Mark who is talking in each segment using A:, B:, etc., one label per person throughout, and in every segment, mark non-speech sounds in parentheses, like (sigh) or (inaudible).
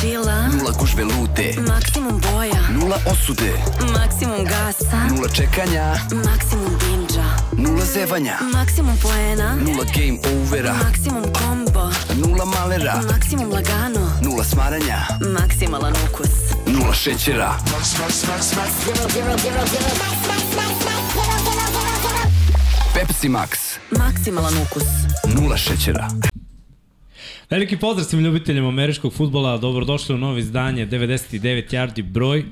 A: Čila,
B: Nula gužve lude,
A: maksimum boja,
B: nula osude,
A: maksimum gasa,
B: nula čekanja,
A: maksimum binđa,
B: nula zevanja,
A: maksimum poena,
B: nula game overa,
A: maksimum kombo,
B: nula malera,
A: maksimum lagano,
B: nula smaranja,
A: maksimalan ukus.
B: nula šećera. Pepsi Max,
A: Maksimalan ukus.
B: nula šećera.
C: Veliki pozdrav svim ljubiteljima američkog futbola, dobrodošli u novo izdanje 99 yardi broj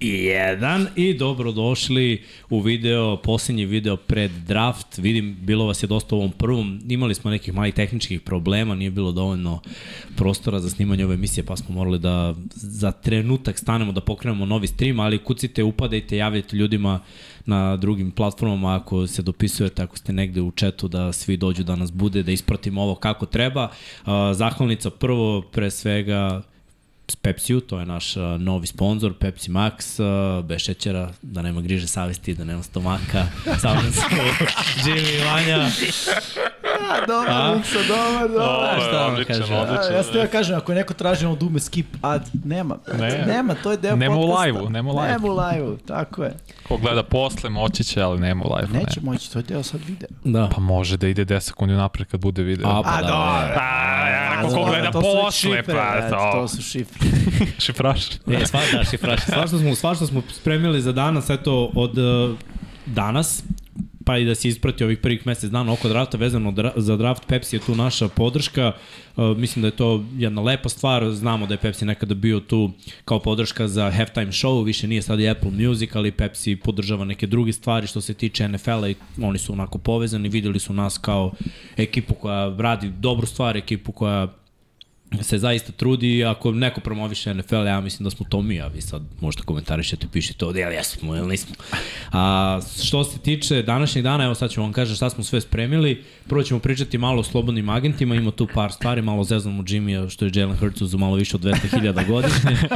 C: 131 i dobrodošli u video, posljednji video pred draft, vidim bilo vas je dosta u ovom prvom, imali smo nekih malih tehničkih problema, nije bilo dovoljno prostora za snimanje ove emisije pa smo morali da za trenutak stanemo da pokrenemo novi stream, ali kucite, upadajte, javljajte ljudima na drugim platformama ako se dopisujete, ako ste negde u četu da svi dođu da nas bude, da ispratimo ovo kako treba. A, Zahvalnica prvo, pre svega s Pepsiju, to je naš a, novi sponsor, Pepsi Max, a, bez šećera, da nema griže savesti, da nema stomaka, (laughs) samo su Jimmy i Vanja.
D: Dobar, Miksa, dobar, dobar.
C: A, šta vam
E: odličan,
C: kažem?
E: odličan.
D: Ja sam teo da kažem, ako je neko tražio ono dume skip ad, nema.
E: Ne.
D: Nema, to je deo
E: Nema u
D: podcasta.
E: live-u, nema u live-u.
D: Nema u live-u, tako je.
E: Ko gleda posle moći će, ali nema u live.
D: Neće moći, to je deo sad videa.
C: Da.
E: Pa može da ide 10 sekundi napred kad bude video.
C: A, pa
D: A,
C: da.
D: dobro.
E: pa, ja
D: A, dobro, to su
E: pa
D: šifre, brate, To su šifre.
E: Znači, Šifraš.
C: E, svašta, šifraš. (laughs) Svašta smo, svašta smo spremili za danas, eto, od uh, danas, pa i da se isprati ovih prvih mesec dana oko drafta vezano dra za draft Pepsi je tu naša podrška uh, mislim da je to jedna lepa stvar znamo da je Pepsi nekada bio tu kao podrška za halftime show više nije sad i Apple Music ali Pepsi podržava neke druge stvari što se tiče NFL-a i oni su onako povezani videli su nas kao ekipu koja radi dobru stvar ekipu koja se zaista trudi, ako neko promoviše NFL, ja mislim da smo to mi, a vi sad možete komentarišete, pišite ovde, jel jesmo, jel nismo. A, što se tiče današnjeg dana, evo sad ću vam kažem šta smo sve spremili, prvo ćemo pričati malo o slobodnim agentima, ima tu par stvari, malo zeznamo Jimmy, što je Jalen Hurts uzeo malo više od 200.000 godišnje,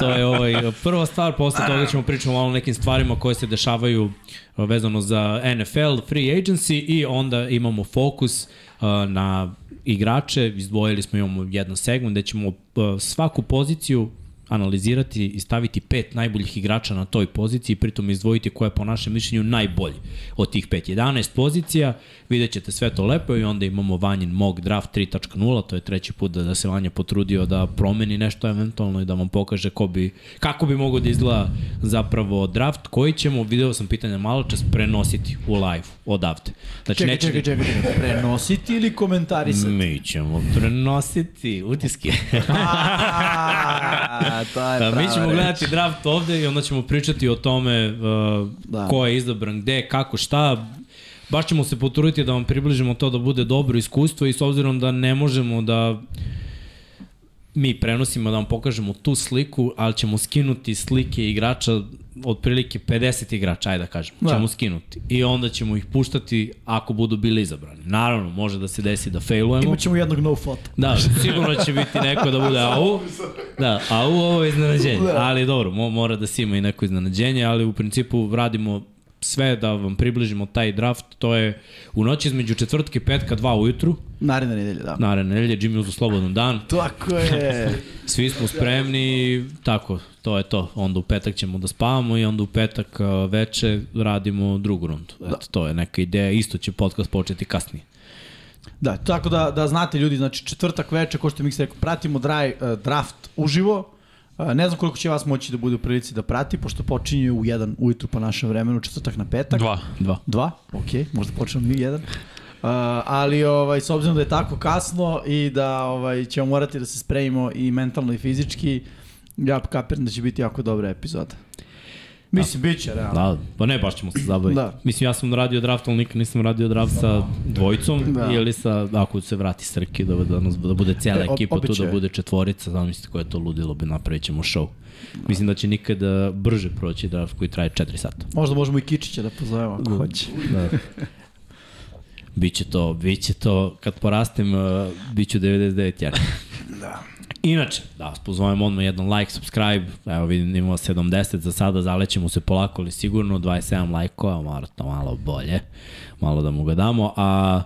C: to je ovaj, prva stvar, posle toga ćemo pričati malo o nekim stvarima koje se dešavaju uh, vezano za NFL, free agency i onda imamo fokus a, na igrače, izdvojili smo, imamo jedan segment gde ćemo uh, svaku poziciju analizirati i staviti pet najboljih igrača na toj poziciji i pritom izdvojiti ko je po našem mišljenju najbolji od tih pet. 11 pozicija, vidjet ćete sve to lepo i onda imamo Vanjin Mog Draft 3.0, to je treći put da, da se Vanja potrudio da promeni nešto eventualno i da vam pokaže ko bi, kako bi mogo da izgleda zapravo draft koji ćemo, video sam pitanja malo čas, prenositi u live odavde. Znači,
D: Čekaj,
C: neće-
D: čekaj, čekaj, čekaj. Prenositi ili
E: (laughs)
D: komentarisati?
C: Mi ćemo prenositi utiske.
D: (laughs) A, to je
C: Da, mi
D: prava
C: ćemo
D: reč.
C: gledati draft ovde i onda ćemo pričati o tome uh, da.
D: Da.
C: ko je izabran gde, kako, šta. Baš ćemo se potruditi da vam približimo to da bude dobro iskustvo i s obzirom da ne možemo da mi prenosimo da vam pokažemo tu sliku, ali ćemo skinuti slike igrača otprilike 50 igrača, ajde da kažem, da.
D: Da.
C: ćemo skinuti. I onda ćemo ih puštati ako budu bili izabrani. Naravno, može da se desi da failujemo.
D: Imaćemo jednog no foto.
C: Da, sigurno će biti neko da bude au. Da, au ovo je iznenađenje. Ali dobro, mo, mora da se ima i neko iznenađenje, ali u principu radimo sve da vam približimo taj draft. To je u noći između četvrtke i petka, dva ujutru.
D: Naredna nedelja, da.
C: Naravno, nedelje, Jimmy uzu slobodan dan.
E: (laughs)
D: Tako je.
C: Svi smo spremni i tako, to je to. Onda u petak ćemo da spavamo i onda u petak a, veče radimo drugu rundu. Eto, to je neka ideja. Isto će podcast početi kasnije.
D: Da, tako da, da znate ljudi, znači četvrtak veče, ko što mi se rekao, pratimo draj, uh, draft uživo. Uh, ne znam koliko će vas moći da bude u prilici da prati, pošto počinje u 1 ujutru po našem vremenu, četvrtak na petak.
E: Dva.
C: Dva.
D: Dva, okej, možda počnemo mi jedan. Uh, ali ovaj, s obzirom da je tako kasno i da ovaj, ćemo morati da se spremimo i mentalno i fizički, ja kapiram da će biti jako dobra epizoda. Mislim, bit će, realno.
C: Da, pa ne, baš ćemo se zabaviti. Da.
D: Da.
C: Mislim, ja sam radio draft, ali nikad nisam radio draft sa dvojicom, da.
D: Da.
C: ili sa, ako se vrati Srki, da, da, nas, da bude cijela
D: E, ob-
C: ekipa tu, da
D: običaj.
C: bude četvorica, znam mislite koje to ludilo bi napravit ćemo show. Mislim da će nikada brže proći draft koji traje 4 sata.
D: Možda možemo i Kičića da pozovemo ako hoće.
C: Da. Biće to, biće to, kad porastem, uh, biću 99 jari. Inače, da vas pozovem odmah jedan like, subscribe, evo vidim da imamo 70 za sada, zalećemo se polako ali sigurno, 27 lajkova, mora to malo bolje, malo da mu ga damo, a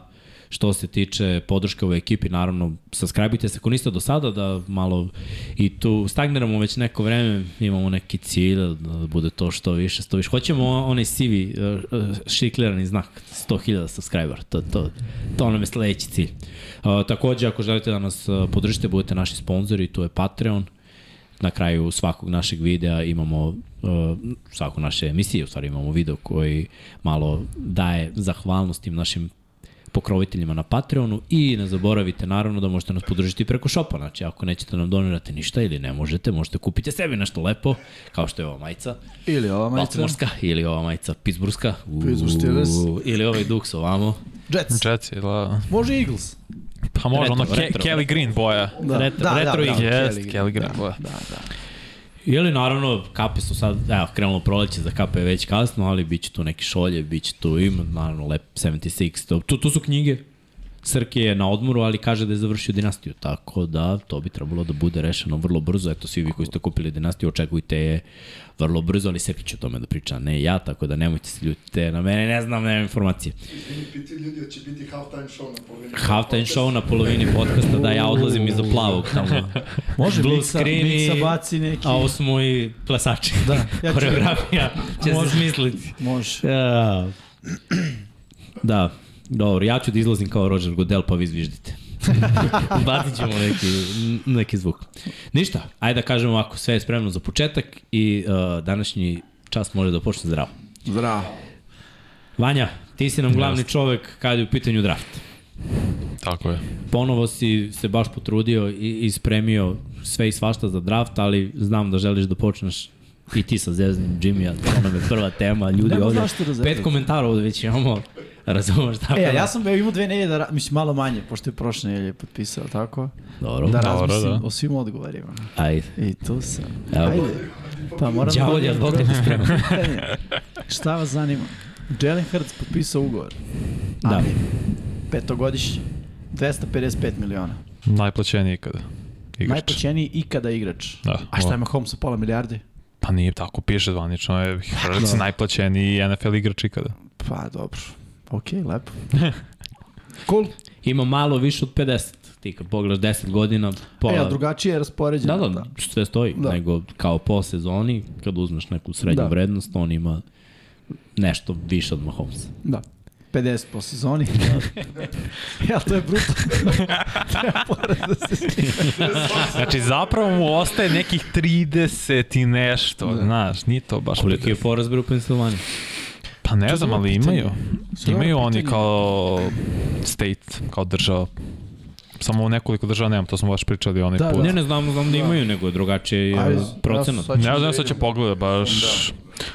C: što se tiče podrška u ekipi, naravno, subscribe-ite se ako niste do sada, da malo i tu stagniramo već neko vreme, imamo neki cilj da bude to što više, što više. Hoćemo onaj sivi, eh, eh, šiklirani znak, 100.000 subscriber, to, to, to nam je sledeći cilj. Uh, takođe, ako želite da nas eh, podržite, budete naši sponzori, to je Patreon, na kraju svakog našeg videa imamo uh, svakog naše emisije, u stvari imamo video koji malo daje zahvalnost tim našim pokroviteljima na Patreonu i ne zaboravite naravno da možete nas podržiti preko šopa, znači ako nećete nam donirati ništa ili ne možete, možete kupiti sebi nešto lepo, kao što je ova majica,
D: Ili ova majica.
C: Baltimorska ili ova majica Pittsburghska, Uuu,
D: Pittsburgh Steelers.
C: ili ovaj duks ovamo,
D: Jets.
E: Jets je, da.
D: Može Eagles.
E: Pa može,
C: Retro,
E: ono Ke,
C: retro.
E: Kelly Green boja.
D: Da.
C: Retro-
D: da,
C: retro
D: da,
C: Eagles.
D: da,
E: Jest, Kelly Green
D: da,
E: Boy.
D: Da, da.
C: Ili naravno, kape su sad, evo, krenulo proleće, za kape je već kasno, ali bit će tu neki šolje, bit će tu ima, naravno, Lep 76, to, tu, tu su knjige. Srke je na odmoru, ali kaže da je završio dinastiju, tako da to bi trebalo da bude rešeno vrlo brzo. Eto, svi vi koji ste kupili dinastiju, očekujte je vrlo brzo, ali Srke će o tome da priča, a ne ja, tako da nemojte se ljutite na mene, ne znam, nemam informacije.
F: Piti ljudi, hoće biti halftime show na polovini.
C: Halftime show na polovini podcasta, da ja odlazim iza plavog tamo.
D: Može
C: Blue
D: Miksa,
C: screen i-
D: Miksa baci neki.
C: A ovo su moji plesači.
D: Da, ja ću-
C: Koreografija će se smisliti.
D: Može.
C: Ja. E, Da, dobro, ja ću da izlazim kao Roger Goodell, pa vi (laughs) zviždite. Bacit ćemo neki, neki zvuk. Ništa, ajde da kažemo ovako, sve je spremno za početak i uh, današnji čas može da počne zdravo.
D: Zdravo.
C: Vanja, ti si nam glavni čovek kad je u pitanju draft.
E: Tako je.
C: Ponovo si se baš potrudio i, i spremio sve i svašta za draft, ali znam da želiš da počneš i ti sa zeznim Jimmy, a to nam je prva tema, ljudi
D: Nema
C: ovde,
D: zašto da zezati.
C: pet komentara ovde već imamo, (laughs) razumeš tako
D: E, a
C: da-
D: ja sam evo, imao dve nedelje da, ra- mislim malo manje, pošto je prošle nedelje potpisao, tako?
C: Dobro,
D: Da
C: da.
D: razmislim
E: Dobro, da.
D: o svim odgovorima.
C: ajde.
D: I tu sam.
C: Evo.
D: Ajde. Pa moram
C: Đavo,
D: podijelim
C: jel Bog
D: prvo
C: te sprema?
D: pitanje. (laughs) Šta vas zanima? Jalen Hurts potpisao ugovor.
C: Da.
D: Ali, Petogodišnji. 255 miliona.
E: Najplaćeniji ikada. Igrač.
D: Najplaćeniji ikada igrač.
E: Da.
D: A šta ima Holmes pola milijarde?
E: Pa nije tako, piše zvanično je Hrvac
D: Da.
E: najplaćeniji NFL igrač ikada.
D: Pa dobro. Ok, (laughs) lepo. cool.
C: Ima malo više od 50, ti kad pogledaš 10 godina,
D: Pa,
C: pola...
D: e, a drugačije je raspoređeno.
C: Da, da, sve stoji,
D: Da.
C: da. nego kao po sezoni, kad uzmeš neku srednju
D: Da.
C: da. vrednost, on ima nešto više od Mahomesa.
D: Da. 50 po sezoni. ja, to je (laughs) bruto. е
E: Znači zapravo mu ostaje nekih 30 i nešto, da. znaš, nije to baš...
C: Koliko je poraz bio u Pensilvaniji?
E: Pa ne
D: To
E: znam,
D: je
E: ali
D: pitanje.
E: imaju.
D: To je
E: Imaju oni
D: pitanje.
E: kao state, kao država. Samo u nekoliko država nemam, to smo baš pričali onaj
D: Da,
E: put.
D: da.
C: Ne, ne, znam, znam da imaju, nego je drugačije
D: Ajde,
C: Ajde,
D: ja sam-
C: procenat.
D: sad ću
E: Ne znam
D: da
E: sad će pogleda baš...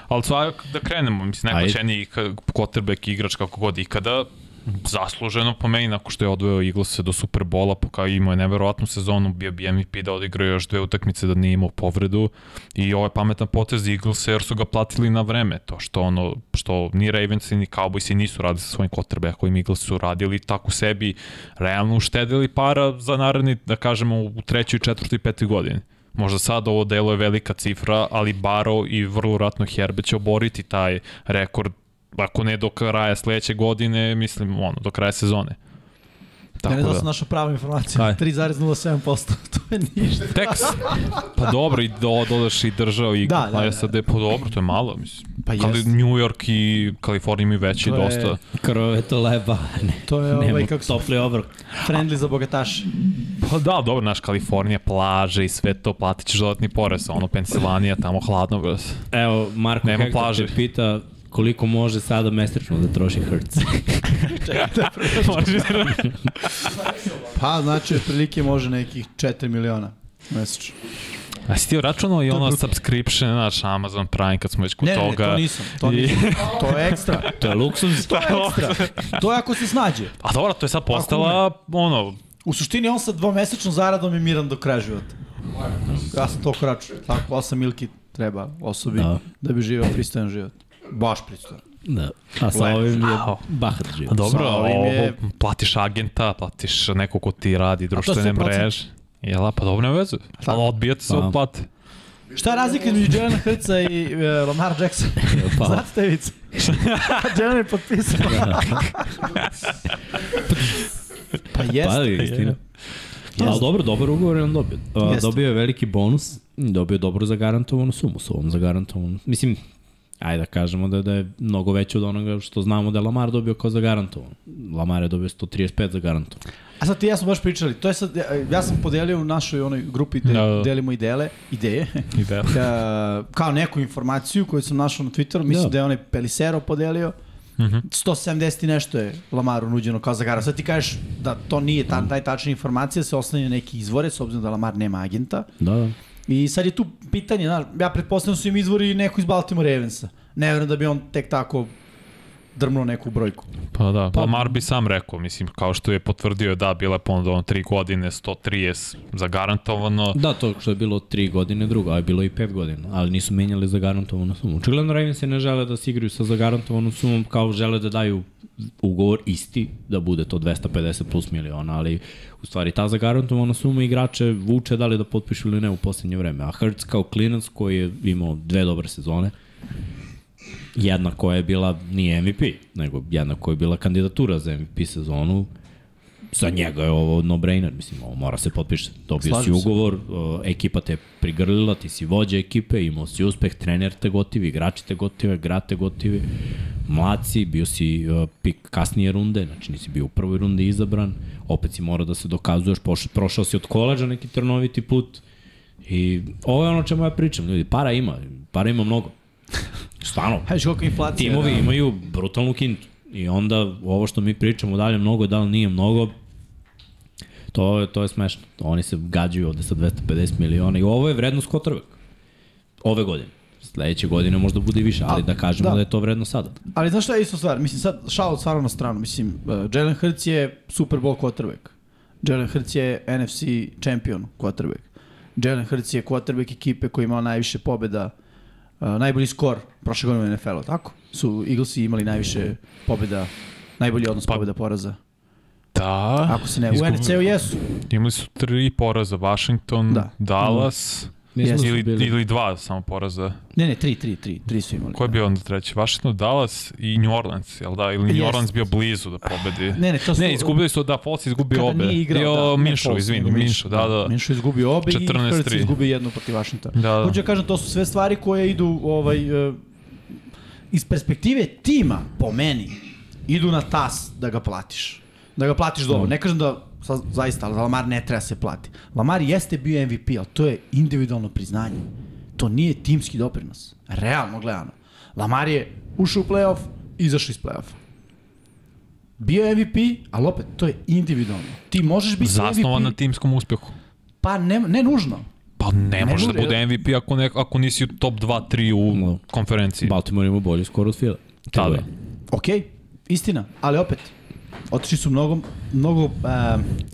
E: Ali svak da krenemo, mislim,
C: Ajde.
E: najplaćeniji quarterback igrač kako god ikada, zasluženo po meni, nakon što je odveo Eaglese do Superbola, pa kao imao je neverovatnu sezonu, bio bi MVP da odigrao još dve utakmice da nije imao povredu i ovo je pametan potez Eaglesa jer su ga platili na vreme, to što ono, što ni Ravens ni Cowboys nisu radili sa svojim quarterbackovim, Eagles su radili tako sebi, realno uštedili para za naredni, da kažemo, u trećoj, četvrtoj, petoj godini. Možda sad ovo delo je velika cifra, ali Baro i vrlo vratno Herbe će oboriti taj rekord ako ne do kraja sledeće godine, mislim, ono, do kraja sezone.
D: Ja
E: Tako
D: ne znam da
E: da.
D: sam našao pravu informaciju.
E: Kaj?
D: 3,07%. (laughs) to je ništa.
E: Teks. Pa dobro, i do, dodaš i držao i
D: Da,
E: da,
D: da, da.
E: da, SAD, pa dobro, to je malo, mislim.
D: Pa
E: Pa
D: jest.
E: New York i Kalifornija imaju veći
D: To je-
E: dosta.
C: Krove to leba, (laughs) ne.
D: To je ovaj,
C: Nemo
D: kako se
C: topli obrok.
D: friendly za bogataše.
E: Pa da, dobro, naš Kalifornija, plaže i sve to, platit ćeš dodatni porez, ono, Pensilvanija, tamo hladno, brz.
C: Evo, Marko
E: Nema
C: Nema Hector plaže.
E: plaže.
C: te pita koliko može sada mesečno da troši Hertz.
E: Može
D: Pa, znači, otprilike može nekih 4 miliona mesečno.
E: A si Pa ti računao i
D: je
E: ono
D: brutalno.
E: subscription, naš Amazon Prime, kad smo već kod
D: Ne, ne, ne,
E: toga?
D: to nisam. To,
E: I- (laughs)
D: nisam. to je ekstra.
C: (laughs) to je luksuz.
E: To je
D: Ekstra. To je ako se snađe.
E: A dobro, to je sad postala, ono,
D: U suštini on sa dvomesečnom zaradom je miran do kraja života. Ja sam toliko račun. Tako, 8 milki treba osobi da,
C: Da.
D: da bi živeo pristojan život. Baš pristojan.
C: Da. A sa ovim je
E: Au.
C: bahat živ.
E: a dobro,
D: Sa ovim
E: ovo,
D: je-
E: platiš agenta, platiš neko ko ti radi
D: sve
E: društvene
D: procent. Pa Da.
E: mreže. Jel, pa dobro ne veze. Ali odbijate se
C: Pa.
E: od plate.
D: Šta je razlika između Jelena Hrca i e, Lamar Jackson?
G: Pa.
D: Pa. Znate te (laughs) vicu? Jelen je potpisao. pa
G: Pa,
D: jeste.
G: istina.
C: Ja, ali dobro, dobar ugovor je on dobio. A,
D: Jeste.
C: dobio je veliki bonus, dobio je dobro zagarantovanu sumu s ovom zagarantovanu. Mislim, ajde da kažemo da, da je mnogo veće od onoga što znamo da je Lamar dobio kao zagarantovan. Lamar je dobio 135 zagarantovan.
D: A sad ti i ja smo baš pričali. To je sad, ja, ja sam podelio u našoj onoj grupi gde
E: Da, da.
D: delimo idele, ideje,
E: Ideja.
D: ka, Da, kao neku informaciju koju sam našao na Twitteru. Mislim
C: Da.
D: da, je onaj Pelisero podelio. 170 i nešto je Lamaru nuđeno kao zagara. Sad ti kažeš da to nije ta, najtačnija informacija, se oslanja na neki izvore, s obzirom da Lamar nema agenta.
C: Da, da.
D: I sad je tu pitanje, znaš, ja pretpostavljam da su im izvori neko iz Baltimore Ravensa. Ne verujem da bi on tek tako drmnuo neku brojku.
E: Pa da, pa, Lamar bi sam rekao, mislim, kao što je potvrdio da bila je ponuda ono 3 godine, 130 zagarantovano.
C: Da, to što je bilo 3 godine drugo, a je bilo i 5 godina, ali nisu menjali zagarantovanu sumu. Očigledno Ravens se ne žele da se igraju sa zagarantovanom sumom, kao žele da daju ugovor isti, da bude to 250 plus miliona, ali u stvari ta zagarantovana suma igrače vuče da li da potpišu ili ne u poslednje vreme. A Hertz kao klinac koji je imao dve dobre sezone, jedna koja je bila nije MVP, nego jedna koja je bila kandidatura za MVP sezonu, za njega je ovo no-brainer, mislim, ovo mora se potpiše. Dobio
D: Slažem
C: si
D: se.
C: ugovor, o, ekipa te prigrlila, ti si vođa ekipe, imao si uspeh, trener te gotivi, igrači te gotive, igrate te gotivi, mlad si, bio si o, pik kasnije runde, znači nisi bio u prvoj runde izabran, opet si mora da se dokazuješ, poš, prošao si od koleđa neki trnoviti put i ovo je ono o čemu ja pričam, ljudi, para ima, para ima
D: (laughs)
C: mnogo. Stvarno,
D: Hajde, koliko je inflacija.
C: timovi
D: da.
C: imaju brutalnu kintu. I onda ovo što mi pričamo da li je mnogo, da li nije mnogo, to je, to je smešno. Oni se gađaju ovde sa 250 miliona i ovo je vrednost kotrbek. Ove godine. Sledeće godine možda bude i više, ali da kažemo da,
D: da.
C: je to vredno sada.
D: Ali znaš šta je isto stvar? Mislim, sad šal stvarno na stranu. Mislim, uh, Jalen Hurts je Super Bowl quarterback. Jalen Hurts je NFC champion quarterback. Jalen Hurts je quarterback ekipe koji je imao najviše pobjeda, uh, najbolji skor prošle godine u NFL-u, tako? Su Eaglesi imali najviše pobjeda, najbolji odnos
E: Pa-
D: pobjeda poraza.
E: Da.
D: Ako se ne, u
E: izgubili-
D: NFC-u jesu.
E: Imali su tri poraza, Washington, da.
D: Da.
E: Dallas,
D: Jesmo
E: ili, ili dva samo poraza.
D: Ne, ne, tri, tri, tri, tri su imali.
E: Ko je bio onda treći? Washington, Dallas i New Orleans, jel da? Ili New
D: Jest.
E: Orleans bio blizu da pobedi.
D: Ne, ne, to su...
E: Ne, izgubili su, da, Foles izgubio
D: kada
E: obe.
D: nije igrao,
E: Dio
D: da, ne
E: Minšu,
D: Foles,
E: izvini,
D: nego
E: Minšu, da, da.
D: Minšu izgubio obe
E: 14-3.
D: i Hurts izgubio jednu protiv
E: Da,
D: Washingtona.
E: da.
D: Hoću da kažem, to su sve stvari koje idu ovaj, e, iz perspektive tima, po meni, idu na tas da ga platiš. Da ga platiš dobro. Ne kažem da sa, zaista, ali Lamar ne treba se plati. Lamar jeste bio MVP, ali to je individualno priznanje. To nije timski doprinos. Realno gledano. Lamar je ušao u playoff, izašao iz playoffa. Bio je MVP, ali opet, to je individualno. Ti možeš biti
E: Zasnovan na
D: MVP,
E: timskom uspjehu.
D: pa ne, ne nužno.
E: Pa ne,
D: Ne
E: može da
D: može,
E: bude MVP ako, ne, ako nisi u top 2-3 u
C: No.
E: konferenciji.
C: Baltimore ima bolje skoro od Fila.
E: Da, da.
D: Ok, istina, ali opet, otišli su mnogo, mnogo, uh,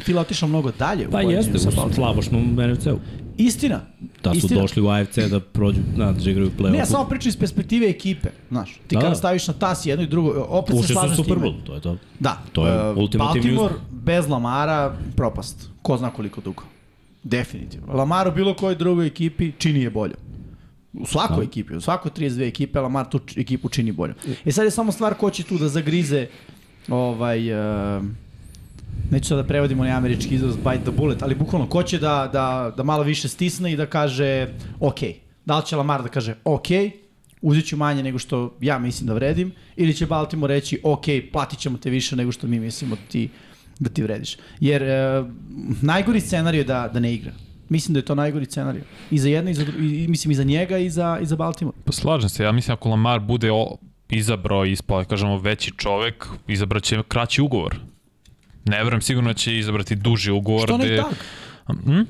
D: Fila otišao mnogo dalje
C: Pa
D: u poređenju
C: jeste,
D: sa
C: u
D: Baltimore.
C: slabošnom NFC-u.
D: Istina.
C: Da su
D: istina.
C: došli u AFC da prođu, na, da igraju u play-offu.
D: Ne, ja samo pričam iz perspektive ekipe, znaš. Ti
C: Da, da.
D: kada staviš na tas jedno i drugo, opet se
C: Ušli su u
D: slažem s
C: Super
D: time.
C: Bowl, to je to.
D: Da.
C: To je
D: E,
C: ultimativni
D: Baltimore bez Lamara propast. Ko zna koliko dugo. Definitivno. Lamar u bilo kojoj drugoj ekipi čini je bolje. U svakoj
C: Da.
D: ekipi, u svakoj 32 ekipe Lamar tu č- ekipu čini bolje. E sad je samo stvar ko će tu da zagrize ovaj... Uh, neću sad da prevodim onaj američki izraz bite the bullet, ali bukvalno ko će da, da, da malo više stisne i da kaže ok. Da li će Lamar da kaže ok, uzet ću manje nego što ja mislim da vredim, ili će Baltimore reći ok, platit ćemo te više nego što mi mislimo da ti, da ti vrediš. Jer e, najgori scenarij je da, da ne igra. Mislim da je to najgori scenarij. I za jedne, i za, dru- i, i mislim i za njega, i za, i za Baltimore.
E: Pa slažem se, ja mislim ako Lamar bude o, izabrao i ispao, da kažemo, veći čovek, izabrat će kraći ugovor. Ne verujem, sigurno će izabrati duži ugovor.
D: Što ne i
E: gde-
D: tak?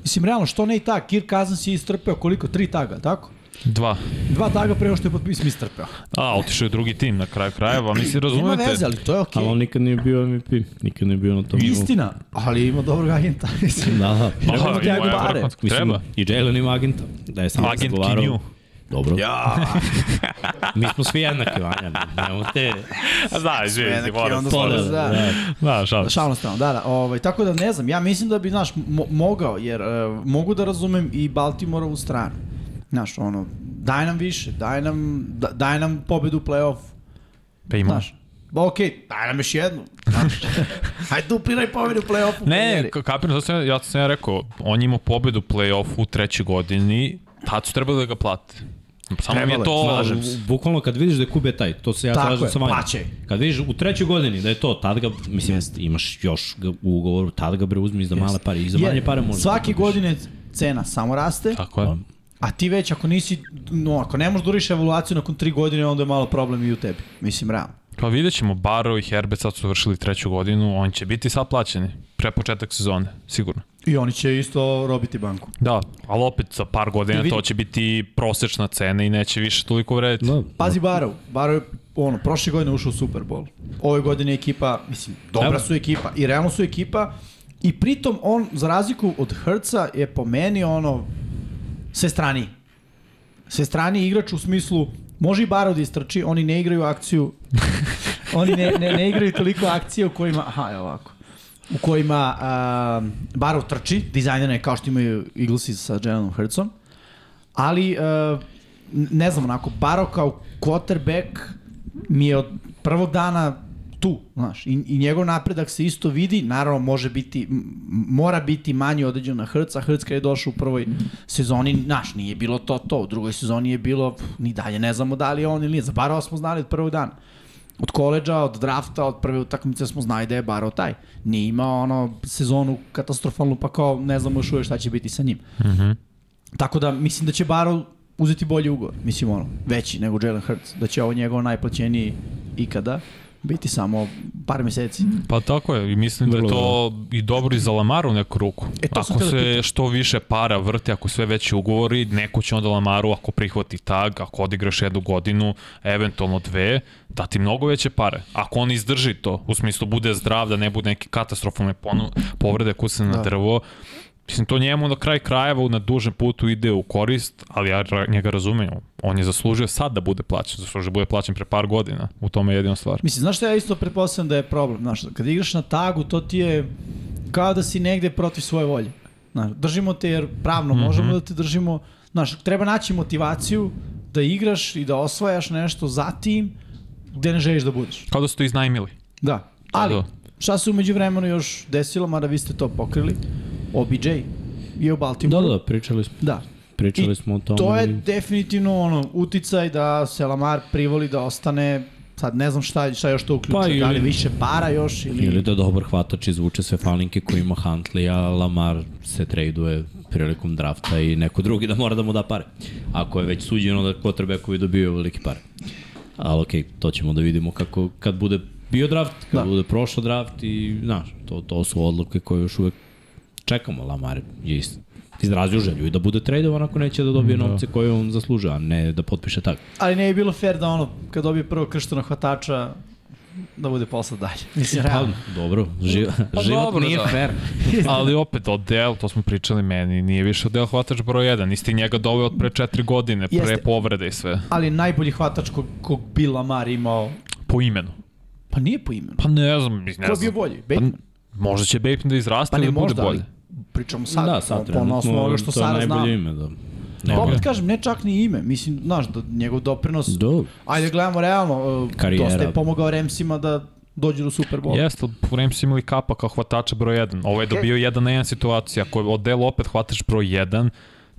D: Mislim, realno, što ne i tak? Kirk Cousins je istrpeo koliko? Tri taga, tako?
E: Dva.
D: Dva taga prema što je potpis mi istrpeo.
E: A, otišao je drugi tim na kraju krajeva, mislim,
D: Nema
E: razumete?
D: veze, ali to je okej.
C: Ali on nikad nije bio MVP, nikad nije bio na tom. nivou.
D: Istina, ali ima dobrog agenta. mislim. (laughs)
C: Da, da.
E: Aha,
D: Treba mu
E: ima je
D: Tiago Bare.
E: vrhunsko-
C: Mislim,
E: Treba.
C: I Jalen ima agenta. Da je samo
E: Agent
C: razgovarao.
E: Kinju.
C: Dobro. Ja. (laughs) Mi smo svi jednaki, Vanja. Nemo te...
E: Da, izvijezdi,
D: Sve
E: moram.
D: neki
E: to-
D: onda-
C: da,
D: da.
C: da.
E: Da, šalim se.
D: Šal na stranu, da, da. Ovaj, tako da ne znam, ja mislim da bi, znaš, mo mogao, jer e, mogu da razumem i Baltimoreovu stranu. Znaš, ono, daj nam više, daj nam, da, daj nam pobedu u play-offu.
E: Pa ima.
D: Znaš, ba okej, daj nam još jednu. Znaš, hajde dupliraj pobedu u play-offu.
E: Ne, ka- kapiram, zato sam ja, ja sam ja rekao, on je imao pobedu u play-offu u trećoj godini, tad su trebali da ga plate. Samo mi je
D: Trebalo je,
E: to...
D: slažem se.
C: Bu- Bukvalno kad vidiš da je Kube taj, to se ja
D: Tako
C: slažem
D: je,
C: sa vama.
D: plaćaj.
C: Kad vidiš u trećoj godini da je to, tad ga, mislim, imaš još ga u ugovoru, tad ga bre uzmi za male pare i za manje pare da možda.
D: Svake godine cena samo raste,
E: Tako
C: Da.
E: je.
D: a ti već ako nisi, no, ako ne možeš da uriš evaluaciju nakon tri godine, onda je malo problem i u tebi. Mislim, realno.
E: Pa vidjet ćemo, Baro i Herbert sad su vršili treću godinu, on će biti sad plaćeni, pre početak sezone, sigurno.
D: I oni će isto robiti banku.
E: Da, ali opet za par godina
D: Vidi-
E: to će biti prosečna cena i neće više toliko vrediti.
C: Da.
D: Pazi Barov, Barov je ono, prošle godine ušao u Super Bowl. Ove godine ekipa, mislim, dobra
C: Evo.
D: su ekipa i realno su ekipa i pritom on, za razliku od Hrca, je po meni ono, sve strani. Sve strani igrač u smislu, može i Barov da istrči, oni ne igraju akciju, oni ne, ne, ne igraju toliko akcije u kojima, aha, evo ovako u kojima uh, Barov trči, dizajnirane kao što imaju Eaglesi sa Jelenom Hurtsom, ali uh, ne znam, onako, Baro kao quarterback mi je od prvog dana tu, znaš, i, i njegov napredak se isto vidi, naravno može biti, m- m- mora biti manji određen na Hrca, Hrc kada je došao u prvoj sezoni, znaš, nije bilo to to, u drugoj sezoni je bilo, pf, ni dalje ne znamo da li je on ili nije, za Barova smo znali od prvog dana. Od koleđa, od drafta, od prve utakmice smo znali da je Baro taj. Nije imao ono sezonu katastrofalnu, pa kao ne znamo još uvek šta će biti sa njim. Tako da mislim da će Barrow uzeti bolji ugovor. Mislim ono, veći nego Jalen Hurts. Da će ovo njegov najplaćeniji ikada biti samo par meseci.
E: Pa tako je, i mislim da je
C: Vrlo
E: to i dobro i za Lamara u neku ruku.
D: E, to sam
E: ako
D: teo da
E: se što više para vrte, ako sve veći ugovori, neko će onda Lamaru, ako prihvati tag, ako odigraš jednu godinu, eventualno dve, dati mnogo veće pare. Ako on izdrži to, u smislu bude zdrav, da ne bude neke katastrofalne ponu, povrede kuse na
D: Da.
E: drvo, Mislim, to njemu na kraj krajeva na dužem putu ide u korist, ali ja ra- njega razumem. On je zaslužio sad da bude plaćen, zaslužio da bude plaćen pre par godina. U tome je jedina stvar.
D: Mislim, znaš šta ja isto pretpostavljam da je problem? Znaš, kad igraš na tagu, to ti je kao da si negde protiv svoje volje. Znaš, držimo te jer pravno mm -hmm. možemo da te držimo. Znaš, treba naći motivaciju da igraš i da osvajaš nešto za tim gde ne želiš da budeš.
E: Kao da su to iznajmili.
D: Da. Ali,
E: da.
D: šta se umeđu vremenu još desilo, mada vi ste to pokrili? OBJ je u
C: Da,
D: Baltimoru.
C: da, pričali smo.
D: da.
C: Pričali
D: I
C: smo o tome.
D: To je definitivno ono, uticaj da se Lamar privoli da ostane sad ne znam šta, šta još to uključuje,
C: Pa
D: pa, da li
C: ili-
D: više para još ili...
C: Ili da dobar hvatač izvuče sve falinke koje ima Huntley, a Lamar se traduje prilikom drafta i neko drugi da mora da mu da pare. Ako je već suđeno da quarterbackovi dobijaju velike pare. Ali okej, to ćemo da vidimo kako, kad bude bio draft, kad
D: Da.
C: da. bude prošao draft i znaš, to, to su odluke koje još uvek čekamo. Lamar je ist, izrazio želju i da bude tradovan ako neće da dobije novce koje on zaslužuje, a ne da potpiše tako.
D: Ali ne bi bilo fair da ono, kad dobije prvo kršteno hvatača, da bude posla dalje. Mislim,
C: Pa,
D: realno.
C: dobro, živ,
E: Pa
C: život
E: dobro,
C: nije
E: da.
C: fair.
E: (laughs) Ali opet, Odell, to smo pričali meni, nije više Odell hvatač broj 1. Nisi ti njega doveo od pre 4 godine, pre
D: Jeste.
E: povrede i sve.
D: Ali najbolji hvatač kog, kog bi Lamar imao,
E: Po imenu.
D: pa nije po imenu.
E: Pa ne znam, ne
D: Ko
E: znam.
D: je bio bolji?
C: Pa-
D: Bateman?
E: Možda će Bateman da izraste
D: Pa
E: ili
D: ne
E: da bude
D: možda,
E: bolji.
D: ali pričamo sad.
C: da, sad
D: po, na
C: trenutno,
D: osnovu onoga
C: to
D: što
C: je
D: Sara
C: najbolje
D: zna.
C: ime. Da.
D: Pa
C: Nema.
D: opet kažem, ne čak ni ime. Mislim, znaš, da njegov doprinos...
C: Do.
D: Ajde, gledamo realno, uh,
C: Karijera.
D: dosta je pomogao Remsima da dođu do Super Bowl.
E: Jeste, ali u Rams imali kapa kao hvatača broj 1. Ovo je dobio 1 na 1 situacija. Ako je Odell opet hvatač broj 1,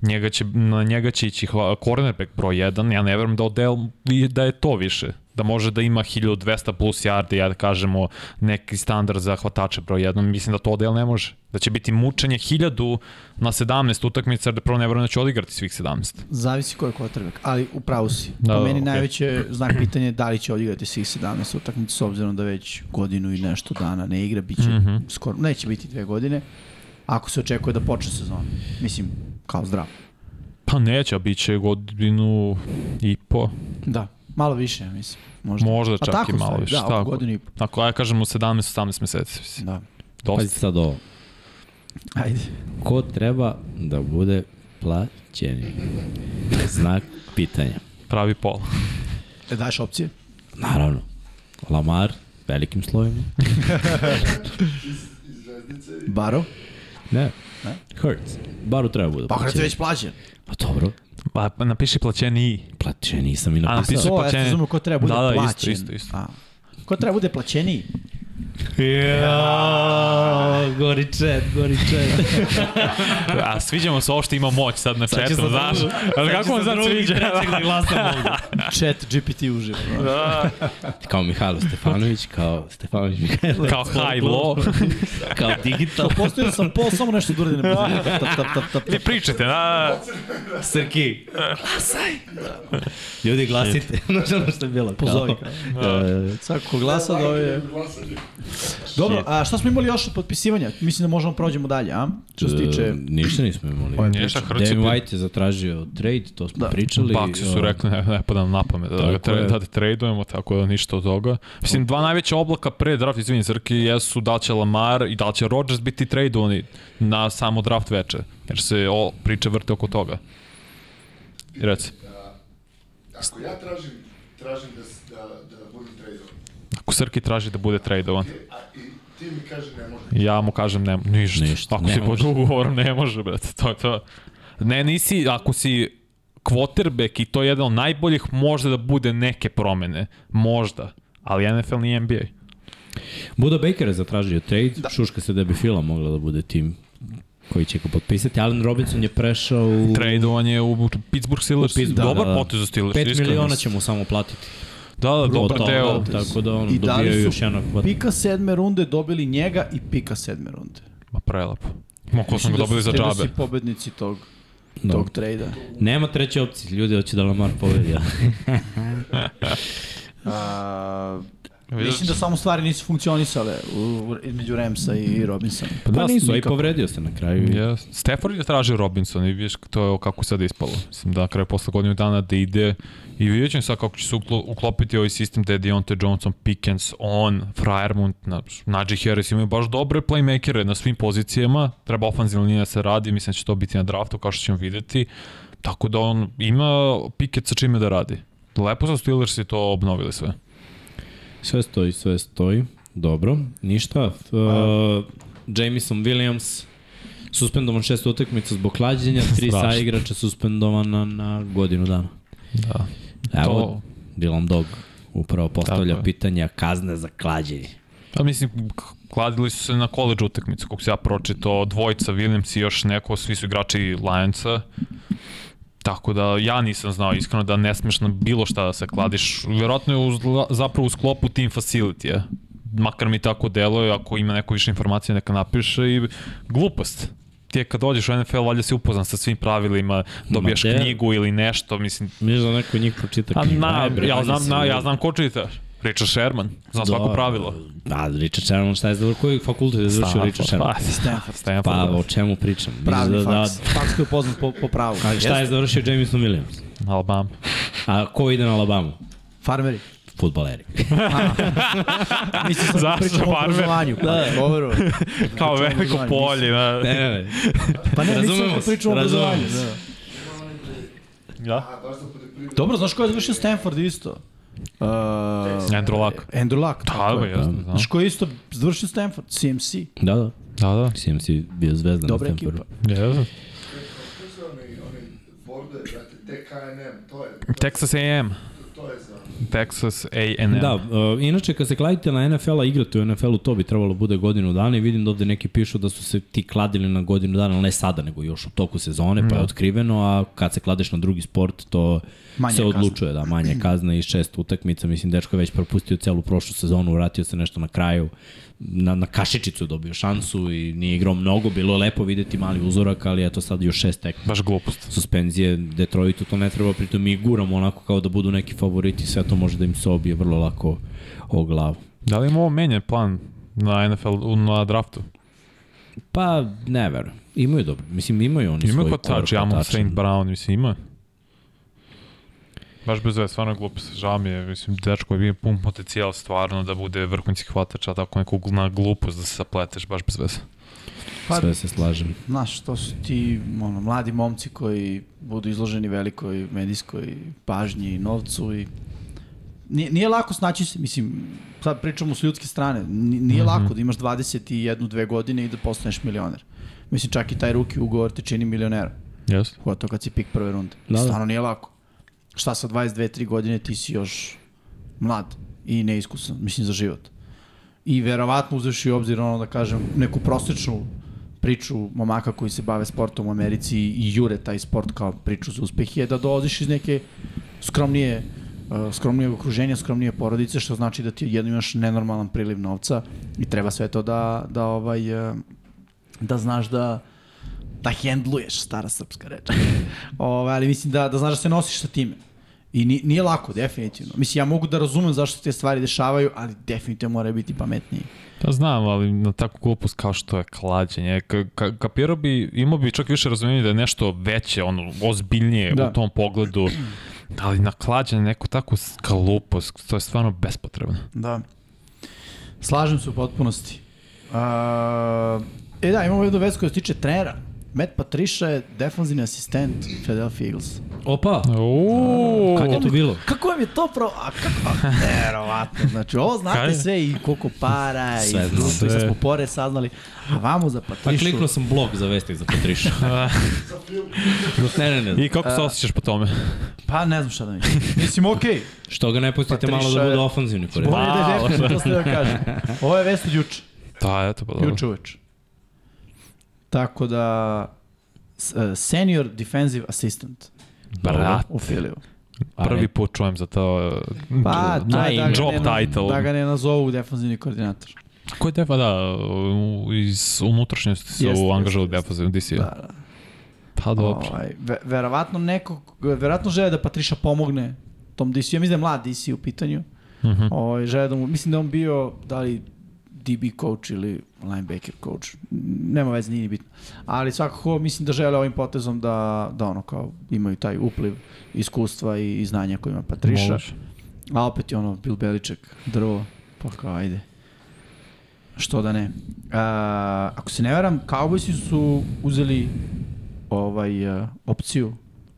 E: njega će, na njega će ići hva, cornerback broj 1. Ja ne verujem da Odell vi- da je to više. Da može da ima 1200 plus yardi, ja da kažemo, neki standard za hvatača broj 1. Mislim da to Odell ne može. Da će biti mučenje 1000 na 17 utakmica, jer da prvo ne verujem da će odigrati svih 17.
D: Zavisi ko je quarterback, ali u pravu si.
E: Da,
D: Da,
E: da,
D: po meni
E: okej.
D: okay. najveće znak pitanja je da li će odigrati svih 17 utakmica s obzirom da već godinu i nešto dana ne igra, biće mm
E: Mhm.
D: -hmm. skoro, neće biti dve godine, ako se očekuje da počne sezon. Mislim, kao zdrav.
E: Pa neće, a bit će godinu i po.
D: Da. Malo više, ja mislim. Možda,
E: Možda
D: Pa
E: čak
D: tako
E: i malo
D: stvari,
E: više,
D: Da,
E: tako.
D: oko godinu i po.
E: Ako ja kažem u 17-18 meseci. mislim.
D: Da.
E: Dosta.
C: Pazi sad ovo.
D: Ajde.
C: Ko treba da bude plaćeni? Znak pitanja.
E: pravi pol.
D: E, daješ opcije?
C: Naravno. Lamar, velikim slovima.
H: iz zvezdice i
D: Baro?
C: Ne. Hurts. Baru treba da bude
D: Pa kada
C: plaćeni.
D: već plaćen.
C: Pa dobro.
E: Pa, pa napiši plaćeni i.
C: Plaće, nisam i napisao.
E: napisao.
D: To, ja se
E: plaćeni.
D: razumem, ko treba bude
E: Da, da, isto,
D: plaćen.
E: isto, isto.
D: A, ko treba bude plaćeniji?
C: Ja, gori chat, gori (laughs) chat.
E: A sviđamo se ovo što ima moć sad na
C: će
E: četu,
C: sad
E: znaš?
C: drugo-
E: Ali kako vam sad sviđa?
C: trećeg da glasam ovde.
D: Chat GPT uživo.
I: Kao Mihajlo Stefanović, kao Stefanović Mihajlo,
E: Kao high low.
I: kao digital.
D: Postoji sam pol, samo nešto da uradi na pozorniku. Tap, tap, tap, tap,
E: Vi
D: tap.
E: pričate, na...
C: (laughs) Srki, glasaj. Ljudi, glasite. (laughs) Znaš ono što je bilo. kao- e,
D: Pozovi ga. Svako ko glasa da je...
J: Glasanje.
D: Dobro, a šta smo imali još od potpisivanja? Mislim da možemo prođemo dalje, a? Što se tiče...
I: E, ništa nismo imali.
D: Ovo je
E: Ništa, Hrc je
I: Devin
E: bio-
I: White je zatražio trade, to smo
D: Da.
I: pričali.
E: Baksi su
I: O,
E: rekli, ne, ne padam na pamet da, ga
I: Tako
E: tre,
I: je.
E: da te tradujemo, tako da ništa od toga. Mislim, dva najveća oblaka pre draft, izvini Srki, jesu da li će Lamar i da li će Rodgers biti tradovani na samo draft veče, jer se o, priče vrte oko toga. I Reci,
J: Ako ja tražim, tražim da, s- da, da budem tradovan,
E: ako Srki traži da bude tradovan,
J: a i ti mi kaže ne može.
E: ja mu kažem ne, ništa.
I: Ništa,
E: ako
I: ne
E: si pod
I: može.
E: ugovorom, ne može, brate, to je to. Ne, nisi, ako si quarterback i to je jedan od najboljih, možda da bude neke promene, možda, ali NFL nije NBA.
C: Buda Baker je zatražio trade, da. šuška se da bi Fila mogla da bude tim koji će ga potpisati. Allen Robinson je prešao u...
E: Tradovanje u Pittsburgh Steelers.
C: U Pittsburgh,
E: dobar
C: da, da, da.
E: potez za Steelers.
C: 5
E: iskreno.
C: miliona će mu samo platiti.
E: Da, da, dobar
C: Od
E: deo.
C: toga, Tako pa da ono,
D: I da li
C: dobijaju
D: su
C: još jednog kvadra.
D: Pika sedme runde dobili njega i pika sedme runde.
E: Ma prelepo. Moko smo
D: Mislim
E: ga
D: da
E: dobili za
D: Steelers
E: džabe.
D: i pobednici tog,
C: Da.
D: tog trejda.
C: Nema treće opcije, ljudi hoće da Lamar pobedi. ali-
D: A,
E: Vidiš?
D: mislim da samo stvari nisu funkcionisale u, u, između Ramsa i Robinsona.
C: Pa, da,
D: nisu
C: nisu, i
D: nikako.
C: povredio se na kraju.
E: Yes. Stafford je tražio Robinson i vidiš to je kako je sad ispalo. Mislim da na kraju posle godinu dana da ide i vidjet ćemo sad kako će se uklo- uklopiti ovaj sistem da je Deontay Johnson, Pickens, on, Friermund, na, Najee Harris imaju baš dobre playmakere na svim pozicijama. Treba ofanzivna linija da se radi, mislim da će to biti na draftu kao što ćemo videti. Tako da on ima Pickett sa čime da radi. Lepo su Steelers i to obnovili sve.
C: Sve stoji, sve stoji. Dobro, ništa. Uh, Jamison Williams suspendovan šest utakmica zbog klađenja, tri
E: Strašno.
C: sa igrača suspendovana na godinu dana.
E: Da.
C: Evo,
E: To-
C: Dylan Dog upravo postavlja
E: Tako je.
C: pitanja kazne za klađenje.
E: Pa mislim, k- kladili su se na koleđu utakmicu, kako se ja pročito, dvojica, Williams i još neko, svi su igrači Lionsa. Tako da ja nisam znao iskreno da ne smeš na bilo šta da se kladiš. Vjerojatno je uz, zapravo u sklopu team facility Makar mi tako deluje, ako ima neko više informacije neka napiše i glupost. Ti je kad dođeš u NFL, valjda si upoznan sa svim pravilima, dobijaš
C: de.
E: knjigu ili nešto, mislim,
C: Mislim da neko njih pročita
E: A,
C: knjigu.
E: Pa na,
C: Ajde, bre,
E: ja,
C: manje
E: znam,
C: se
E: na, ja
C: ljudi.
E: znam ko čita. Richard Sherman, znam svako
C: Da,
E: pravilo.
C: Da, Richard Sherman, šta je završio, koji fakultet je završio Richard Sherman?
E: Pa, Stanford. Stanford.
C: Pa,
E: da.
C: o čemu pričam? Mislim
D: Pravni
C: da,
D: faks. Faks koji je poznat po, po pravu.
C: Da, šta je završio Jamison Williams?
E: Alabama.
C: A ko ide na Alabamu?
D: Farmeri.
C: Futbaleri.
D: Mislim
C: (laughs)
D: sam
E: Zašto
D: pričamo o
E: farmer?
D: obrazovanju. Da, dobro.
E: Kao veliko
D: obrazovanju,
E: polje. Da.
C: ne, ne, ne.
D: Pa ne, mislim
C: Razumemo
D: da
C: se,
D: pričamo o
C: razumemo
D: obrazovanju.
C: se.
D: Da.
E: Da.
J: A baš za poljoprivredu.
D: Dobro, znaš ko je završio Stanford isto? Uh,
E: Andrew Luck.
D: Andrew Luck.
E: Da, da, jasno, znam.
D: Znaš ko je isto završio Stanford? CMC.
C: Da, da.
E: Da, da.
C: CMC bio zvezdan
D: Dobra
C: na Stanfordu.
D: ekipa.
E: Yes.
J: To su oni, oni borde, brate, TKNM, to je,
E: Texas A&M.
J: to je za...
E: Texas A&M.
C: Da, uh, inače kad se kladite na NFL-a, igrate u NFL-u, to bi trebalo bude godinu dana i vidim da ovde neki pišu da su se ti kladili na godinu dana, ali ne sada, nego još u toku sezone,
D: Da.
C: pa je otkriveno, a kad se kladeš na drugi sport, to
D: Manja
C: manja se
D: je kazna.
C: odlučuje, da, manja je kazna i šest utakmica, mislim, dečko je već propustio celu prošlu sezonu, vratio se nešto na kraju, na, na kašičicu je dobio šansu i nije igrao mnogo, bilo je lepo videti mali uzorak, ali eto sad još šest tek
E: Baš glupost.
C: suspenzije Detroitu, to ne treba, pritom mi guramo onako kao da budu neki favoriti, sve to može da im se obije vrlo lako o glavu.
E: Da li im ovo menja plan na NFL, na draftu?
C: Pa, ne verujem. Imaju dobro. Mislim, imaju oni
E: Ima
C: svoj
E: kotač,
C: core
E: Jamon
C: hvatača.
E: St. Brown, mislim, ima. Baš bez veze, stvarno je glupost. Žao mi je, mislim, dečko je bio pun potencijal stvarno da bude vrhunski hvatač, a tako neku na glupost da se sapleteš, baš bez veze.
D: Pa,
C: Sve se slažem.
D: Znaš, to su ti ono, mladi momci koji budu izloženi velikoj medijskoj pažnji i novcu i nije, nije lako snaći se, mislim, sad pričamo s ljudske strane, ni- nije mm -hmm. lako da imaš 21-2 godine i da postaneš milioner. Mislim, čak i taj ruki ugovor te čini milionerom.
E: Jeste.
D: Pogotovo kad si pik prve runde.
K: Da,
D: Da,
K: da.
D: Stvarno nije lako. Šta sa 22-3 godine ti si još mlad i neiskusan, mislim, za život. I verovatno uzeš i obzir, ono da kažem, neku prosečnu priču momaka koji se bave sportom u Americi i jure taj sport kao priču za uspeh je da dolaziš iz neke skromnije uh, skromnijeg okruženja, skromnije porodice, što znači da ti jedno imaš nenormalan priliv novca i treba sve to da, da ovaj, uh, da znaš da da hendluješ, stara srpska reč. (laughs) Ove, ali mislim da, da znaš da se nosiš sa time. I ni, nije lako, definitivno. Mislim, ja mogu da razumem zašto se te stvari dešavaju, ali definitivno mora biti pametniji.
E: Da znam, ali na takvu glupost kao što je klađenje. Ka, ka, kapirao bi, imao bi čak više razumljenja da je nešto veće, ono, ozbiljnije da.
D: Da.
E: u tom pogledu. Ali na klađenje neku takvu s- glupost, to je stvarno bespotrebno.
D: Da. Slažem se u potpunosti. Uh, e da, imamo jednu vest koja se tiče trenera. Matt Patricia je defanzivni asistent Philadelphia Eagles.
C: Opa,
E: Uuu,
C: kad je to bilo?
D: Kako vam je to pro... A kako? A, Verovatno. Znači, ovo znate
E: Kaj?
D: sve i koliko para i
K: Sve znam.
D: društvo i sad
E: Sve.
D: smo pore saznali. A vamo za
C: Pa
D: Patrišu...
C: kliknuo sam blog za vesti za Patriša. ne, ne, ne.
E: I kako se osjećaš po tome?
D: Pa ne znam šta da mi. (laughs) Mislim, okej. Okay.
C: Što ga ne pustite
D: Patriša
C: malo da bude
D: je-
C: ofanzivni pored.
D: Bolje da je definitivno, to ste da
E: (laughs)
D: kažem. Ovo je vest od juče.
E: Da, eto, pa dobro.
D: Juče uveč. Tako da, s- e, senior defensive assistant
E: Brat,
D: u Filiju.
E: prvi put čujem za to.
D: Pa, to je da,
E: job
D: ga ne,
E: title.
D: da ga ne nazovu defensivni koordinator.
E: Ko je defa, da, u- iz unutrašnjosti su
D: Jeste,
E: jeste,
D: jeste,
E: angažali
D: jeste.
E: defazivno DC.
D: Da, da.
E: Pa dobro.
D: Ovaj, ve, verovatno nekog, verovatno žele da Patriša pomogne tom DC-u. Ja mislim da je mlad DC u pitanju.
E: Mhm.
D: Ovaj, žele da mu, mislim da je on bio, da li DB coach ili linebacker coach. Nema veze, nije ni bitno. Ali svakako mislim da žele ovim potezom da, da ono kao imaju taj upliv iskustva i, i znanja koje ima Patriša.
E: Moguće.
D: A opet je ono Bill Beliček, drvo, pa kao ajde. Što da ne. A, ako se ne varam, Cowboysi su uzeli ovaj, a, opciju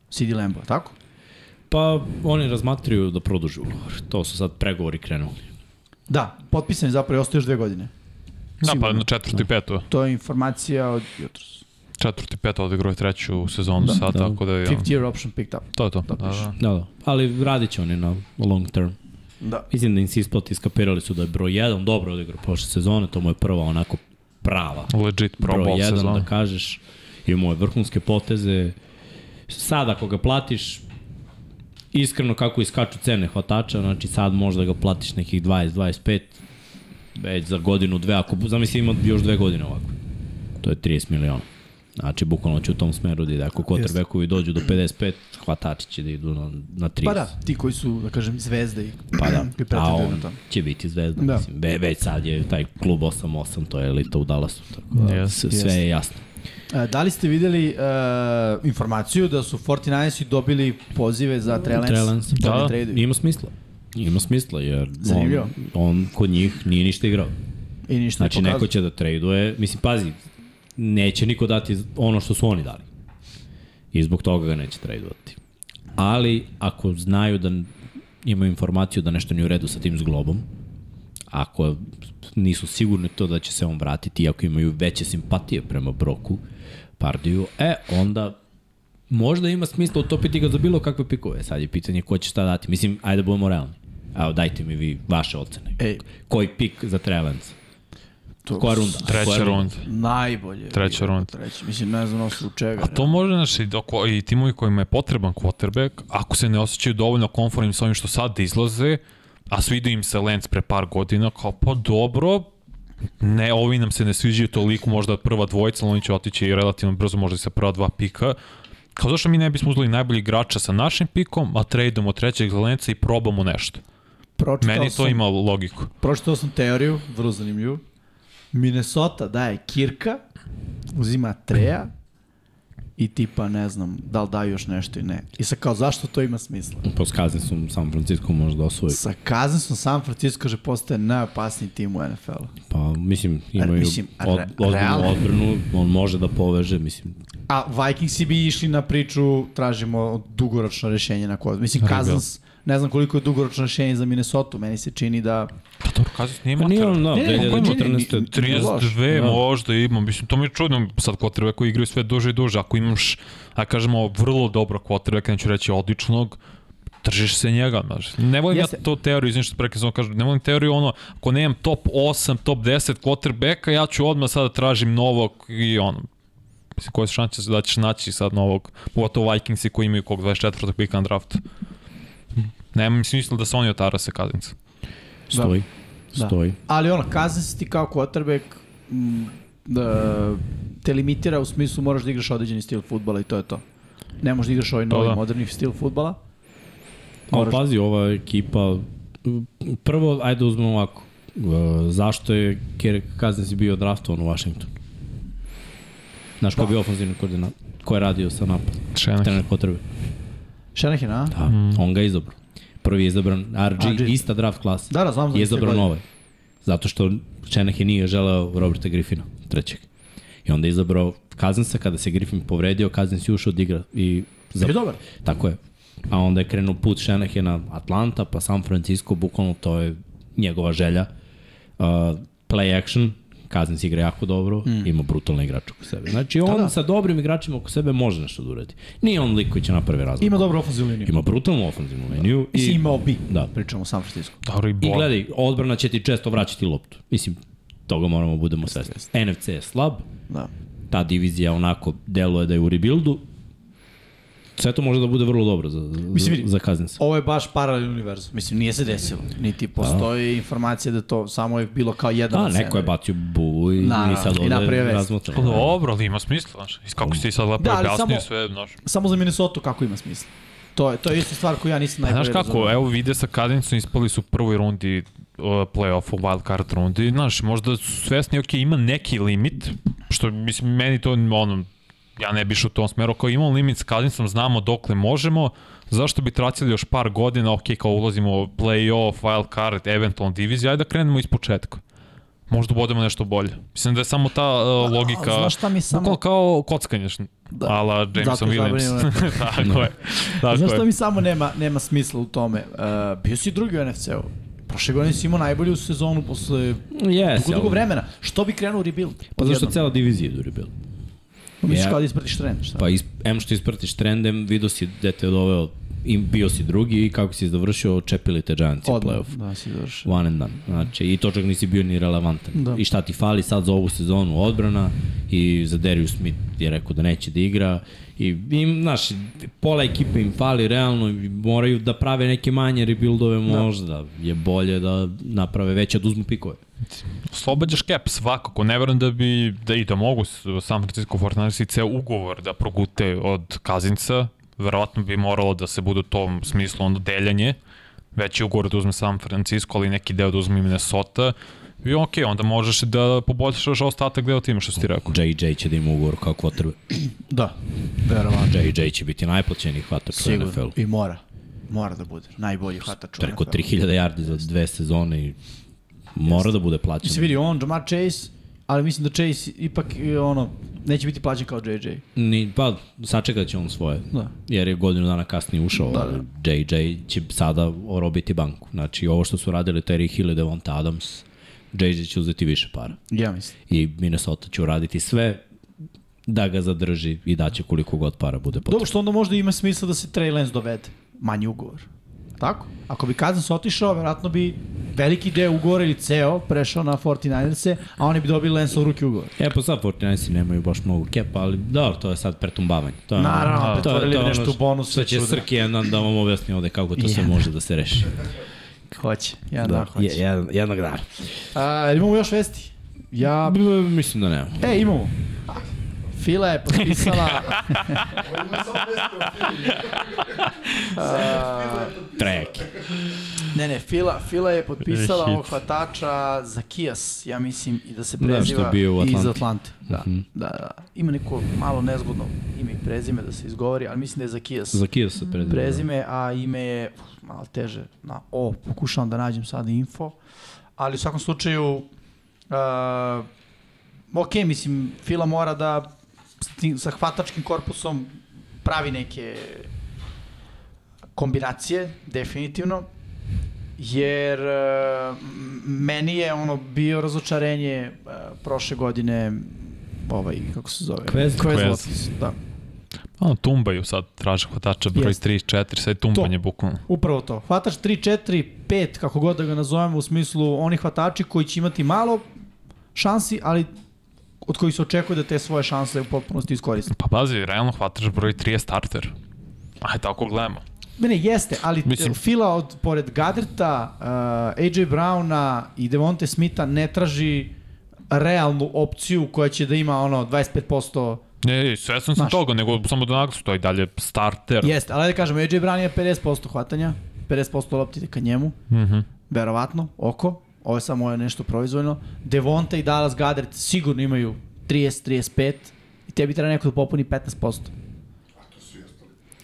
D: CD Lambo, tako?
C: Pa oni razmatruju da produžu ugovor. To su sad pregovori krenuli.
D: Da, potpisan je zapravo i ostaje još dve godine.
E: Da, pa
D: Sigurno.
E: na četvrti i petu.
D: To je informacija od jutros.
E: Četvrti i petu odigrao je treću sezonu da, sad,
C: da.
E: da. tako da je...
D: 50 year option picked up.
E: To je to. Da,
D: piše.
E: da.
C: Da, da. Ali radit će oni na long term.
D: Da.
C: Mislim da im se isplati, iskapirali su da je broj 1 dobro odigrao prošle sezone, to mu je prva onako prava
E: da. Legit Pro
C: broj
E: Bowl
C: 1
E: sezona.
C: da kažeš. Imao je vrhunske poteze. Sad ako ga platiš, iskreno kako iskaču cene hvatača, znači sad možda ga platiš nekih 20-25, već za godinu, dve, ako zamisli ima još dve godine ovako. To je 30 miliona. Znači, bukvalno će u tom smeru da ide. Ako kotrbekovi dođu do 55, hvatači će da idu na, na 30.
D: Pa da, ti koji su, da kažem, zvezde i
C: Pa
D: (clears throat)
C: da,
D: i
C: a
D: pretenduju na
C: on
D: to.
C: će biti zvezda, da.
D: Da.
C: mislim. Ve, već sad je taj klub 8-8, to je elita u Dallasu, tako da
E: Yes,
C: yes, sve
D: yes.
C: je jasno.
D: E, Da li ste videli uh, informaciju da su 49-si dobili pozive za Trelens?
C: Trelens,
D: Da,
E: da.
D: da. traduju.
C: Ima smisla. Ima smisla, jer on,
D: Zanimljivo.
C: on kod njih nije ništa igrao.
D: I ništa
C: Znači,
D: ne
C: neko
D: pokazuju.
C: će da traduje, mislim, pazi, neće niko dati ono što su oni dali. I zbog toga ga neće tradovati. Ali, ako znaju da imaju informaciju da nešto nije u redu sa tim zglobom, ako nisu sigurni to da će se on vratiti, i ako imaju veće simpatije prema Broku, Pardiju, e, onda možda ima smisla utopiti ga za bilo kakve pikove. Sad je pitanje ko će šta dati. Mislim, ajde da budemo realni. Evo, dajte mi vi vaše ocene.
D: Ej.
C: Koji pik za Trelanca?
D: To-
C: Koja runda? Koja
E: Treća
C: runda?
E: runda.
D: Najbolje.
E: Treća
D: bilo,
E: runda.
D: Treća. Mislim, ne znam osim čega.
E: A to može, znaš, i, doko, i timovi kojima je potreban quarterback, ako se ne osjećaju dovoljno konformnim s ovim što sad izlaze, a svidio im se Lenz pre par godina, kao pa dobro, ne, ovi nam se ne sviđaju toliko, možda prva dvojica, ali oni će otići relativno brzo, možda i sa prva dva pika. Kao zašto mi ne bismo uzeli najbolji igrača sa našim pikom, a tradeom od trećeg za Lenca i probamo nešto.
D: Pročitao
E: Meni to
D: sam-
E: ima logiku.
D: Pročitao sam teoriju, vrlo zanimljivu. Minnesota daje Kirka, uzima Treja i tipa ne znam da li daju još nešto i ne. I sad kao zašto to ima smisla?
C: Pa s kazne su San Francisco možda osvoji.
D: Sa Kazansom San Francisco kaže postaje najopasniji tim u NFL-u.
C: Pa mislim, imaju
D: mislim, re-
C: od, ozbiljnu
D: realno.
C: odbranu, on može da poveže, mislim. da.
D: A Vikingsi bi išli na priču, tražimo dugoročno rešenje na kod. Mislim, Kazans Ne znam koliko je dugoročno rešenje za Minnesota, meni se čini da...
E: Pa dobro, Kazis nije
C: Pa nije
E: mater.
C: on, da,
D: Ne, ne, pa nije,
C: 2014.
E: 32
C: Da.
E: možda ima, mislim, to mi je čudno, sad kvotrbe koji igraju sve duže i duže, ako imaš, da kažemo, vrlo dobro kvotrbe, neću reći odličnog, držiš se njega, znaš. Ne volim
D: Jeste.
E: ja to teoriju, izvim što prekazno kažem, ne volim teoriju ono, ako nemam top 8, top 10 quarterbacka, ja ću odmah sada tražim novog i ono, mislim, koje su šanse da ćeš naći sad novog, pogotovo Vikingsi koji imaju kog 24. pika na draftu. Nema mi smisla da se oni otara se Kazinca.
L: Stoji.
D: Da.
L: Stoji.
D: Ali ono, kazne se ti kao quarterback m, da te limitira u smislu moraš da igraš određeni stil futbala i to je to. Ne možeš da igraš ovaj
C: Pa
E: To
D: novi
E: da.
D: moderni stil futbala.
C: Ali
D: Moraš-
C: pazi, ova ekipa, prvo, ajde da uzmemo ovako, E, zašto je Kirk Cousins bio draftovan u Washington? Znaš,
D: Da.
C: ko je bio ofenzivni koordinat? Ko je radio sa napadom?
E: Šenak.
C: Trener potrebe.
D: Shanahan, a?
C: Da, mm. on ga je izabrao. Prvi je izabran RG,
D: RG.
C: ista draft klasa.
D: Da, da, znam za
C: Je
D: iste
C: izabran
D: godine.
C: ovaj. Zato što Shanahan nije želeo Roberta Griffina, trećeg. I onda je izabrao Kazinsa, kada se Griffin povredio, Kazins je ušao od igra. I za...
D: Je dobar.
C: Tako je. A onda je krenuo put Shanahana Atlanta, pa San Francisco, bukvalno to je njegova želja. Uh, play action, Kazins igra jako dobro, mm. ima brutalne igrače oko sebe. Znači on da, da. sa dobrim igračima oko sebe može nešto da uradi. Nije on lik koji će napravi razliku.
D: Ima dobru ofenzivnu liniju.
C: Ima brutalnu ofenzivnu liniju.
D: Mislim,
C: I,
D: imao bi.
C: Da.
D: Pričamo o San Francisco.
E: Dobro i
C: I
E: bol.
C: gledaj, odbrana će ti često vraćati loptu. Mislim, toga moramo da budemo svesni. NFC je slab,
D: Da.
C: ta divizija onako deluje da je u rebuildu. Sve to može da bude vrlo dobro za, za,
D: Mislim, vidi,
C: za Kazinsa.
D: Ovo je baš paralelni univerzum. Mislim, nije se desilo. Niti postoji da. informacija da to samo je bilo kao jedan
C: Da,
D: od
C: neko je
D: scenarija.
C: bacio buvu i
D: Da,
C: mi
D: da,
C: sad
D: i napravio
C: ovde
D: vest.
E: Pa
C: razmotramo.
E: dobro, ali ima smisla, znaš. I Kako si ti sad lepo
D: Da,
E: da,
D: ali
E: objasnio
D: samo-
E: sve, znaš.
D: Samo za Minnesota kako ima smisla. To je, to je isto stvar koju ja
E: Pa,
D: nisam najbolje
E: znaš kako,
D: razumeo.
E: evo vide sa Kadincom ispali su u prvoj rundi uh, play-off u wild card rundi, znaš, možda su svesni, ok, ima neki limit, što mislim, meni to, ono, ja ne biš u tom smeru, kao imamo limit s Kadincom, znamo dokle možemo, zašto bi tracili još par godina, ok, kao ulazimo u play-off, wild card, eventualno divizija, ajde da krenemo iz početka. Možda budemo nešto bolje. Mislim da je samo ta uh, logika...
D: znaš šta mi je samo-
E: Bukvalno kao kockanje, da. ala Jameson
D: Zato je
E: Williams.
D: zabranjeno.
E: (laughs) tako je. Tako
D: (laughs) Znaš
E: je.
D: šta mi samo nema, nema smisla u tome? Uh, bio si drugi u NFC-u. Prošle godine si imao najbolju sezonu posle
C: Yes,
D: dugo, dugo vremena. Što bi krenuo u rebuild?
C: Pa zašto
D: Odjednom.
C: cela divizija ide u rebuild?
D: Pa Misliš
C: Ja-
D: kao da ispratiš tren, šta?
C: Pa is, em što ispratiš trendem, vidio si gde te je doveo, im, bio si drugi i kako si završio, čepili te Giants i
D: Odmah.
C: playoff.
D: Da, si završio.
C: One and done. Znači, i to čak nisi bio ni relevantan.
D: Da.
C: Da. I šta ti fali sad za ovu sezonu odbrana i za Darius Smith je rekao da neće da igra. I, i znaš, pola ekipe im fali realno i moraju da prave neke manje rebuildove možda. Da. Je bolje da naprave veće, da uzmu pikove.
E: oslobađaš cap svakako. Ne verujem da bi da i da mogu s- San Francisco 49ers i ceo ugovor da progute od Kazinca. Verovatno bi moralo da se bude u tom smislu ono deljanje. Veći ugovor da uzme San Francisco, ali neki deo da uzme i Minnesota. I okej, onda možeš da poboljšaš ostatak deo tima što si ti rekao.
C: JJ će da ima ugovor kao kvotrbe.
D: Da, verovatno.
C: JJ će biti najplaćeniji hvatač u
D: Sigurno.
C: NFL-u.
D: I mora. Mora da bude. Najbolji hvatač u
C: Preko
D: NFL-u.
C: 3000 yardi za dve sezone i mora da bude plaćen.
D: Mislim, vidi, on, Jamar Chase, ali mislim da Chase ipak, e, ono, neće biti plaćen kao JJ.
C: Ni, pa, sačekat će on svoje.
D: Da.
C: Jer je godinu dana kasnije ušao. Da, da. JJ će sada orobiti banku. Znači, ovo što su radili Terry Hill i Devonta Adams, JJ će uzeti više para.
D: Ja mislim.
C: I Minnesota će uraditi sve da ga zadrži i daće koliko god para bude potrebno.
D: Dobro, što onda možda ima smisla da se Trey Lance dovede. Manji ugovor. Tako? Ako bi Kazans otišao, verovatno bi veliki deo ugovora ili ceo prešao na 49erse, a oni bi dobili Lance u ruki ugovor.
C: E, pa sad 49 nemaju baš mnogo kepa, ali da, to je sad pretumbavanje. To je ono-
D: Naravno,
C: to je- to je
D: pretvorili bi
C: ono
D: nešto u bonus
C: Što
D: i
C: će
D: čuda.
C: Srki jedan dan da vam objasni ovde kako to sve
D: Ja.
C: može da se reši.
D: Hoće, ja da, da hoće. Je, je.
C: jedan, jednog dana.
D: A, jel imamo još vesti? (laughs) Ja...
C: B, mislim da nemamo.
D: E, imamo. Fila (laughs) je potpisala...
C: Trek.
D: ne, ne, Fila, Fila je potpisala
E: Hit.
D: ovog hvatača za Kijas, ja mislim, i da se
C: Da,
D: preziva
C: što je bio u
D: iz
C: Atlanti. Mhm.
D: Atlante. Da, da, da. Ima neko malo nezgodno ime i prezime da se izgovori, ali mislim da je za Kijas.
C: Za Kijev se da. prezime.
D: prezime, a ime je uf, malo teže na O. Pokušavam da nađem sad info. Ali u svakom slučaju, uh, ok, mislim, Fila mora da s tim, sa hvatačkim korpusom pravi neke kombinacije, definitivno, jer e, m- meni je ono bio razočarenje e, prošle godine ovaj, kako se zove?
C: Kvez.
D: Kvez,
E: Kvez.
D: Lotus, da.
E: A, tumbaju sad, traže hvatača broj
D: Jeste.
E: 3, 4, sad je tumbanje bukvalno.
D: Upravo to. Hvataš 3, 4, 5, kako god da ga nazovemo, u smislu oni hvatači koji će imati malo šansi, ali od kojih se očekuje da te svoje šanse u potpunosti iskoriste.
E: Pa pazi, realno hvatač broj 3 je starter. Aj, tako gledamo.
D: Ne, ne, jeste, ali
E: Mislim-
D: Mislim... Fila od, pored Gadreta, uh, AJ Browna i Devonte Smitha ne traži realnu opciju koja će da ima ono 25%.
E: Ne, ne, svesno sam
D: Znaš.
E: toga, nego samo da naglasu, to je i dalje starter.
D: Jeste, ali da kažemo, AJ Brown je 50% hvatanja, 50% loptite ka njemu,
E: Mhm.
D: verovatno, oko, ovo je samo je nešto proizvoljno. Devonte i Dallas Gadret sigurno imaju 30-35 i tebi treba neko da popuni 15%.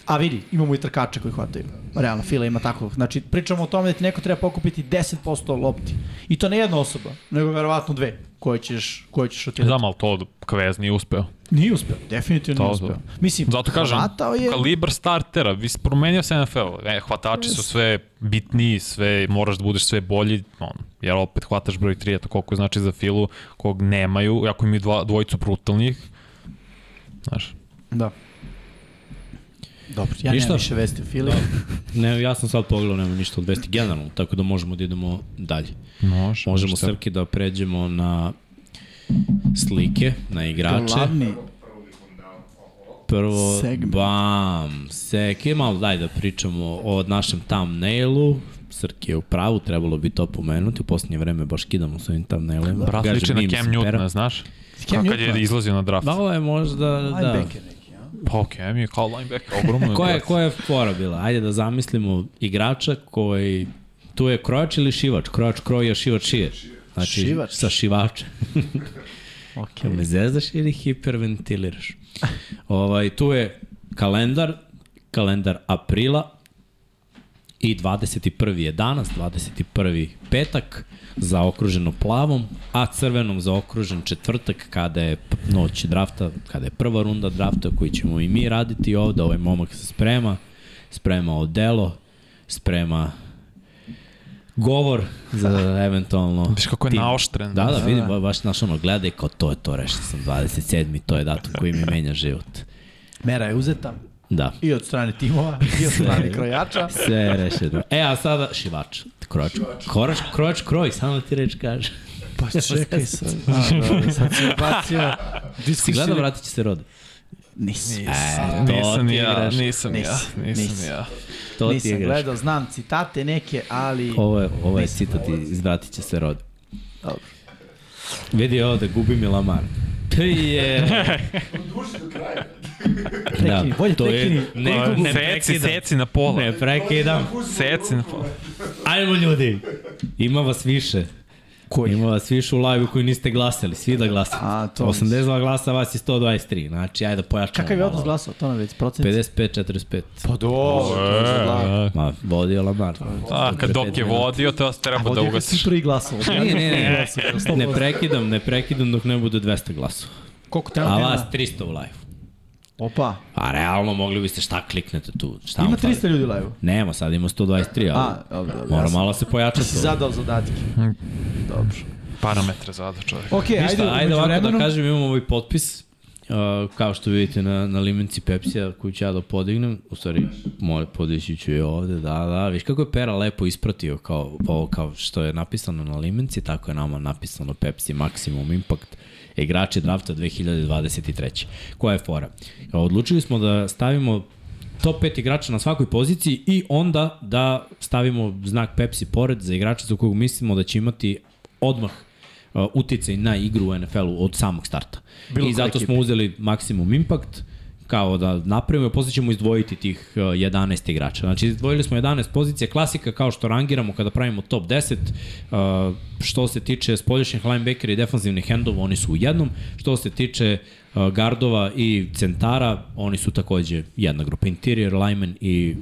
D: A vidi, imamo i trkače koji hvataju. Realno, Fila ima tako. Znači, pričamo o tome da ti neko treba pokupiti 10% lopti. I to ne jedna osoba, nego verovatno dve koje ćeš, koje ćeš
E: Ne
D: otirati.
E: znam, ali to Kvez nije uspeo.
D: Nije uspeo, definitivno nije
E: Da. To-
D: uspeo. Mislim,
E: Zato kažem,
D: hvatao je...
E: kalibar startera, vi promenio se NFL, e, hvatači su sve bitniji, sve, moraš da budeš sve bolji, on, jer opet hvataš broj 3, eto koliko znači za filu, kog nemaju, jako imaju dva, dvojicu brutalnih, znaš,
D: Da. Dobro, ja
C: Ništa.
D: nemam više vesti o
E: Da.
D: Fili.
C: Ne, ja sam sad pogledao, nema ništa od vesti generalno, tako da možemo da idemo dalje.
E: može,
C: Možemo
E: šta-
C: Srki da pređemo na slike, na
E: Znači-
C: igrače.
D: Glavni
C: Prvo,
D: segment.
C: bam, seke, malo daj da pričamo o našem thumbnailu. Srki je u pravu, trebalo bi to pomenuti. U poslednje vreme baš kidamo s ovim thumbnailima.
E: Brat
C: da Kažem,
E: liči na
C: nije mi
E: Cam
C: se pera.
E: Newtona, znaš? Cam Kad
D: Newtona?
E: je izlazio na draft.
C: Da, ovo je možda, da.
D: linebacker neki, a?
E: Pa Cam je kao linebacker, ogromno.
C: Koja je, koja je fora bila? Ajde da zamislimo igrača koji... Tu je krojač ili šivač? Krojač kroja, šivač šije. Znači,
D: Šivač.
C: sa šivačem.
D: (laughs) Ok.
C: Jel me zezdaš ili hiperventiliraš? ovaj, tu je kalendar, kalendar aprila i 21. je danas, 21. petak, zaokruženo plavom, a crvenom zaokružen četvrtak kada je p- noć drafta, kada je prva runda drafta koju ćemo i mi raditi ovde, ovaj momak se sprema, sprema odelo, sprema govor za eventualno...
E: (laughs) Viš kako je
C: tim.
E: naoštren.
C: Da, da, vidim, ba- baš naš ono, gleda i kao to je to, rešio sam 27. To je datum koji mi menja život.
D: Mera je uzeta
C: Da.
D: i od strane timova, i (laughs) od strane krojača.
C: Sve je rešeno. E, a sada šivač. Krojač. Krojač, krojač, kroj, samo ti reč kaže.
D: Pa čekaj sad. A,
C: (laughs)
D: dobro, sad si ubacio
C: Si gledao, vratit će se rode.
D: E, Nisam.
C: E, to
E: Nisam
C: ti
E: ja,
C: igraš.
E: nisam ja,
D: Nisam,
E: nisam
D: nisam.
E: ja.
C: To ti
D: Nisam
C: igraš.
D: gledao, znam citate neke, ali...
C: Ovo je, ovo je citat iz Vratit će se rode.
D: Dobro.
C: Vidi ovo da gubi mi Lamar.
D: (laughs)
C: Je.
J: Duži do kraja.
C: Da,
D: Prekini, bolje
C: to je,
D: prekini.
C: ne, gu- ne
E: Pa, Seci,
C: prekidam.
E: seci na pola.
C: Ne prekidam.
E: Seci na pola.
C: Ajmo ljudi, ima vas više. Koji? Ima vas više u live koji niste glasali, svi da glasate.
D: A, to
C: 82 glasa, vas je 123, znači ajde da pojačamo.
D: Kakav je
C: malo.
D: odnos glasao, to nam već procent?
C: 55-45.
D: Pa dobro, to je za
E: E.
D: glas.
C: Ma, vodio Lamar.
E: A, kad dok je vodio, to vas treba da
D: Ovdje kad Pa si
E: ugasiš.
D: prvi glasao.
C: (laughs) Ne, ne,
D: (laughs)
C: ne, ne, ne prekidam, ne prekidam dok ne bude 200 glasova.
D: Koliko
C: A
D: trenutno
C: vas
D: ima?
C: 300 u live.
D: Opa,
C: A realno mogli biste šta kliknete tu, šta vam
D: ima
C: fali?
D: 300 ljudi u live-u.
C: Nema, sad ima 123, ali
D: A, dobro, dobro.
C: mora
D: ja sam-
C: malo se pojačati.
D: Si zadao zadatke. Dobro.
E: Parametre zada čovjek.
D: Ok, ajde,
C: Ništa, ajde,
D: umeđu
C: ovako
D: vremenu.
C: da kažem, imamo ovaj potpis. Uh, kao što vidite na, na limenci Pepsija koju ću ja da podignem, u stvari moj podići ću je ovde, da, da, viš kako je Pera lepo ispratio kao, ovo kao što je napisano na limenci, tako je nama napisano Pepsi Maximum Impact igrači drafta 2023. Koja je fora? Odlučili smo da stavimo top 5 igrača na svakoj poziciji i onda da stavimo znak Pepsi pored za igrača za kog mislimo da će imati odmah uh, uticaj na igru u NFL-u od samog starta. Bilo I
D: koja
C: zato smo uzeli maksimum impact kao da napravimo, a posle ćemo izdvojiti tih uh, 11 igrača. Znači, izdvojili smo 11 pozicija, klasika kao što rangiramo kada pravimo top 10, uh, što se tiče spolješnjih linebackera i defanzivnih endova, oni su u jednom, što se tiče
M: Eh,
C: uh, gardova i centara, oni su takođe jedna grupa, interior lineman i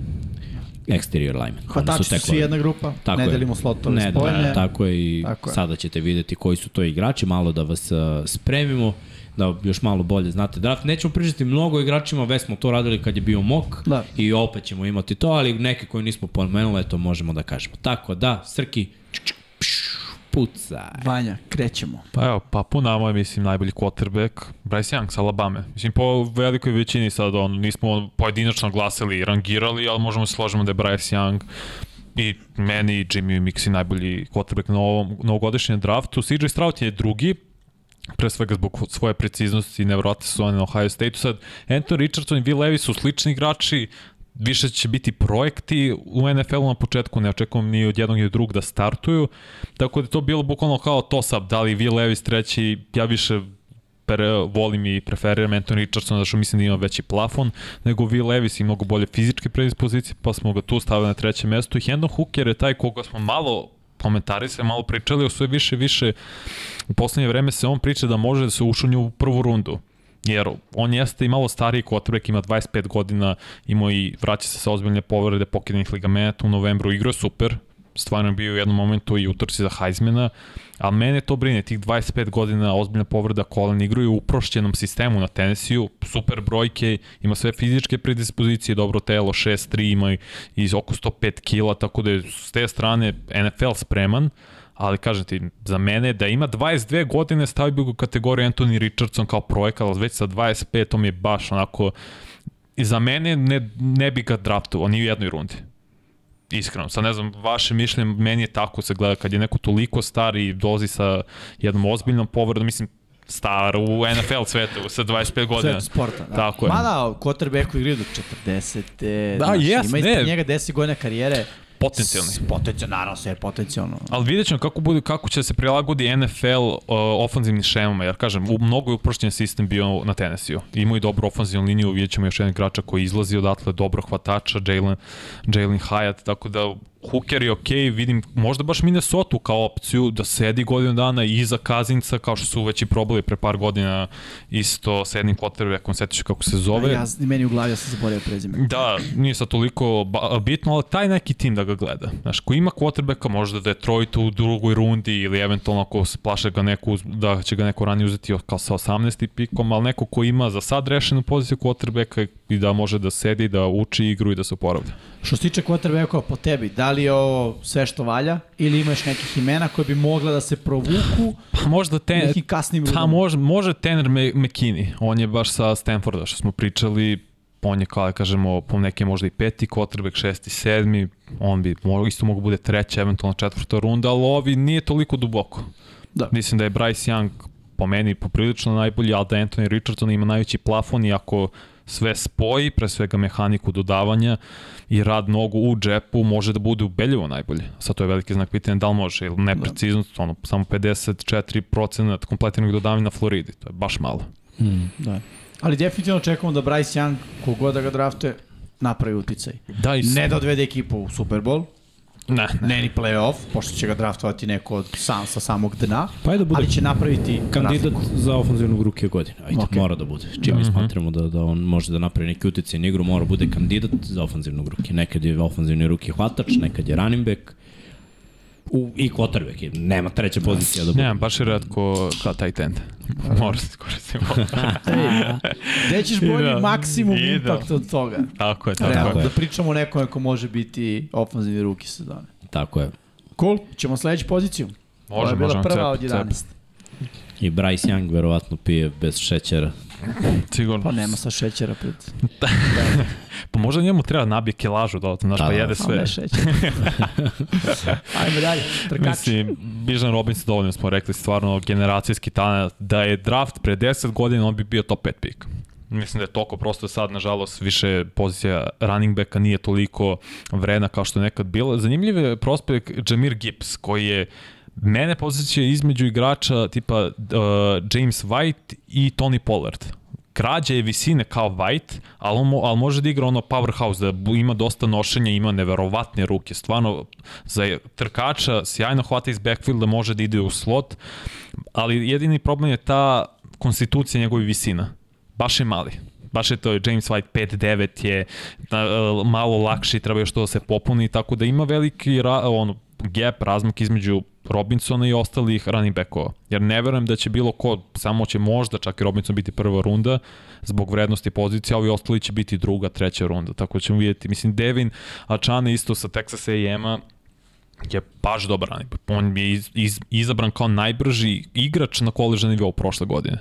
C: exterior lineman.
D: Hvatači su svi jedna grupa, ne
C: je.
D: delimo slotove
C: ne,
D: spoljne.
C: Da, tako je i
D: Tako je.
C: sada ćete videti koji su to igrači, malo da vas uh, spremimo
M: eh, da još malo bolje, znate, draft. Nećemo pričati mnogo o igračima, već smo to radili kad je bio mok
D: Da.
M: i opet ćemo imati to, ali neke koje nismo pomenuli, to možemo da kažemo. Tako da, Srki, čuk, čuk, pšu, pucaj.
D: Vanja, krećemo.
E: Pa evo, pa po nama je, mislim, najbolji quarterback Bryce Young sa Alabama. Mislim, po velikoj većini sad, on, nismo pojedinačno glasili i rangirali, ali možemo se složimo da je Bryce Young i meni i Jimmy Mixi najbolji quarterback na ovom novogodišnjem draftu. CJ Stroud je drugi, pre svega zbog svoje preciznosti i nevrovatne su one na Ohio State-u. Sad, Anthony Richardson i Will Levis su slični igrači, više će biti projekti u NFL-u na početku, ne očekujem ni od jednog ni od drugog da startuju, tako da je to bilo bukvalno kao toss-up, da li Will Levis treći, ja više pre, volim i preferiram Anthony Richardsona zašto mislim da ima veći plafon nego Will Levis i mnogo bolje fizičke predispozicije pa smo ga tu stavili na treće mesto i Hendon Hooker je taj koga smo malo komentarisali, malo pričali o sve više više u poslednje vreme se on priča da može da se ušunje u prvu rundu jer on jeste i malo stariji quarterback, ima 25 godina, imao i vraća se sa ozbiljne povrede pokidanih ligamenta u novembru, igrao je super, stvarno je bio u jednom momentu i u utrci za Heismana, a mene to brine, tih 25 godina ozbiljna povreda kolena, igraju u uprošćenom sistemu na Tennessee-u, super brojke, ima sve fizičke predispozicije, dobro telo, 6-3, ima i- i oko 105 kila, tako da je s te strane NFL spreman, ali kažem ti, za mene da ima 22 godine stavio bi ga u kategoriju Anthony Richardson kao projekat, ali već sa 25 to mi je baš onako i za mene ne, ne bi ga draftovao ni u jednoj rundi. Iskreno, sad ne znam, vaše mišljenje, meni je tako se gleda kad je neko toliko star i dozi sa jednom ozbiljnom povredom, mislim, star u NFL svetu sa 25 godina.
D: Sve sporta. Da.
E: Tako je.
D: Ma da, Kotrbeku igraju do 40.
E: Da, jes,
D: ima ispred
E: ne.
D: njega 10 godina karijere.
E: Potencijalni.
D: S- Potencijalno, naravno, sve je potencijalno.
E: Ali vidjet ćemo kako, bude, kako će da se prilagodi NFL uh, ofanzivnim šemama, jer kažem, u, mnogo je uprošćen sistem bio na Tennessee-u. Imao i dobru ofanzivnu liniju, vidjet ćemo još jedan igrača koji izlazi odatle, dobro hvatača, Jalen, Jalen Hyatt, tako da Hooker je okej, vidim možda baš Minnesota kao opciju da sedi godinu dana iza Kazinca, kao što su već i probali pre par godina isto s jednim quarterbackom, setiš se kako se zove.
D: Ove... Ja, meni u glavi ja sam zaboravio prezime.
E: Da, nije sad toliko ba- bitno, ali taj neki tim da ga gleda. Znaš, ko ima quarterbacka, možda da je Detroit u drugoj rundi ili eventualno ako se plaše ga neko, uz- da će ga neko ranije uzeti kao sa 18. pikom, ali neko ko ima za sad rešenu poziciju quarterbacka i da može da sedi, da uči igru i da se oporavlja.
D: Što se tiče Quarterbacka po tebi, da li je ovo sve što valja ili imaš nekih imena koje bi mogla da se provuku
E: Pa možda ten,
D: nekim kasnim
E: Ta
D: rundama?
E: može, može Tanner Me- McKinney, on je baš sa Stanforda što smo pričali, on je kao da kažemo po neke možda i peti quarterback, šesti, sedmi, on bi mo- isto mogu bude treća, eventualno četvrta runda, ali ovi nije toliko duboko.
D: Da.
E: Mislim da je Bryce Young po meni poprilično najbolji, ali da Anthony Richardson ima najveći plafon i ako sve spoji, pre svega mehaniku dodavanja i rad nogu u džepu može da bude ubeljivo najbolje. Sad to je veliki znak pitanja da li može ili nepreciznost, ono, samo 54% kompletiranog dodavanja na Floridi, to je baš malo.
D: Da. Ali definitivno očekujemo da Bryce Young, kogod da ga draftuje, napravi uticaj.
E: Da, i
D: Ne da odvede ekipu u Super Bowl,
E: ne, ne.
D: ne ni playoff, pošto će ga draftovati neko od sam, sa samog dna,
M: Pa ajde da bude
D: ali će napraviti
M: kandidat
D: razliku.
M: za ofenzivnog rukija godine. Ajde,
D: Ok.
M: okay. mora da bude. Čim
E: Mhm.
M: mi smatramo da, da on može da napravi neki utjecaj na igru, mora bude kandidat za ofenzivnog rukija. Nekad je ofenzivni rukija hvatač, nekad je running back u, i quarterback. je. Nema treća pozicija da bude.
E: Ne, baš je redko kao taj tend. Mora se koristimo.
D: Gde ćeš bolji
E: Ide.
D: maksimum
E: Ide.
D: impact od toga?
E: tako je, tako je.
D: Realno,
M: je.
D: da pričamo o nekome ko može biti ofenzivni ruki sezone.
M: Tako je.
D: Cool, ćemo sledeću poziciju. Ovo je
E: Može,
D: bila
E: može.
D: prva od
E: cep,
D: 11.
M: I Bryce Young verovatno pije bez šećera.
E: cep, sigurno.
D: Pa nema sa šećera pred.
E: Pa možda njemu treba nabije kilažu dodatno, znaš,
M: Da,
E: pa
M: da.
E: jede
D: Sve.
E: sve.
D: Ne šećer.
E: (laughs)
D: Ajmo dalje, trkač.
E: Mislim, Bižan Robinson dovoljno smo rekli, stvarno generacijski talent. Da je draft pre 10 godina, on bi bio top 5 pik. Mislim da je toliko prosto sad, nažalost, više pozicija running backa nije toliko vrena kao što je nekad bila. Zanimljiv je prospekt Jamir Gibbs, koji je mene pozicija između igrača tipa uh, James White i Tony Pollard krađa je visine kao White, ali, on, mo- ali može da igra ono powerhouse, da bu- ima dosta nošenja, ima neverovatne ruke. Stvarno, za trkača sjajno hvata iz backfielda, može da ide u slot, ali jedini problem je ta konstitucija njegove visina. Baš je mali. Baš je to James White 5-9 je na, e, malo lakši, treba još to da se popuni, tako da ima veliki ra, ono, gap, razmak između Robinsona i ostalih running backova. Jer ne verujem da će bilo ko, samo će možda čak i Robinson biti prva runda zbog vrednosti pozicije, a ovi ostali će biti druga, treća runda. Tako da ćemo vidjeti. Mislim, Devin Ačane isto sa Texas A&M-a je baš dobar running back. On je iz, iz, izabran kao najbrži igrač na koležnom nivou prošle godine.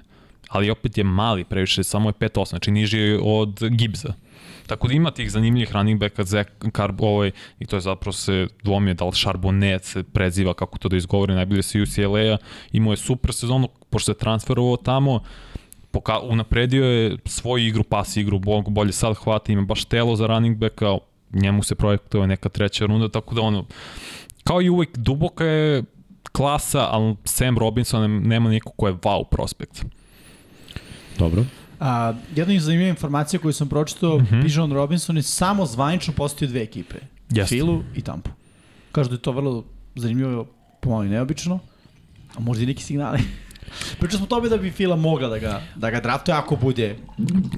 E: Ali opet je mali previše, samo je 5-8, znači niži je od Gibbsa. Tako da ima tih zanimljivih running backa, Zach Carb, ovaj, i to je zapravo se dvomio da li Charbonnet se preziva kako to da izgovori, najbolje se UCLA-a, imao je super sezonu, pošto se transferovao tamo, poka unapredio je svoju igru, pas igru, bo- bolje sad hvata, ima baš telo za running backa, njemu se projektuje neka treća runda, tako da ono, kao i uvek, duboka je klasa, ali Sam Robinson nem- nema niko ko je wow prospekt.
N: Dobro.
D: A, jedna zanimljiva informacija koju sam pročitao, mm
E: Mhm.
D: -hmm. Bijan Robinson je samo zvanično postao dve ekipe.
E: Jeste.
D: Filu i Tampu. Kažu da je to vrlo zanimljivo, pomalo i neobično, a možda i neki signali. (laughs) Pričali smo o tome da bi Fila mogla da ga, da ga draftuje ako bude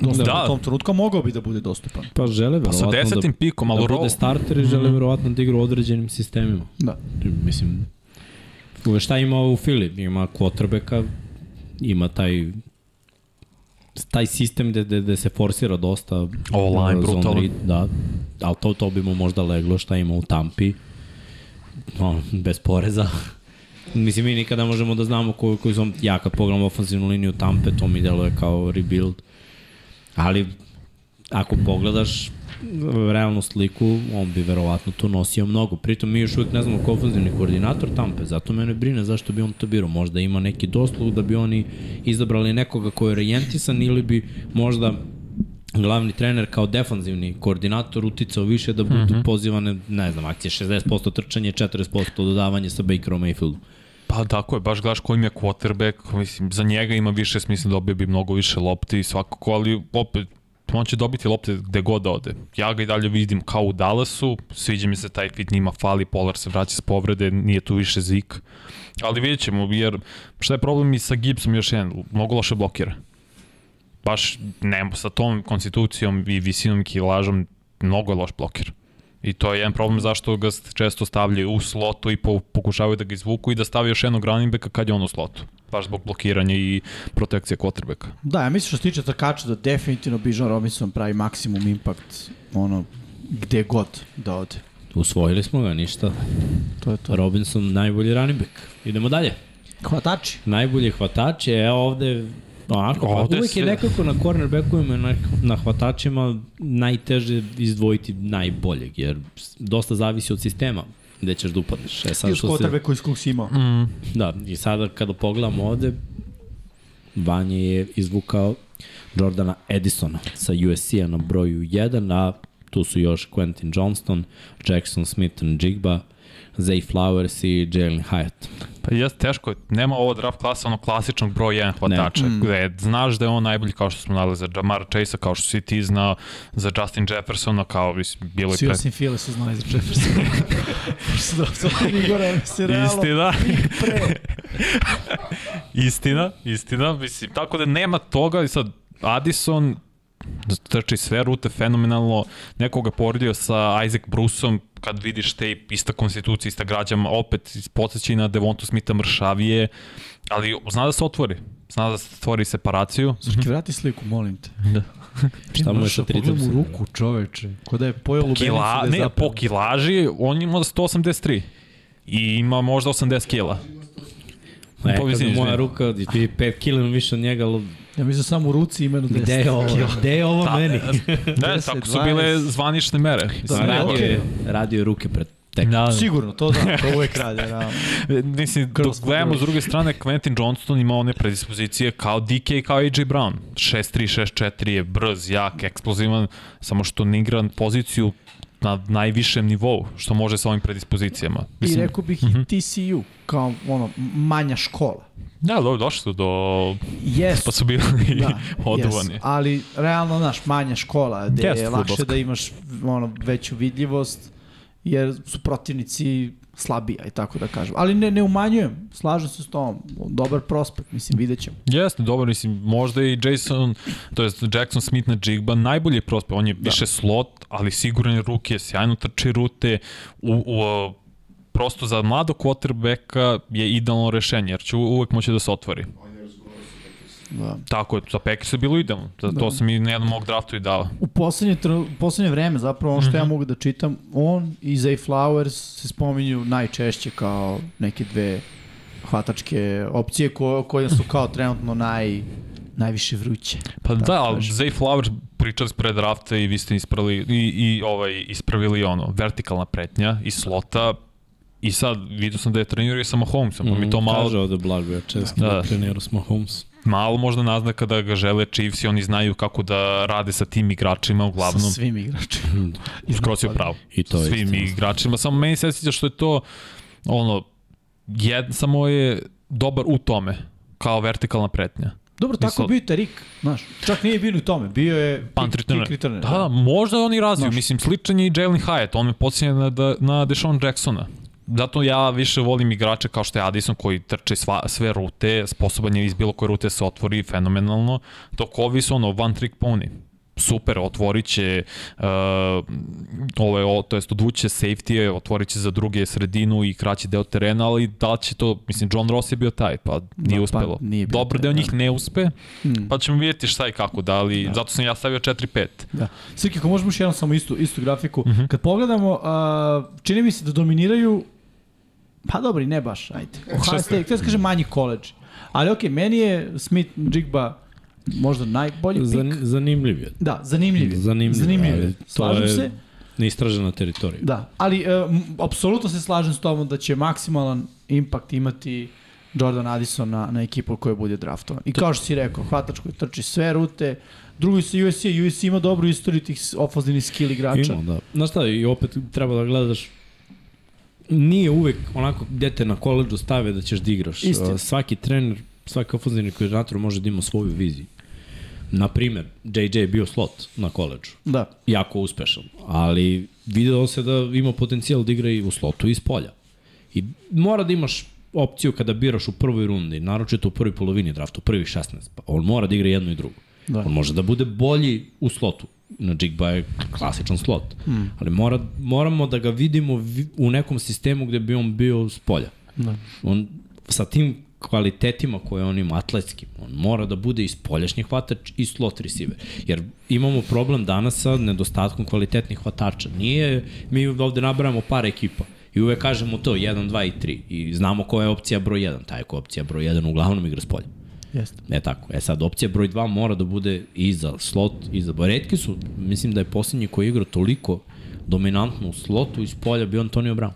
D: dostupan da.
E: Da.
D: u tom trenutku, a mogao bi da bude dostupan.
C: Pa žele
E: Pa sa
C: verovatno
E: desetim pikom,
C: da,
E: ali Mhm.
C: da
E: roll,
C: bude starter i žele verovatno da igra u određenim sistemima.
D: Da.
N: Mislim,
C: Uve šta ima u Filip? Ima quarterbacka, ima taj taj sistem gde, gde, gde se forsira dosta
E: line,
C: uh, zone
E: brutalan.
C: read, da, ali to, to bi mu možda leglo šta ima u Tampi no, bez poreza (laughs) mislim mi nikada možemo da znamo koju, koju sam ja kad pogledam ofenzivnu liniju Tampe to mi deluje kao rebuild ali ako pogledaš e, realnu sliku, on bi verovatno tu nosio mnogo. Pritom mi još uvijek ne znamo ko je ofenzivni koordinator Tampe, zato mene brine zašto bi on to birao. Možda ima neki doslov da bi oni izabrali nekoga ko je orijentisan ili bi možda glavni trener kao defanzivni koordinator uticao više da budu mm -hmm. pozivane, ne znam, akcije 60% trčanje, 40% dodavanje sa Bakerom Mayfieldom.
E: Pa tako je, baš gledaš kojim je quarterback, mislim, za njega ima više smisla, dobio bi mnogo više lopti i svakako, ali opet, on će dobiti lopte gde god da ode. Ja ga i dalje vidim kao u Dallasu, sviđa mi se taj fit, njima fali, Polar se vraća s povrede, nije tu više zik. Ali vidjet ćemo, jer šta je problem i sa Gibsom još jedan, mnogo loše blokira. Baš ne, sa tom konstitucijom i visinom i kilažom, mnogo je loš blokir. I to je jedan problem zašto ga često stavljaju u slotu i po, pokušavaju da ga izvuku i da stave još jednog running backa kad je on u slotu. Baš zbog blokiranja i protekcije quarterbacka.
D: Da, ja mislim što se tiče trkača da definitivno Bijan Robinson pravi maksimum impact ono, gde god da ode.
C: Usvojili smo ga, ništa.
D: To je to.
C: Robinson najbolji running back. Idemo dalje.
D: Hvatači.
C: najbolji hvatači, evo ovde onako,
E: Ovde
C: ovde uvijek je
E: sve-
C: nekako na cornerbackovima i na, na hvatačima najteže izdvojiti najboljeg, jer s- dosta zavisi od sistema gde ćeš da upadneš. E, sad,
D: Još
C: što se,
D: kotrbe koji skog si imao.
C: da, I sada kada pogledamo ovde, Vanje je izvukao Jordana Edisona sa USC-a na broju 1, a tu su još Quentin Johnston, Jackson Smith and Jigba, Zay Flowers i Jalen Hyatt.
E: Pa jes, teško je. Nema ovo draft klasa, ono klasičnog broja 1 hvatača, mm. gde znaš da je on najbolji kao što smo nalazili za Jamar Chase-a, kao što si ti znao, za Justin Jeffersona, kao mislim, bilo
D: Svi
E: je
D: osim File su znali za
E: (laughs)
D: Jeffersona. Pošto da ostavljeni Igora,
E: pre...
D: se realno...
E: Istina. (laughs) istina, istina. Mislim, tako da nema toga i sad Addison trči sve rute fenomenalno. Nekoga poredio sa Isaac Bruceom kad vidiš te ista konstitucija, ista građama, opet podsjeći na Devontu Smitha mršavije, ali zna da se otvori. Zna da se stvori separaciju.
D: Srki, vrati sliku, molim te.
C: Da. Šta mu je sa
D: Pogledaj mu
C: tricepsom?
D: ruku, čoveče. Ko da je pojao lubenicu
E: Kila,
D: da je
E: ne,
D: zapeo.
E: po kilaži, on ima 183 i ima možda 80 kila.
C: E,
E: Pa,
C: kada
E: mislim,
C: moja
E: izvini.
C: ruka, ti 5 kg više od njega, ali
D: Ja mislim samo u ruci imenu desne.
C: gde je ovo, gde je
D: Da.
C: ovo
D: (laughs)
C: meni?
E: Ne,
D: 10,
E: tako su bile
D: 12.
E: zvanične mere. Mislim,
D: Da,
E: neko-
C: radio,
D: okej.
C: je, radio je ruke pred tek.
E: Da.
D: Sigurno, to da, to uvek rade, realno.
E: Mislim, dok
D: Girls,
E: gledamo
D: girls.
E: s druge strane, Quentin Johnston ima one predispozicije kao DK i kao AJ Brown. 6-3, 6-4 je brz, jak, eksplozivan, samo što ne igra poziciju na najvišem nivou, što može sa ovim predispozicijama.
D: I
E: Mislim,
D: rekao bih i TCU, kao ono, manja škola.
E: da, do, došli su do...
D: Yes,
E: Pa su bili (laughs) da, oduvani.
D: Yes, ali realno, znaš, manja škola, gde
E: Jest
D: je lakše
E: fudbalska.
D: da imaš ono, veću vidljivost, jer su protivnici slabija i tako da kažem. Ali ne, ne umanjujem, slažem se s tom, dobar prospekt, mislim, vidjet ćemo.
E: Jeste, dobro, mislim, možda i Jason, to je Jackson Smith na Jigba, najbolji je prospekt, on je da. više slot, ali siguran je ruke, sjajno trči rute, u, u, prosto za mladog quarterbacka je idealno rešenje, jer će u- uvek moći da se otvori.
D: Da.
E: Tako je, za Packers je bilo idealno. Za to sam i na jednom mog draftu i dao.
D: U poslednje, tr- u poslednje vreme, zapravo ono što ja mogu da čitam, on i Zay Flowers se spominju najčešće kao neke dve hvatačke opcije ko, koje su kao trenutno naj, najviše vruće.
E: Pa da, da ali
D: kažem.
E: Zay Flowers pričali smo pred drafta i vi ste ispravili, i, i ovaj, ispravili ono, vertikalna pretnja i slota i sad vidio sam da je trenirao i sa Mahomesom, pa mi to malo
C: Mhm, Mm, Kaže ovde blago, ja često
E: Da.
C: da. trenirao smo Holmes.
E: malo možda naznaka da ga žele Chiefs i oni znaju kako da rade sa tim igračima
D: Sa
E: uglavnom.
D: svim igračima.
E: Skroz je pravo.
O: I to je
E: Svim
O: istina.
E: igračima. Samo meni se sviđa što je to ono, jed, samo je dobar u tome kao vertikalna pretnja.
D: Dobro, tako
E: Mislim-
D: je bio i Tarik, znaš. Čak nije bio ni u tome, bio je
E: Punt returner.
D: kick returner.
E: Da, da, možda oni razviju.
D: Znaš.
E: Mislim, sličan je i Jalen Hyatt. On me podsjeća na, da- na Deshaun Jacksona. Zato ja više volim igrače kao što je Addison koji trče sva, sve rute, sposoban je iz bilo koje rute se otvori fenomenalno, dok ovi su ono one trick pony. Super, otvorit će, uh, ove, o, to jest odvuće safety, otvorit će za druge sredinu i kraći deo terena, ali da li će to, mislim, John Ross je bio taj, pa nije
D: pa
E: uspelo.
D: nije bio
E: Dobar
D: taj,
E: deo
D: da. Hmm.
E: njih ne uspe, pa ćemo vidjeti šta i kako, da li, zato sam ja stavio 4-5.
D: Da. Srki, ako možemo još jednom samo istu, istu grafiku.
C: Mhm.
D: Mm -hmm. Kad pogledamo, a, čini mi se da dominiraju, pa dobro i ne baš, ajde.
C: E,
D: Ohio State, htio da kažem manji koleđ. Ali okej, meni je Smith Jigba možda najbolji
C: Zan,
D: Zan... pik.
C: zanimljiv je.
D: Da, zanimljiv. je.
C: Zanimljiv,
D: zanimljiv.
C: ali
D: je.
C: to
D: Slažem
C: je-
D: se.
C: Neistražena teritorija.
D: Da, ali e, m, apsolutno se slažem s tobom da će maksimalan impakt imati Jordan Addison na, na ekipu koja bude draftovan. I kao što si rekao, hvatač koji trči sve rute, drugi su USC, USC ima dobru istoriju tih s- ofenzivnih skill igrača.
C: Ima, da. Znaš šta, i opet treba da gledaš nije uvek onako dete na koleđu stave da ćeš da igraš.
D: Istina.
C: Uh, Svaki trener, svaki ofenzivni koordinator može da ima svoju viziju. Naprimer, JJ je bio slot na koleđu.
D: Da.
C: jako uspešan, ali video se da ima potencijal da igra i u slotu i iz polja. I mora da imaš opciju kada biraš u prvoj rundi, naročito u prvoj polovini drafta, u prvih 16, pa on mora da igra jedno i drugo.
D: Da.
C: Da. On može da bude bolji u slotu, na Jigba je klasičan slot, mm. ali mora, moramo da ga vidimo vi- u nekom sistemu gde bi on bio s polja. Da. On sa tim kvalitetima koje on ima atletskim, on mora da bude i spoljašnji hvatač i slot receiver. Jer imamo problem danas sa nedostatkom kvalitetnih hvatača. Nije, mi ovde nabrajamo par ekipa i uvek kažemo to 1, 2 i 3 i znamo koja je opcija broj 1, taj koja je opcija broj 1 uglavnom igra s polja.
D: Jeste.
C: E tako. E sad, opcija broj 2 mora da bude i za slot, i za Retki su, mislim da je posljednji koji je igrao toliko dominantno u slotu iz polja bio Antonio Brown.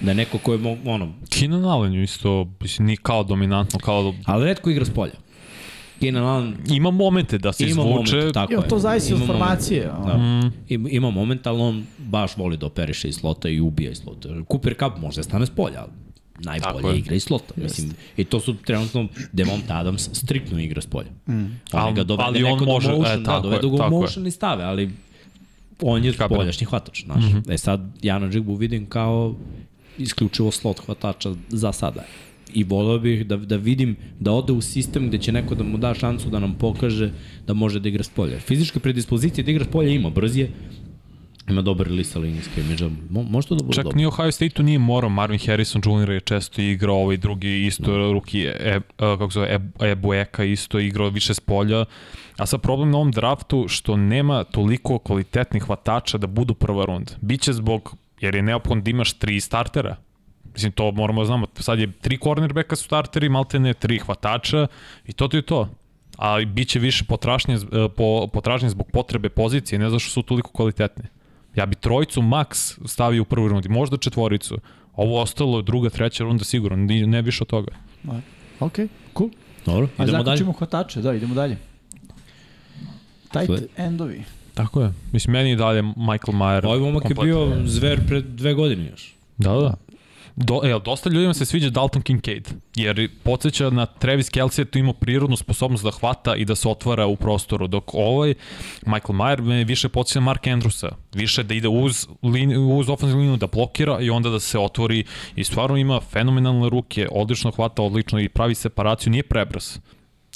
C: Da je neko ko je, mo- ono,
E: Keenan Allen je isto, mislim, ni kao dominantno, kao
C: ali redko igra s polja. Keenan Allen
E: ima momente da se Mm.
C: ima
E: izvuče.
C: momente, tako
D: Jo,
C: je.
D: to zavisi od
C: Ima momente.
D: formacije. a.
C: Da. Ima, ima moment, ali on baš voli da operiše iz slota i ubija iz slota. Cooper Cup možda stane s polja, ali
E: Tako je.
C: najbolje igra iz slota. Mislim, I to su trenutno Devont Adams striktno igra s polja. Mm.
E: Al-
C: Ali ga dovede
E: ali
C: ali
E: on
C: neko
E: može,
C: može,
E: e,
C: do motion, e,
E: tako
C: da,
E: je,
C: dovede ga
E: tako
C: u
E: je.
C: motion i stave, ali on je
E: Kapiram. Mhm.
C: poljašnji hvatač. Znaš. Mm -hmm. E sad, ja na Jigbu vidim kao isključivo slot hvatača za sada. I voleo bih da, da vidim da ode u sistem gde će neko da mu da šansu da nam pokaže da može da igra s polja. Fizičke predispozicije da igra s polja ima, brz je, ima dobar list linijske imidža, Mo, može to da bude
E: Čak
C: dobro.
E: ni Ohio State-u nije morao, Marvin Harrison Jr. je često igrao, ovaj drugi
C: Da.
E: isto ruki, e, e, kako se zove, e, Ebueka isto igrao više s polja, a sad problem na ovom draftu što nema toliko kvalitetnih hvatača da budu prva runda. Biće zbog, jer je neophodno da imaš tri startera, Mislim, to moramo da znamo. Sad je tri cornerbacka su starteri, maltene tri hvatača i to ti je to. Ali bit će više potrašnje, z- e, po, potražnje zbog potrebe pozicije, ne zašto su toliko kvalitetni. Ja bi trojicu maks stavio u prvoj rundi, možda četvoricu. Ovo ostalo je druga, treća runda sigurno, ni- ne više od toga.
D: Ok, cool.
C: Dobro,
D: A
C: idemo dalje.
D: zaključimo hvatače, da, idemo dalje.
C: Sve.
D: Tight endovi.
E: Tako je. Mislim, meni i dalje Michael Mayer.
C: Ovaj momak je
E: kompletan.
C: bio zver pred dve godine još.
E: Da, da. Do, jel, dosta ljudima se sviđa Dalton Kincaid, jer podsjeća na Travis Kelce je tu imao prirodnu sposobnost da hvata i da se otvara u prostoru, dok ovaj Michael Mayer me više podsjeća na Mark Andrewsa, više da ide uz, lin, uz ofenzivnu liniju, da blokira i onda da se otvori i stvarno ima fenomenalne ruke, odlično hvata, odlično i pravi separaciju, nije prebrz.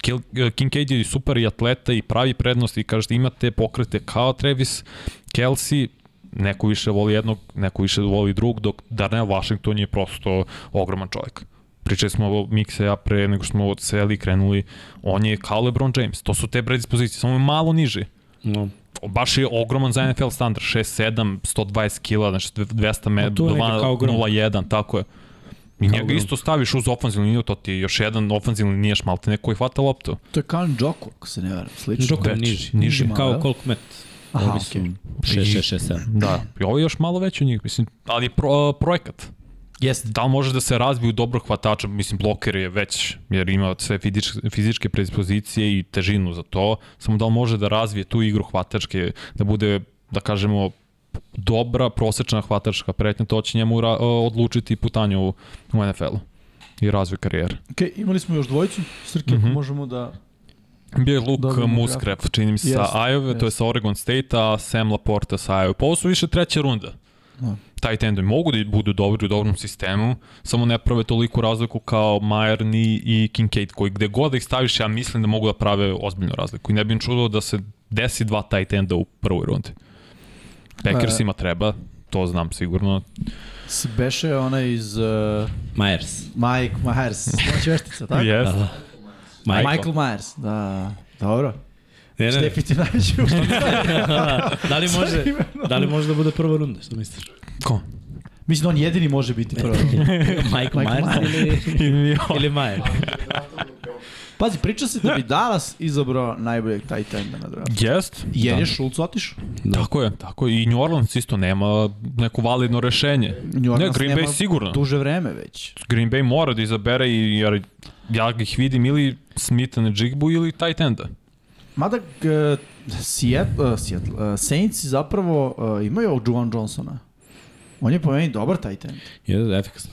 E: Kil- eh, Kincaid je da super i atleta i pravi prednost i kažete imate pokrete kao Travis Kelsey, Neko više voli jednog, neko više voli drug, dok Darnell Washington je prosto ogroman čovjek. Pričali smo o Mikse ja pre nego što smo seli i krenuli, on je kao LeBron James. To su te predispozicije, samo je malo niži.
C: No.
E: Baš je ogroman za NFL standard, 6, 7, 120 kila, znači 200 me,
C: A to je neka kao grom.
E: 0,1, tako je. I njega
C: grom.
E: isto staviš uz ofenzivnu liniju, to ti je još jedan ofenzivni linijaš maltene koji hvata loptu.
D: To je kao Njoko, ako se ne varam, slično.
C: Džoko je
E: Veći,
C: niži.
E: niži
D: malo, jel?
C: Kao Colt Met.
D: Aha,
C: Ovi su
D: okej.
C: 6, 6, 6, 7.
E: Da, i ovo je još malo veći od njih, mislim, ali je pro, projekat.
D: Jeste.
E: Da li može da se razviju dobro hvatača, mislim bloker je već, jer ima sve fizičke, fizičke predispozicije i težinu za to, samo da li može da razvije tu igru hvatačke, da bude, da kažemo, dobra, prosečna hvatačka pretnja, to će njemu ra, odlučiti putanju u, u NFL-u i razvoj karijere.
D: Okej, imali smo još dvojicu, Srke, ako možemo da...
E: Bio je Luke
D: Dobijemo
E: Musgrave, čini mi se, sa
D: Jeste,
E: Iowa, to je
D: jeste.
E: sa Oregon State-a, a Sam Laporta sa Iowa. Pa ovo su više treća runda.
D: Da.
E: Taj tendovi mogu da budu dobri u dobrom sistemu, samo ne prave toliku razliku kao Mayer, Ni i Kincaid, koji gde god da ih staviš, ja mislim da mogu da prave ozbiljnu razliku. I ne bi im čudilo da se desi dva taj tenda u prvoj rundi.
D: Da.
E: Packersima treba, to znam sigurno.
D: S- Beše onaj iz uh,
C: Myers.
D: Mike (laughs) Myers, znači veštica, tako?
E: Yes.
C: Michael.
D: Michael Myers, da. Dobro.
C: Ne, ne,
D: Štefi ti najviše (laughs) ušli.
C: da li može, da li može da bude prva runda, što misliš?
E: Ko?
D: Mislim da on jedini može biti (laughs) prvo.
C: (laughs) Michael Myers ili, ili Myers?
D: Pazi, priča se da bi Dallas izabrao najboljeg tight enda na draftu.
E: Jest.
D: Jer je Schultz otišao.
E: Da. Tako je, tako je. I New Orleans isto nema neko validno rešenje.
D: New
E: ne,
D: Orleans
E: Green
D: nema
E: Bay sigurno.
D: Duže vreme već.
E: Green Bay mora da izabere i jer ja ih vidim ili Smitha na Jigbu ili tight enda.
D: Mada uh, Seattle, uh, Seattle, uh, Saints zapravo uh, imaju ovog Juwan Johnsona. On je po meni dobar tight end.
C: Je, da, efikasno.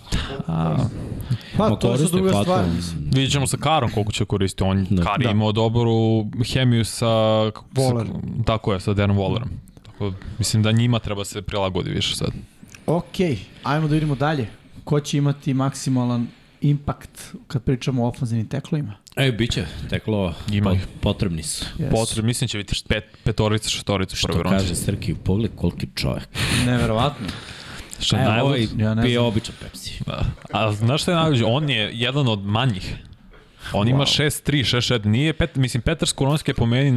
D: Pa
C: Ma,
D: to je sad
C: koriste,
D: druga
C: pa,
D: stvar.
C: to-
D: mislim.
E: Vidjet ćemo sa Karom koliko će koristiti. On
C: Da.
E: da. Kar je
D: Da.
E: imao dobru hemiju sa...
D: Waller.
E: Sa, tako je, sa Darren Wallerom. Tako, mislim da njima treba se prilagodi više sad.
D: Ok, ajmo da vidimo dalje. Ko će imati maksimalan impact kad pričamo o ofenzivnim teklovima?
C: E, bit će, teklo,
E: Ima
C: pot-
E: ih.
C: potrebni su.
D: Yes.
E: Potreb, mislim će biti pet, petorica, šestorica u
C: Što
E: prvoj rundi.
C: kaže Srki, pogled koliki čovjek.
E: (laughs)
D: Neverovatno.
E: Šta
C: Evo,
E: najluđe-
C: ovaj
D: ja ne
C: pije
D: znam.
C: običan Pepsi.
E: Da. A znaš šta je najluđe? On je jedan od manjih. On ima 6-3, 6-6. Nije, pet, mislim, Petar Skoronski je po meni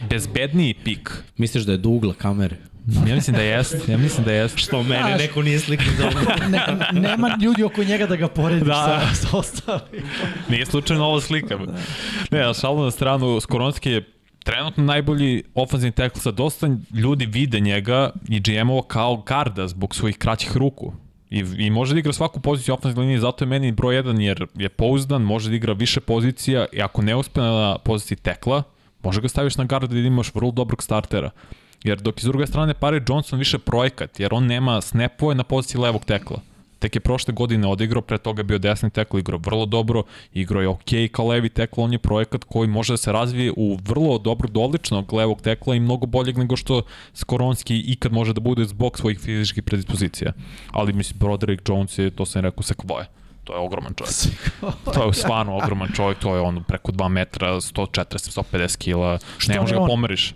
E: najbezbedniji pik.
C: Misliš da je do ugla kamere?
E: Ja mislim da jeste, ja mislim da jeste. Što
C: Mene neko nije slikao za ugla.
D: (laughs) Ne, nema ljudi oko njega da ga porediš
E: Da.
D: sa, sa ostalim.
E: Nije slučajno ovo slika. Ne, ali šalno na stranu, Skoronski je trenutno najbolji ofanzivni tackle sa dosta ljudi vide njega i GM-ovo kao garda zbog svojih kraćih ruku. I, I može da igra svaku poziciju ofenzivne linije, zato je meni broj 1 jer je pouzdan, može da igra više pozicija i ako ne uspe na poziciji tekla, može ga staviš na garda da imaš vrlo dobrog startera. Jer dok je s druge strane Pare Johnson više projekat, jer on nema snapove na poziciji levog tekla. Tek je prošle godine odigrao, pre toga je bio desni tekl, igrao vrlo dobro, igrao je ok kao levi tekl, on je projekat koji može da se razvije u vrlo dobro doličnog levog tekla i mnogo boljeg nego što Skoronski ikad može da bude zbog svojih fizičkih predispozicija. Ali mislim, Broderick Jones je, to sam rekao, sekvoje. To je ogroman čovjek.
D: Pa,
E: To
D: da.
E: je stvarno ogroman čovjek, to je on preko 2 metra, 140, 150 kila, ne
D: je
E: može ga
D: on?
E: pomeriš.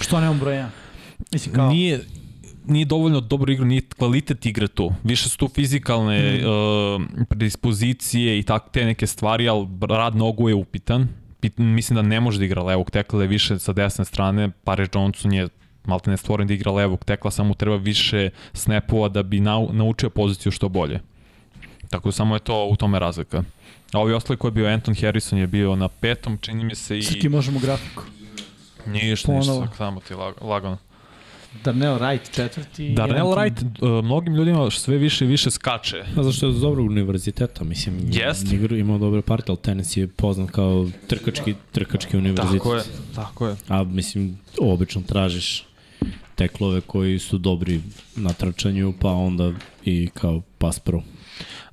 D: Što nemam broja? Mislim kao...
E: Nije, nije dovoljno dobro igra, nije kvalitet igre tu. Više su tu fizikalne
D: Mhm.
E: mm. uh, predispozicije i tak, te neke stvari, ali rad nogu je upitan. Pit, mislim da ne može da igra levog tekla, da je više sa desne strane. Pare Johnson je malte ne stvoren da igra levog tekla, samo mu treba više snapova da bi nau, naučio poziciju što bolje. Tako da samo je to u tome razlika. A ovi ostali koji je bio, Anton Harrison je bio na petom, čini mi se i...
D: Srki, možemo grafiku.
E: Ništa, ništa,
D: ponovo.
E: samo ti lag- lagano.
D: Darnell Wright četvrti.
E: Darnell
D: Anton-
E: Wright e, mnogim ljudima sve više i više skače.
C: Pa zašto je od dobrog univerziteta, mislim,
E: Jest.
C: igru imao dobre partije, ali tenis je poznat kao trkački, trkački univerzitet.
E: tako je.
C: A mislim, obično tražiš teklove koji su dobri na trčanju, pa onda i kao pas pro.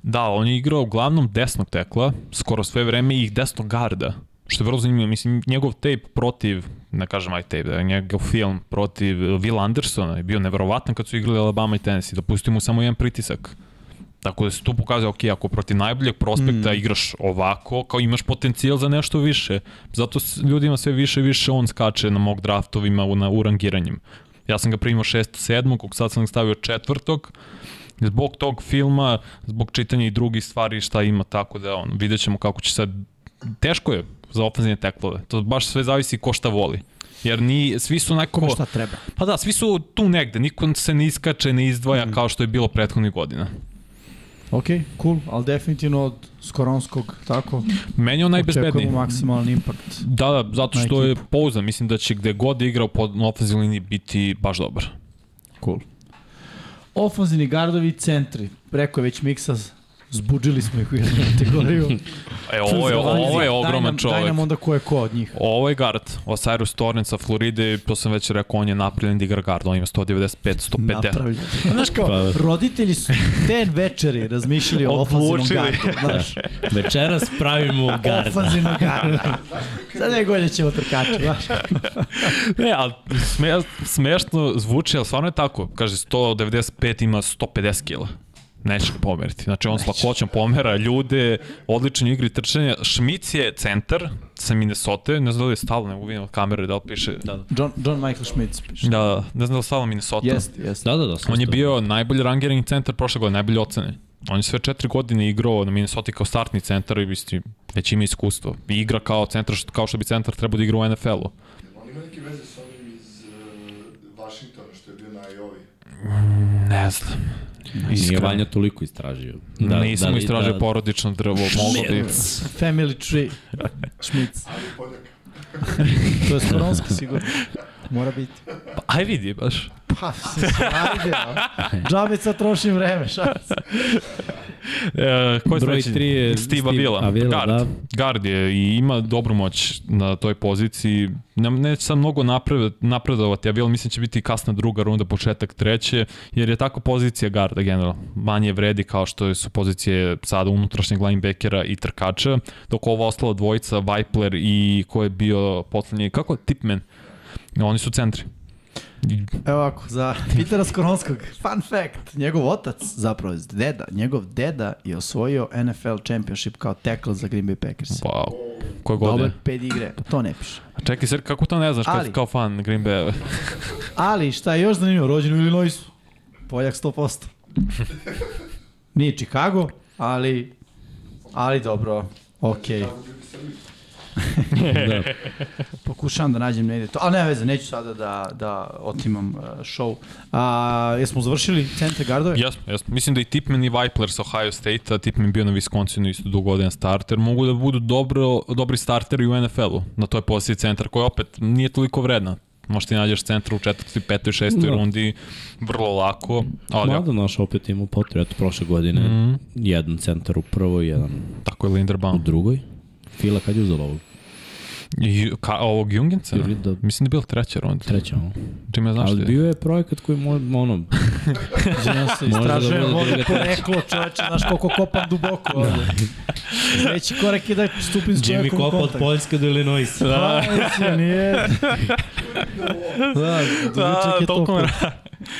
E: Da, on je igrao uglavnom desnog tekla, skoro sve vreme i desnog garda. Što je vrlo zanimljivo, mislim, njegov tape protiv, ne kažem aj tape, da, njegov film protiv Will Andersona je bio neverovatan kad su igrali Alabama i Tennessee, dopustio mu samo jedan pritisak. Tako da se tu pokazuje, ok, ako protiv najboljeg prospekta mm. igraš ovako, kao imaš potencijal za nešto više. Zato s- ljudima sve više i više on skače na mock draftovima, u- na urangiranjima. Ja sam ga primio 6. 7. kog sad sam ga stavio četvrtog. Zbog tog filma, zbog čitanja i drugih stvari šta ima, tako da on, vidjet ćemo kako će sad, teško je za ofenzivne teklove. To baš sve zavisi ko šta voli. Jer ni, svi su onako...
D: Kome šta treba.
E: Pa da, svi su tu negde, niko se ne iskače, ne izdvaja mm. kao što je bilo prethodnih godina.
D: Ok, cool, ali definitivno od Skoronskog, tako,
E: Meni je on najbezbedniji.
D: očekujemo maksimalan impact.
E: Da, da, zato
D: na
E: što je pouzan, mislim da će gde god igrao po ofenzivnoj liniji biti baš dobar.
D: Cool. Ofanzivni gardovi i centri. Rekao je već Miksa, zbuđili smo ih u jednu (laughs) kategoriju.
E: E, ovo je, ovo je
D: daj
E: ogroman
D: nam, Daj
E: čovek.
D: nam onda ko je ko od njih.
E: Ovo je guard, Osiris Torrent sa Floride, to sam već rekao, on je napravljen da igra guard, on ima 195, 150. (laughs)
D: Napravljeno. Znaš kao,
E: Pa da.
D: roditelji su ten večeri razmišljali o ofanzivnom gardu.
E: (laughs)
D: Znaš,
C: Večeras pravimo gard.
D: ofanzivnog garda. Za dve godine ćemo trkače, znaš.
E: Ne, ali sme, smešno zvuči, ali stvarno je tako. Kaže, 195 ima 150 kila. Neće ga pomeriti. Znači, on s lakoćom pomera ljude, odličan je u igri trčanja. Šmic je centar sa Minnesota, ne znam da li je stalno, ne uvijem od kamere da li piše. Da, da.
D: John, John Michael Schmidt piše.
E: Da, da, ne znam da li stalo Minnesota.
D: Jeste, jeste.
C: Da, da, da. sam
E: On je
C: to.
E: bio najbolji rangirani centar prošle godine, najbolje ocene. On je sve četiri godine igrao na Minnesota kao startni centar i mislim, već ima iskustvo. I igra kao centar, što- kao što bi centar trebao da igra u NFL-u.
J: On ima neke veze s onim iz uh, Vašingtona što je bio na Iovi.
E: Ne znam.
C: Nije
E: Iskreno.
C: Vanja toliko istražio.
E: Da, Nisam da,
C: li-
E: istražio da, porodično drvo, mogu da- bi.
D: Family Tree. Schmidt.
J: Ali podjaka.
D: To je skoronski sigurno. Mora biti.
E: Pa, Aj vidi baš.
D: Pa, se ajde, a. Džabe sad trošim vreme, šalim se.
E: E, ko je
C: Broj
E: sledeći?
C: tri je
E: Steve
C: Steve
E: Avila.
C: Avila,
E: Guard.
C: da.
E: Guard je i ima dobru moć na toj poziciji. Ne, neće sad mnogo napred, napredovati. Avila mislim će biti kasna druga runda, početak treće, jer je tako pozicija garda generalno. Manje vredi kao što su pozicije sada unutrašnjeg linebackera i trkača, dok ova ostala dvojica, Vipler i ko je bio poslednji, kako je? Tipman. Oni su centri.
D: Evo ovako, za Pitera Skoronskog, fun fact, njegov otac, zapravo deda, njegov deda je osvojio NFL Championship kao tackle za Green Bay Packers.
E: Wow. Koje godine?
D: Dobar ped igre, to ne piše.
E: Čekaj, Sir, kako to ne znaš
D: Ali-
E: kad, kao fan Green Bay?
D: Ali šta je još zanimljivo, rođen u Illinoisu, Poljak 100%. (laughs) Nije Chicago, ali, ali dobro, okej.
E: (laughs)
C: Da.
E: E,
D: Pokušavam da nađem negde to, ali nema veze, neću sada da, da otimam uh, show. A, jesmo završili centre gardove?
E: Jasno, jasno. Mislim da i Tipman i Vipler sa Ohio State-a, Tipman bio na Wisconsinu isto dugo godina starter, mogu da budu dobro, dobri starteri u NFL-u na toj poziciji centar koja opet nije toliko vredna. Možda ti nađeš centra u četvrti, petoj, šestoj
C: Da.
E: rundi, vrlo lako, ali
C: Mlada naš opet ima potrebu, eto prošle godine
E: Mhm.
C: mm. jedan centar u prvoj, jedan
E: tako je Linderbaum.
C: u drugoj. Fila kad je uzela ovog?
E: Ju, ka, ovog Jungenca?
C: Ili da-
E: Mislim da je bila treća runda.
C: Treća ovo.
E: Čime znaš
C: Ali
E: ti? Bio...
C: bio je projekat koji mo,
E: (laughs)
C: ono,
D: Ja
C: Možda
D: se
C: da
D: istražujem
C: bude
D: ovde
C: druga
D: poreklo, čoveče, znaš koliko kopam duboko ovde. Sljedeći korak je da stupim s
M: Jimmy
D: čovekom u
M: Kopp od
D: kontakt.
M: Poljske do Illinoisa.
D: Da, mislim, nije. Da, da, je
E: toliko
D: toliko.
E: me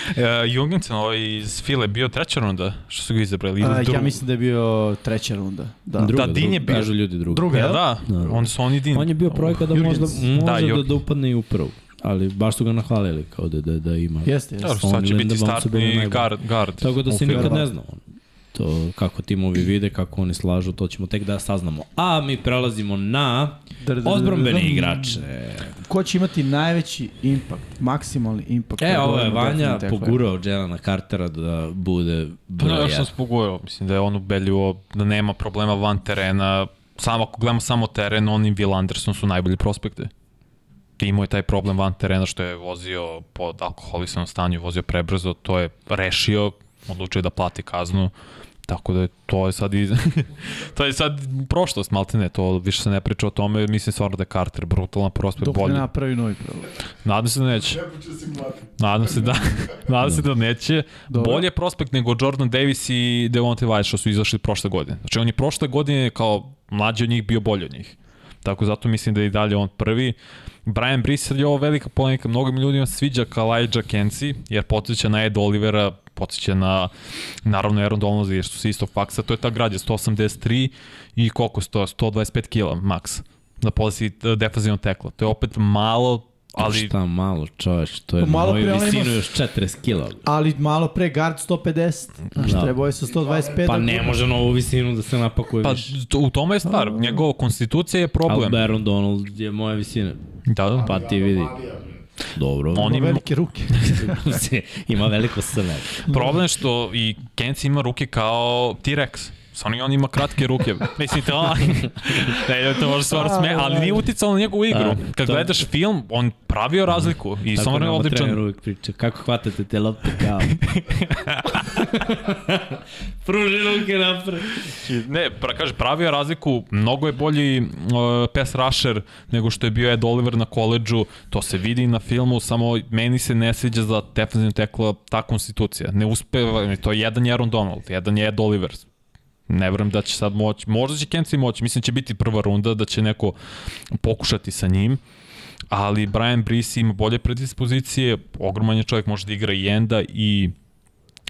E: Uh, Jungensen, ovaj iz File, bio treća runda, što su ga izabrali. ili
D: A,
E: druga?
D: ja mislim da je bio treća runda. Da.
C: druga,
E: Da, Din je bio.
C: Kažu ljudi druga.
D: Druga,
E: Ja,
D: jel?
E: da,
C: Da.
E: onda su oni Din.
C: On je bio projekat da
D: Jurgens.
C: možda,
E: Da,
C: možda da,
E: Jurgens.
C: da upadne i u prvu. Ali baš su ga nahvalili kao da, da, da ima.
D: Jeste, jeste.
E: Da, sad će
C: On
E: biti
C: Linderbaum su
E: startni
C: bili najbolji.
E: guard. guard.
C: Tako da se nikad
D: Verovatno.
C: ne zna. ono. To kako timovi vide, kako oni slažu, to ćemo tek da saznamo. A mi prelazimo na
D: Da, da, da,
C: odbrombene
D: da, da.
C: igrače.
D: Ko će imati najveći impact, maksimalni impact?
C: E,
D: na
C: ovo je
D: brojnom
C: Vanja
D: defensivnom teklu?
C: pogurao Jelena Cartera da bude
E: Pa da,
C: broj
E: još sam
C: jedan.
E: spogurao, mislim da je on ubeljivo, da nema problema van terena, samo ako gledamo samo teren, on i Will Anderson su najbolji prospekte. I imao je taj problem van terena što je vozio pod alkoholisanom stanju, vozio prebrzo, to je rešio, odlučio je da plati kaznu, tako da je, to je sad i, (laughs) to je sad prošlost, malte ne, to više se ne priča o tome, mislim stvarno da je Carter brutalan prospekt,
D: Dok ne
E: bolji.
D: napravi novi prvo.
E: Nadam se da neće.
J: Ne počeo si mlati.
E: Nadam se da, (laughs) nadam se da neće.
D: Dobro.
E: Dobro. Bolje je prospekt nego Jordan Davis i Devontae White što su izašli prošle godine. Znači on je prošle godine kao mlađi od njih bio bolji od njih. Tako zato mislim da je i dalje on prvi. Brian Brisser je ovo velika polemika. Mnogim ljudima se sviđa Kalajđa Kenci, jer podsjeća na Ed Olivera, podsjeća na, naravno, Aaron Donalds, jer su se istog faksa. To je ta građa, 183 i koliko sto, 125 kila maks na poziciji e, defenzivnog tekla. To je opet malo ali
C: Šta malo, čoveč, to je
D: Pa malo
C: malo moju
D: pre onaj
C: visinu
D: ima-
C: još 40 kila.
D: Ali malo pre guard 150, znaš,
C: Da.
D: trebao je sa 125.
C: Pa ne može na ovu visinu da se napakuje
E: pa
C: više.
E: to- u tome je stvar, njegova konstitucija je
C: Ali
E: problem.
C: Baron Donald je moja visina.
E: Da, da.
C: Pa ti vidi.
J: Е,
C: (laughs) Dobro.
E: On
D: Ima
E: ima,
D: velike ruke.
C: ima veliko srne.
E: problem je što i Kenci ima ruke kao T-Rex. Samo i on ima kratke ruke. Mislim, to, ne, ne, to može stvarno sme, ali nije uticalo na njegovu igru.
C: A,
E: Kad
C: to- da,
E: gledaš film, on pravio razliku i samo je
C: nama trener
E: odličan.
C: uvijek priča. Kako hvatate te lopte (laughs) kao... Pruži ruke napred.
E: Znači, Ne, pra, kaže, pravio je razliku, mnogo je bolji uh, pass rusher nego što je bio Ed Oliver na koleđu, to se vidi na filmu, samo meni se ne sviđa za defensivno tekla ta konstitucija. Ne uspeva, to je jedan je Aaron Donald, jedan je Ed Oliver. Ne verujem da će sad moći, možda će Kenci moći, mislim će biti prva runda, da će neko pokušati sa njim, ali Brian Brees ima bolje predispozicije, ogroman je čovjek, može da igra i enda i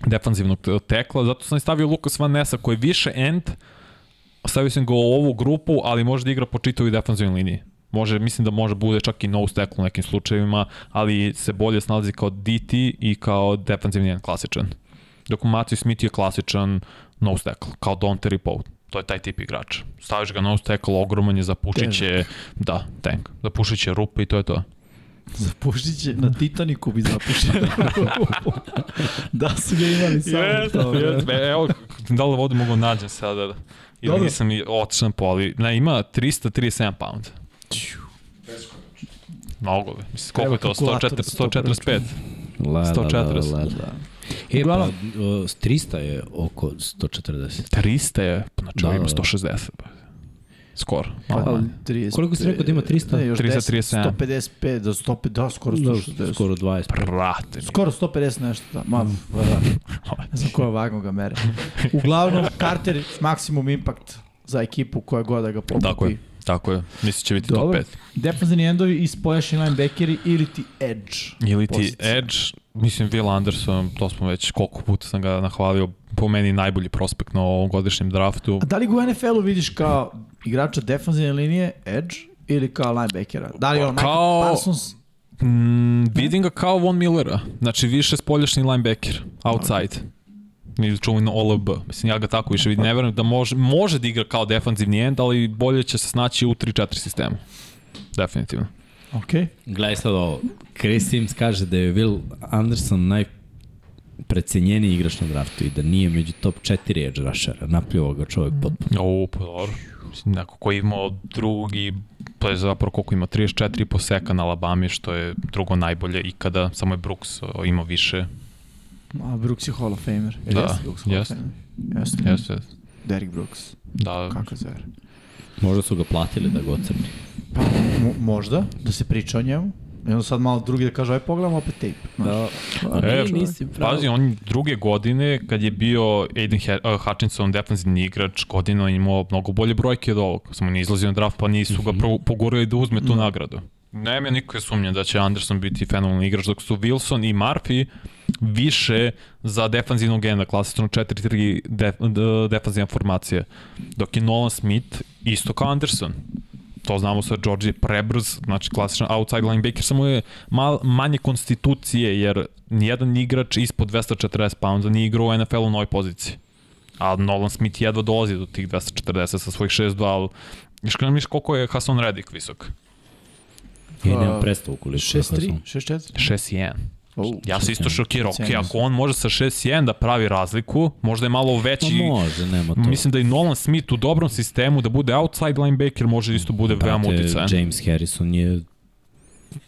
E: defanzivnog t- tekla, zato sam i stavio Lukas Van Nessa koji je više end, stavio sam ga u ovu grupu, ali može da igra po čitavoj defanzivnoj liniji. Može, mislim da može bude čak i nose tackle u nekim slučajevima, ali se bolje snalazi kao DT i kao defanzivni end klasičan. Dok Matthew Smith je klasičan nose tackle, kao Don Terry Poe. To je taj tip igrača. Staviš ga nose tackle, ogroman je, zapušiće, da, tank. Zapušiće rupe i to je to.
D: Zapušit će, na Titaniku bi (laughs) zapušio. da su ga imali samo to.
E: yes. Evo, da li vodu mogu nađem sada? Ili
D: Dobro.
E: nisam i otišao po, ali ne, ima 337 pound. Mnogo li. Mislim, koliko je
D: Treba
E: to?
D: kalkulator
E: 104,
D: da se to
E: 145.
C: La,
E: 140.
C: La, la, la, la. E, pa, o, s 300 je oko 140.
E: 300 je, znači
C: Da,
E: da,
C: da,
E: ima
C: da.
E: 160. Skoro.
D: Pa,
E: Malo.
D: 30,
C: Koliko si rekao da ima 300?
D: Ne, još
E: 337.
D: 10, 155, da, 150, da, skoro Mm. 160.
C: Da, skoro 20.
E: Brate, mi.
D: Skoro 150 nešto, da. Ma, vrla. (laughs) Ne znam koja vagom ga mere. Uglavnom, Carter maksimum impact za ekipu koja god da ga popupi.
E: Tako je. Tako je. Mislim će biti top
D: Dobro.
E: 5.
D: Defanzivni endovi i spojašni linebackeri ili ti edge.
E: Ili ti
D: pozicija.
E: Edge, mislim Will Anderson, to smo već koliko puta sam ga nahvalio, po meni najbolji prospekt na ovom godišnjem draftu.
D: A da li ga u NFL-u vidiš kao igrača defanzivne linije, edge, ili kao linebackera? Da li je on Michael
E: Kao-
D: Parsons?
E: Mm, vidim ga kao Von Millera, znači više spoljašnji linebacker, outside. Mi čuveno OLB, mislim ja ga tako više vidim, ne verujem da može, može da igra kao defanzivni end, ali bolje će se snaći u 3-4 sistemu. Definitivno.
D: Ok.
C: Gledaj sad ovo. Chris Sims kaže da je Will Anderson najprecenjeniji igrač na draftu i da nije među top 4 edge rushera. Napljuvao ga čovjek potpuno.
E: O, pa dobro. Mislim, neko ko je imao drugi, pa je zapravo koliko ima, 34 po seka na Alabama, što je drugo najbolje ikada, samo je Brooks o, imao više.
D: A Brooks je Hall of Famer. Jel
E: Da,
D: jeste Brooks Hall
E: jeste.
D: of Famer? Jeste.
E: Jeste,
D: Derrick Brooks.
E: da,
D: Kako zver.
C: Možda su ga platili da ga ocrni.
D: Pa, mo- možda, da se priča o njemu. I onda sad malo drugi da kaže, aj pogledamo opet tape. znaš.
C: Da.
E: E,
C: nisi pravo.
E: Pazi, on druge godine, kad je bio Aiden He- uh, Hutchinson defensivni igrač, godinu on je imao mnogo bolje brojke od ovog. Samo nije izlazio na draft, pa nisu ga pro- pogurali da uzme tu nagradu. Nema nikakve sumnje da će Anderson biti fenomenalni igrač, dok su Wilson i Murphy više za defanzivnog enda, klasično 4-3 def, d- defanzivna formacija. Dok je Nolan Smith isto kao Anderson. To znamo sa George je prebrz, znači klasičan outside linebacker, samo je mal, manje konstitucije, jer nijedan igrač ispod 240 pounda nije igrao u NFL u novoj poziciji. A Nolan Smith jedva dolazi do tih 240 sa svojih 6-2, ali iskreno miš koliko je Hasan Reddick visok?
C: I nema predstavu koliko. je
D: 6-3,
C: Hasan.
D: 6-4.
E: 6-1.
D: Oh.
E: Ja se isto šokirao, ok,
D: Cijenim.
E: ako on može sa 6-1 da pravi razliku, možda je malo
C: Pa
E: veći...
C: može, nema to.
E: Znači, Mislim da i Nolan Smith u dobrom sistemu da bude outside linebacker može isto bude da veoma
C: Brate,
E: uticajan.
C: James Harrison je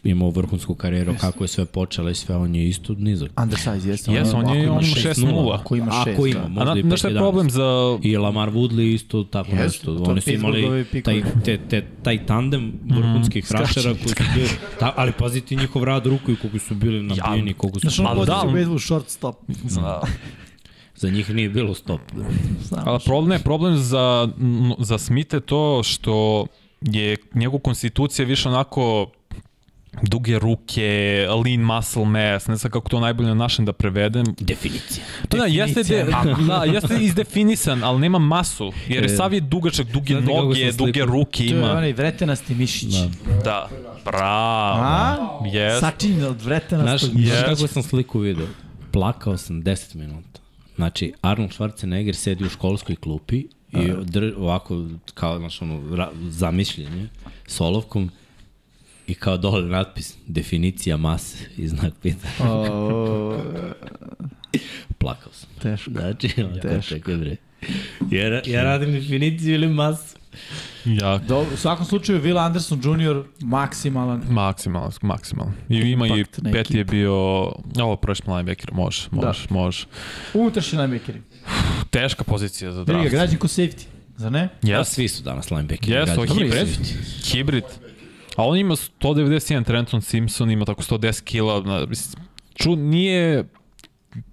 C: imao vrhunsku karijeru, kako je sve počela i sve, on je isto nizak.
D: Undersize, jeste.
E: Jes, on je-
D: ako ima
E: on ima
D: šest-
E: 6:0.
D: Ako ima 6,
C: Ako ima,
D: da.
E: A
C: možda
E: na,
C: i
E: znaš šta je
C: 5-11.
E: problem za
C: I Lamar Woodley isto tako
D: Jeste,
C: nešto.
D: to
C: Oni su
D: Pittsburghovi
C: imali taj,
D: pikovi.
C: te, te, taj tandem
E: Mhm.
C: vrhunskih mm, rašera koji su bili... Ta, ali pazi ti njihov rad ruku i koliko su bili nabijeni, koliko su...
D: Znaš, ono
E: Ali da,
D: pozicija
E: ali-
D: u bedvu short stop.
E: Za,
C: Za njih nije bilo stop.
D: Znam.
E: ali problem je problem za, m, za Smith je to što je njegov konstitucija više onako duge ruke, lean muscle mass, ne znam kako to najbolje na našem da prevedem.
C: Definicija.
E: Pa da, jeste, de, da, jeste izdefinisan, ali nema masu, jer je sav je dugačak, duge
C: Znate kako
E: noge,
C: sam
E: duge
C: slikan.
E: ruke
D: To je
E: ima.
D: onaj vretenasti mišić.
C: Da.
E: Da, Bravo.
D: A?
E: Yes.
D: Sačinjen od vrtena
C: Znaš,
D: stog-
C: znaš
E: Yes.
C: kako sam sliku video? Plakao sam 10 minuta. Znači, Arnold Schwarzenegger sedi u školskoj klupi i dr, ovako, kao, znaš, ono, ra, zamišljenje, s olovkom i kao dole natpis, definicija mase i znak pitanja.
D: O,
C: Plakao sam.
D: teško.
C: Znači, onako,
D: Teško.
C: čekaj bre. Ja, ra- ja radim definiciju ili masu.
E: Ja,
D: Dobro, u svakom slučaju Will Anderson Jr. maksimalan.
E: maksimalno, maksimalno. I ima i
D: Impact na
E: peti je bio, ovo prošli linebacker, može, može, da. može.
D: Unutrašnji linebackeri.
E: Teška pozicija za
D: Briga,
E: draft.
D: građan ko safety. Zar ne?
C: Ja,
E: Yes.
C: svi su danas linebackeri.
E: Yes,
C: gađaju.
E: ovo je
C: Dobro,
E: hibrid.
C: svi.
E: Hibrid. A on ima 191, Trenton Simpson ima tako 110 kila. na- mislim, Ču, nije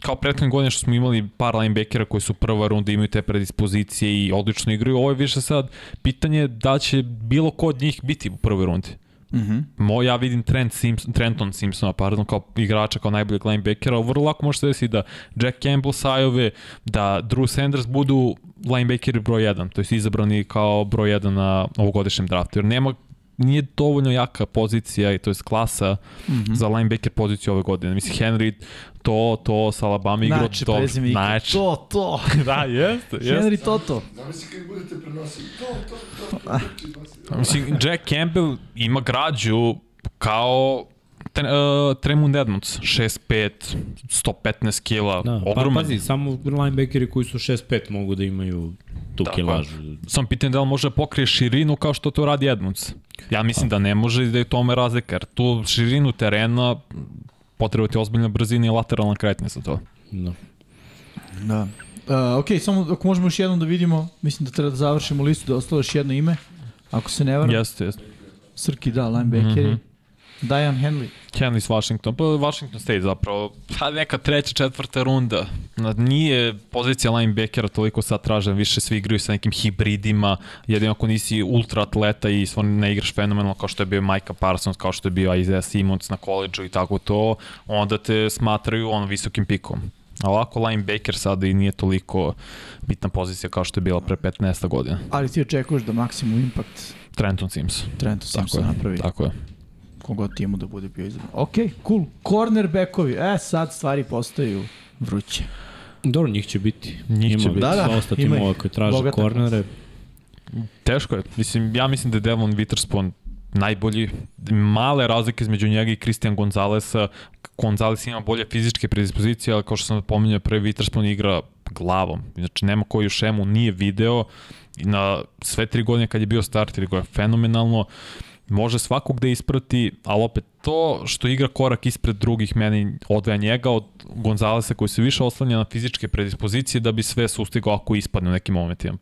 E: kao prethodne godine što smo imali par linebackera koji su prva runda, imaju te predispozicije i odlično igraju. Ovo je više sad pitanje da će bilo ko od njih biti u prvoj rundi.
D: Mhm.
E: Mo, ja vidim Trent Simpson, Trenton Simpsona, pardon, kao igrača, kao najboljeg linebackera, ali vrlo lako može se desiti da Jack Campbell sajove, da Drew Sanders budu linebackeri broj 1, to jest izabrani kao broj 1 na ovogodišnjem draftu, jer nema nije dovoljno jaka pozicija i to jest klasa
D: Mhm.
E: mm -hmm. za linebacker poziciju ove godine. Mislim, Henry to, to, sa Alabama igro,
D: Nači,
E: to,
D: Znači, prezime, Ike. To, to.
E: Znači. (laughs) da, jeste, jeste.
D: Henry Toto.
J: Zamisli kad budete prenosili to, to, to, to, to, to, to.
E: Mislim, Jack Campbell ima građu kao tre, uh, Tremund Edmonds, 6'5", 115 kila,
C: Da, pa,
E: ogroman.
C: pazi, samo linebackeri koji su 6-5 mogu da imaju tu da,
E: pa.
C: kilažu.
E: Sam pitanje da li može da pokrije širinu kao što to radi Edmonds. Ja mislim
C: Pa.
E: da ne može i da je u tome razlika, jer tu širinu terena potreba ti ozbiljna brzina i lateralna kretnja za to.
C: Da.
D: Da. Uh, ok, samo ako možemo još jednom da vidimo, mislim da treba da završimo listu, da je ostalo još jedno ime, ako se ne varam.
E: Jeste, Mhm. jeste.
D: Srki, da, linebackeri. Mm -hmm. Diane Henley.
E: Henley s Washington, pa Washington State zapravo, pa neka treća, četvrta runda. Na- Nije pozicija linebackera toliko sad tražena, više svi igraju sa nekim hibridima, jedino ako nisi ultra atleta i stvarno ne igraš fenomenalno kao što je bio Micah Parsons, kao što je bio Isaiah Simmons na koleđu i tako to, onda te smatraju on visokim pikom. A ovako linebacker sada i nije toliko bitna pozicija kao što je bila pre 15 godina.
D: Ali ti očekuješ da maksimum impact
E: Trenton Simpson.
D: Trentu sam
E: Tako
D: se
E: je,
D: napravi.
E: tako je.
D: Kogod ti mu da bude bio izabran. Ok, cool. Cornerbackovi. E, sad stvari postaju vruće.
C: Dobro, njih će biti.
E: Njih
C: Ima
E: će biti.
C: Da,
D: Da, da,
C: da, ostati
D: ima
C: ima
D: ih.
C: ova koji traže
D: Bogata
C: kornere.
E: Teško je. Mislim, ja mislim da je Devon Witherspoon najbolji. Male razlike između njega i Christian Gonzalesa. Gonzales ima bolje fizičke predispozicije, ali kao što sam pominjao pre, Witherspoon igra glavom. Znači, nema koju šemu nije video. I Na sve tri godine kad je bio starter, igrao je fenomenalno. Može svakog da isprati, ali opet to što igra korak ispred drugih meni odvaja njega od Gonzalesa koji se više oslanja na fizičke predispozicije da bi sve sustigao ako ispadne u nekim momentima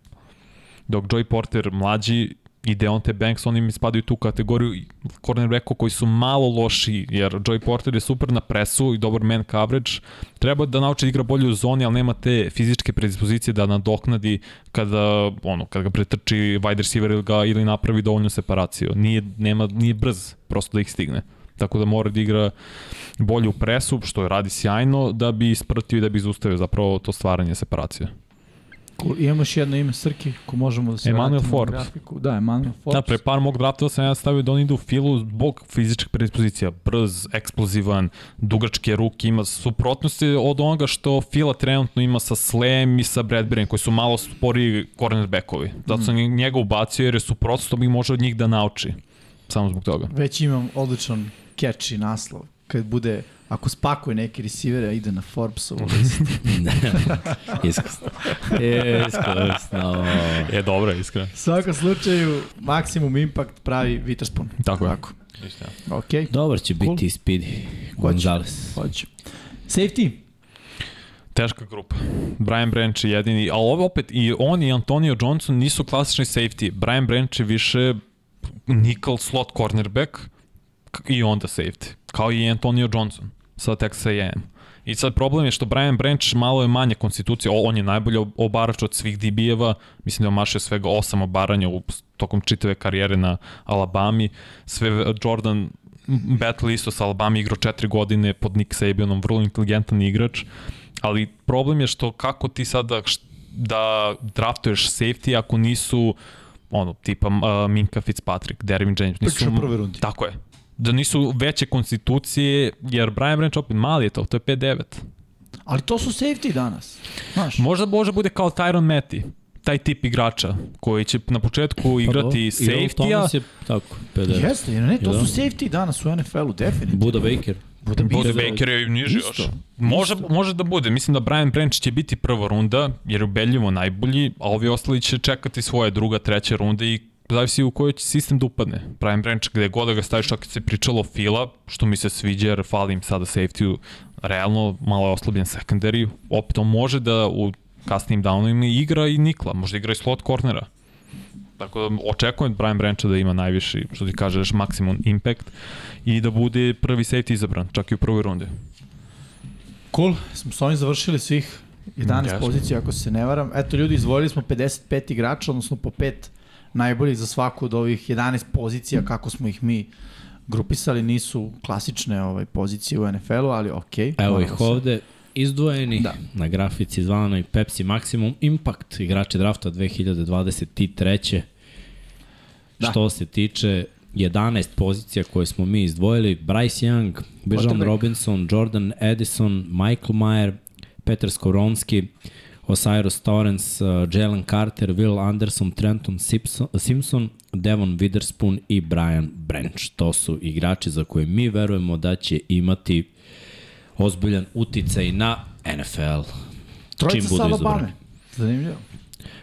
E: dok Joey Porter mlađi i Deonte Banks, oni mi spadaju u tu kategoriju cornerbacka koji su malo loši, jer Joey Porter je super na presu i dobar man coverage. Treba da nauči da igra bolje u zoni, ali nema te fizičke predispozicije da nadoknadi kada, ono, kada ga pretrči wide receiver ili, ga, ili napravi dovoljnu separaciju. Nije, nema, nije brz prosto da ih stigne. Tako da mora da igra bolje u presu, što radi sjajno, da bi ispratio i da bi izustavio zapravo to stvaranje separacije.
D: Cool. Imamo još jedno ime Srki, ko možemo da se
E: Emmanuel
D: vratimo na
E: Forbes.
D: grafiku. Da, Emmanuel Forbes.
E: Da, pre par mog draftova sam ja stavio da on ide u filu zbog fizičkih predispozicija. Brz, eksplozivan, dugačke ruke, ima suprotnosti od onoga što fila trenutno ima sa Slem i sa Bradburyem, koji su malo sporiji cornerbackovi. Zato sam njega ubacio jer je suprotstvo bi može od njih da nauči. Samo zbog toga.
D: Već imam odličan catch i naslov. Kad bude, ako spakuje neke receivere, ide na
E: (laughs)
D: Forbesovu listu.
C: (laughs) Iskusno. Iskusno.
E: E, dobro, je, iskreno.
D: U svakom slučaju, maksimum impact pravi Witherspoon.
E: Tako je.
D: Tako. Ok,
C: Dobar će
D: Cool.
C: biti Speedy Gonzales.
D: hoću. Safety.
E: Teška grupa. Brian Branch je jedini, ali ovo opet i on i Antonio Johnson nisu klasični safety. Brian Branch je više nickel slot cornerback k- i onda safety. Kao i Antonio Johnson sa Texas A&M. I sad problem je što Brian Branch malo je manje konstitucija, O, on je najbolji ob- obarač od svih DB-eva, mislim da je omašio svega osam obaranja u tokom čitave karijere na Alabami, sve Jordan Battle isto sa Alabama igrao četiri godine pod Nick Sabanom, vrlo inteligentan igrač, ali problem je što kako ti sada št- da draftuješ safety ako nisu ono, tipa uh, Minka Fitzpatrick, Dervin James, nisu...
D: Pričaš o prvoj rundi.
E: Tako je. da nisu veće konstitucije, jer Brian Branch opet mali je to, to je 5-9.
D: Ali to su safety danas. Znaš,
E: Možda može bude kao Tyron Matty, taj tip igrača koji će na početku igrati
C: Pa dobro, i Earl
E: safety-a,
C: Thomas je tako, 50.
D: jeste, jer ne, to
C: Da.
D: su safety danas u NFL-u, definitivno.
C: Buda Baker.
E: Bude
C: Isto.
E: Baker je niži
C: Isto.
E: još. Može, može da bude. Mislim da Brian Branch će biti prva runda, jer je ubedljivo najbolji, a ovi ostali će čekati svoje druga, treća runda i zavisi u koji će sistem da upadne. Brian Branch gde god da ga staviš, ako se pričalo o Fila, što mi se sviđa jer falim sada safety-u, realno malo je oslabljen secondary, opet on može da u kasnim downima igra i nikla, možda igra i slot cornera. Tako da očekujem od Brian Brancha da ima najviši, što ti kažeš, maksimum impact i da bude prvi safety izabran, čak i u prvoj rundi.
D: Cool, smo s ovim završili svih 11
E: Jasno.
D: pozicija, ako se ne varam. Eto, ljudi, izvojili smo 55 igrača, odnosno po 5 najboljih za svaku od ovih 11 pozicija, kako smo ih mi grupisali, nisu klasične ovaj, pozicije u NFL-u, ali okej.
C: Evo
D: moramo
C: ih
D: se-
C: ovde, izdvojeni
D: Da.
C: da. na grafici zvanoj Pepsi Maximum Impact, igrači drafta 2023.
D: Da.
C: Da. Što se tiče 11 pozicija koje smo mi izdvojili, Bryce Young, Bijan
D: Quarterback.
C: Robinson, Jordan Edison, Michael Mayer, Peter Skoronski, Osiris Torrance, uh, Jalen Carter, Will Anderson, Trenton Simpson, Simpson, Devon Witherspoon i Brian Branch. To su igrači za koje mi verujemo da će imati ozbiljan uticaj na NFL.
D: Trojica
C: čim budu
D: sa Alabame.
C: izabrani.
D: Zanimljivo.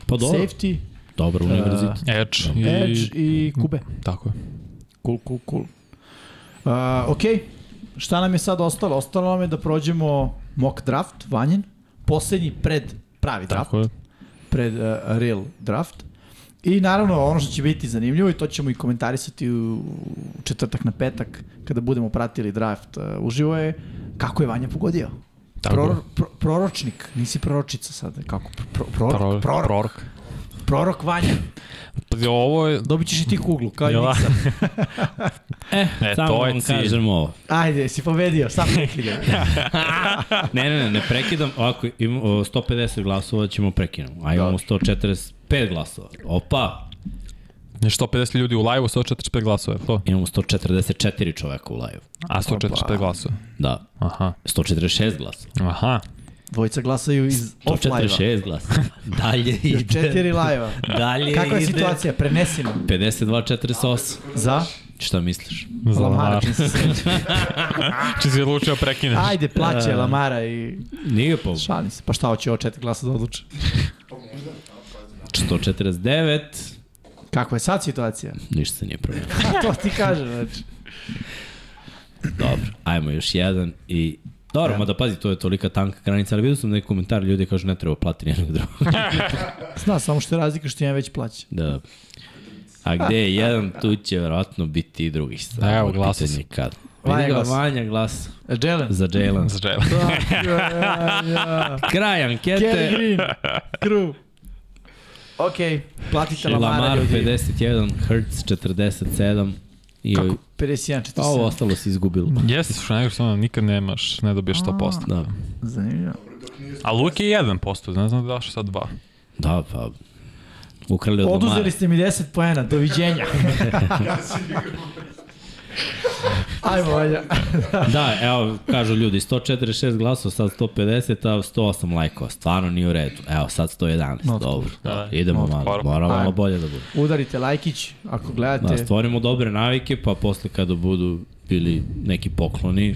C: Pa dobro, Safe.
D: Safety,
C: dobro univerzitet.
D: uh,
E: Edge,
D: Edge
E: i...
D: i Kube.
E: Tako je.
D: Cool, cool, cool. Uh, ok, šta nam je sad ostalo? Ostalo nam je da prođemo mock draft, vanjen, poslednji pred pravi draft.
E: Tako je.
D: pred uh, real draft. I naravno ono što će biti zanimljivo i to ćemo i komentarisati u u četvrtak na petak kada budemo pratili draft uh, uživo je kako je Vanja pogodio.
E: Tako
D: Proror,
E: je.
D: pro, proročnik, nisi proročica sad, kako? Pro, prorok,
E: Prorok.
D: prorok,
E: Prorok.
D: prorok Vanja.
E: Pazi, Pa ovo je...
D: Dobit ćeš i ti kuglu, kao Pa i
E: Jela.
D: Miksa.
C: E,
E: E,
C: samo
E: to je
C: vam
E: cilj.
C: kažem ovo.
D: Ajde, si pobedio, sam nekide.
C: Ne, ne, ne, ne prekidam. Ovako, im, o, 150 glasova ćemo prekinemo. A imamo 145 glasova. Opa,
E: Nešto 50 Znači, ljudi u live-u, 145 glasova je to.
C: imamo 144 čoveka u live.
E: A 145 glasova.
C: Da,
E: Aha.
C: 146 glasova.
E: Aha.
D: Dvojica glasaju iz off-live-a.
C: 146
D: (laughs)
C: glasova. Dalje ide.
D: Još četiri live-a.
C: Dalje
D: Kakva je
C: ide.
D: situacija? Prenesimo.
C: 52-48.
D: Za?
C: Šta misliš?
D: Lamara. čim se setim.
E: Či si odlučio prekineš?
D: Ajde, plaće Lamara i
C: Nije po
D: Šalim se, pa šta hoće ovo četiri glasa da odluče?
C: 149.
D: Kakva je sad situacija? (laughs)
C: Ništa se nije promenilo.
D: A to ti kažem, znači.
C: Dobro, ajmo još jedan i Dobro, mada pazi, to je tolika tanka granica, ali vidio sam neki komentar, ljudi kažu ne treba platiti nijednog drugog.
D: Zna, samo što je razlika što ja već plaća.
C: Da. A gde je jedan, tu će verovatno biti i drugih stvari.
E: Evo, glasa
C: Pitanje Kad.
D: Vanja
C: Vidi ga
D: glasa.
C: Vanja glas
D: Jelen. (laughs)
C: za Jalen.
E: Za Jalen.
C: Kraj
D: Kerry
C: ankete.
D: Green. Crew. Ok, platite Lamara,
C: Lamar
D: ljudi.
C: 51, Hertz 47. I
D: Kako?
C: Kako?
D: 51, 47.
C: Pa ovo ostalo se izgubilo.
E: Jesi, što nego što ono, nikad nemaš, ne dobiješ 100%.
C: Da,
D: Zanimljivo.
E: A Luke je 1%, ne znam da daš sad 2.
C: da pa ukrali od Lamara.
D: Oduzeli ste mi 10 poena,
C: (laughs)
D: doviđenja. Ajmo, Vanja.
C: Da, evo, kažu ljudi, 146 glasova, sad 150, a 108 lajkova. Stvarno nije u redu. Evo, sad 111. Dobro, da, idemo malo.
E: hvala.
C: Mora malo
D: Ajmo.
C: bolje da bude.
D: Udarite lajkić ako gledate.
C: Da, stvorimo dobre navike, pa posle kada budu bili neki pokloni,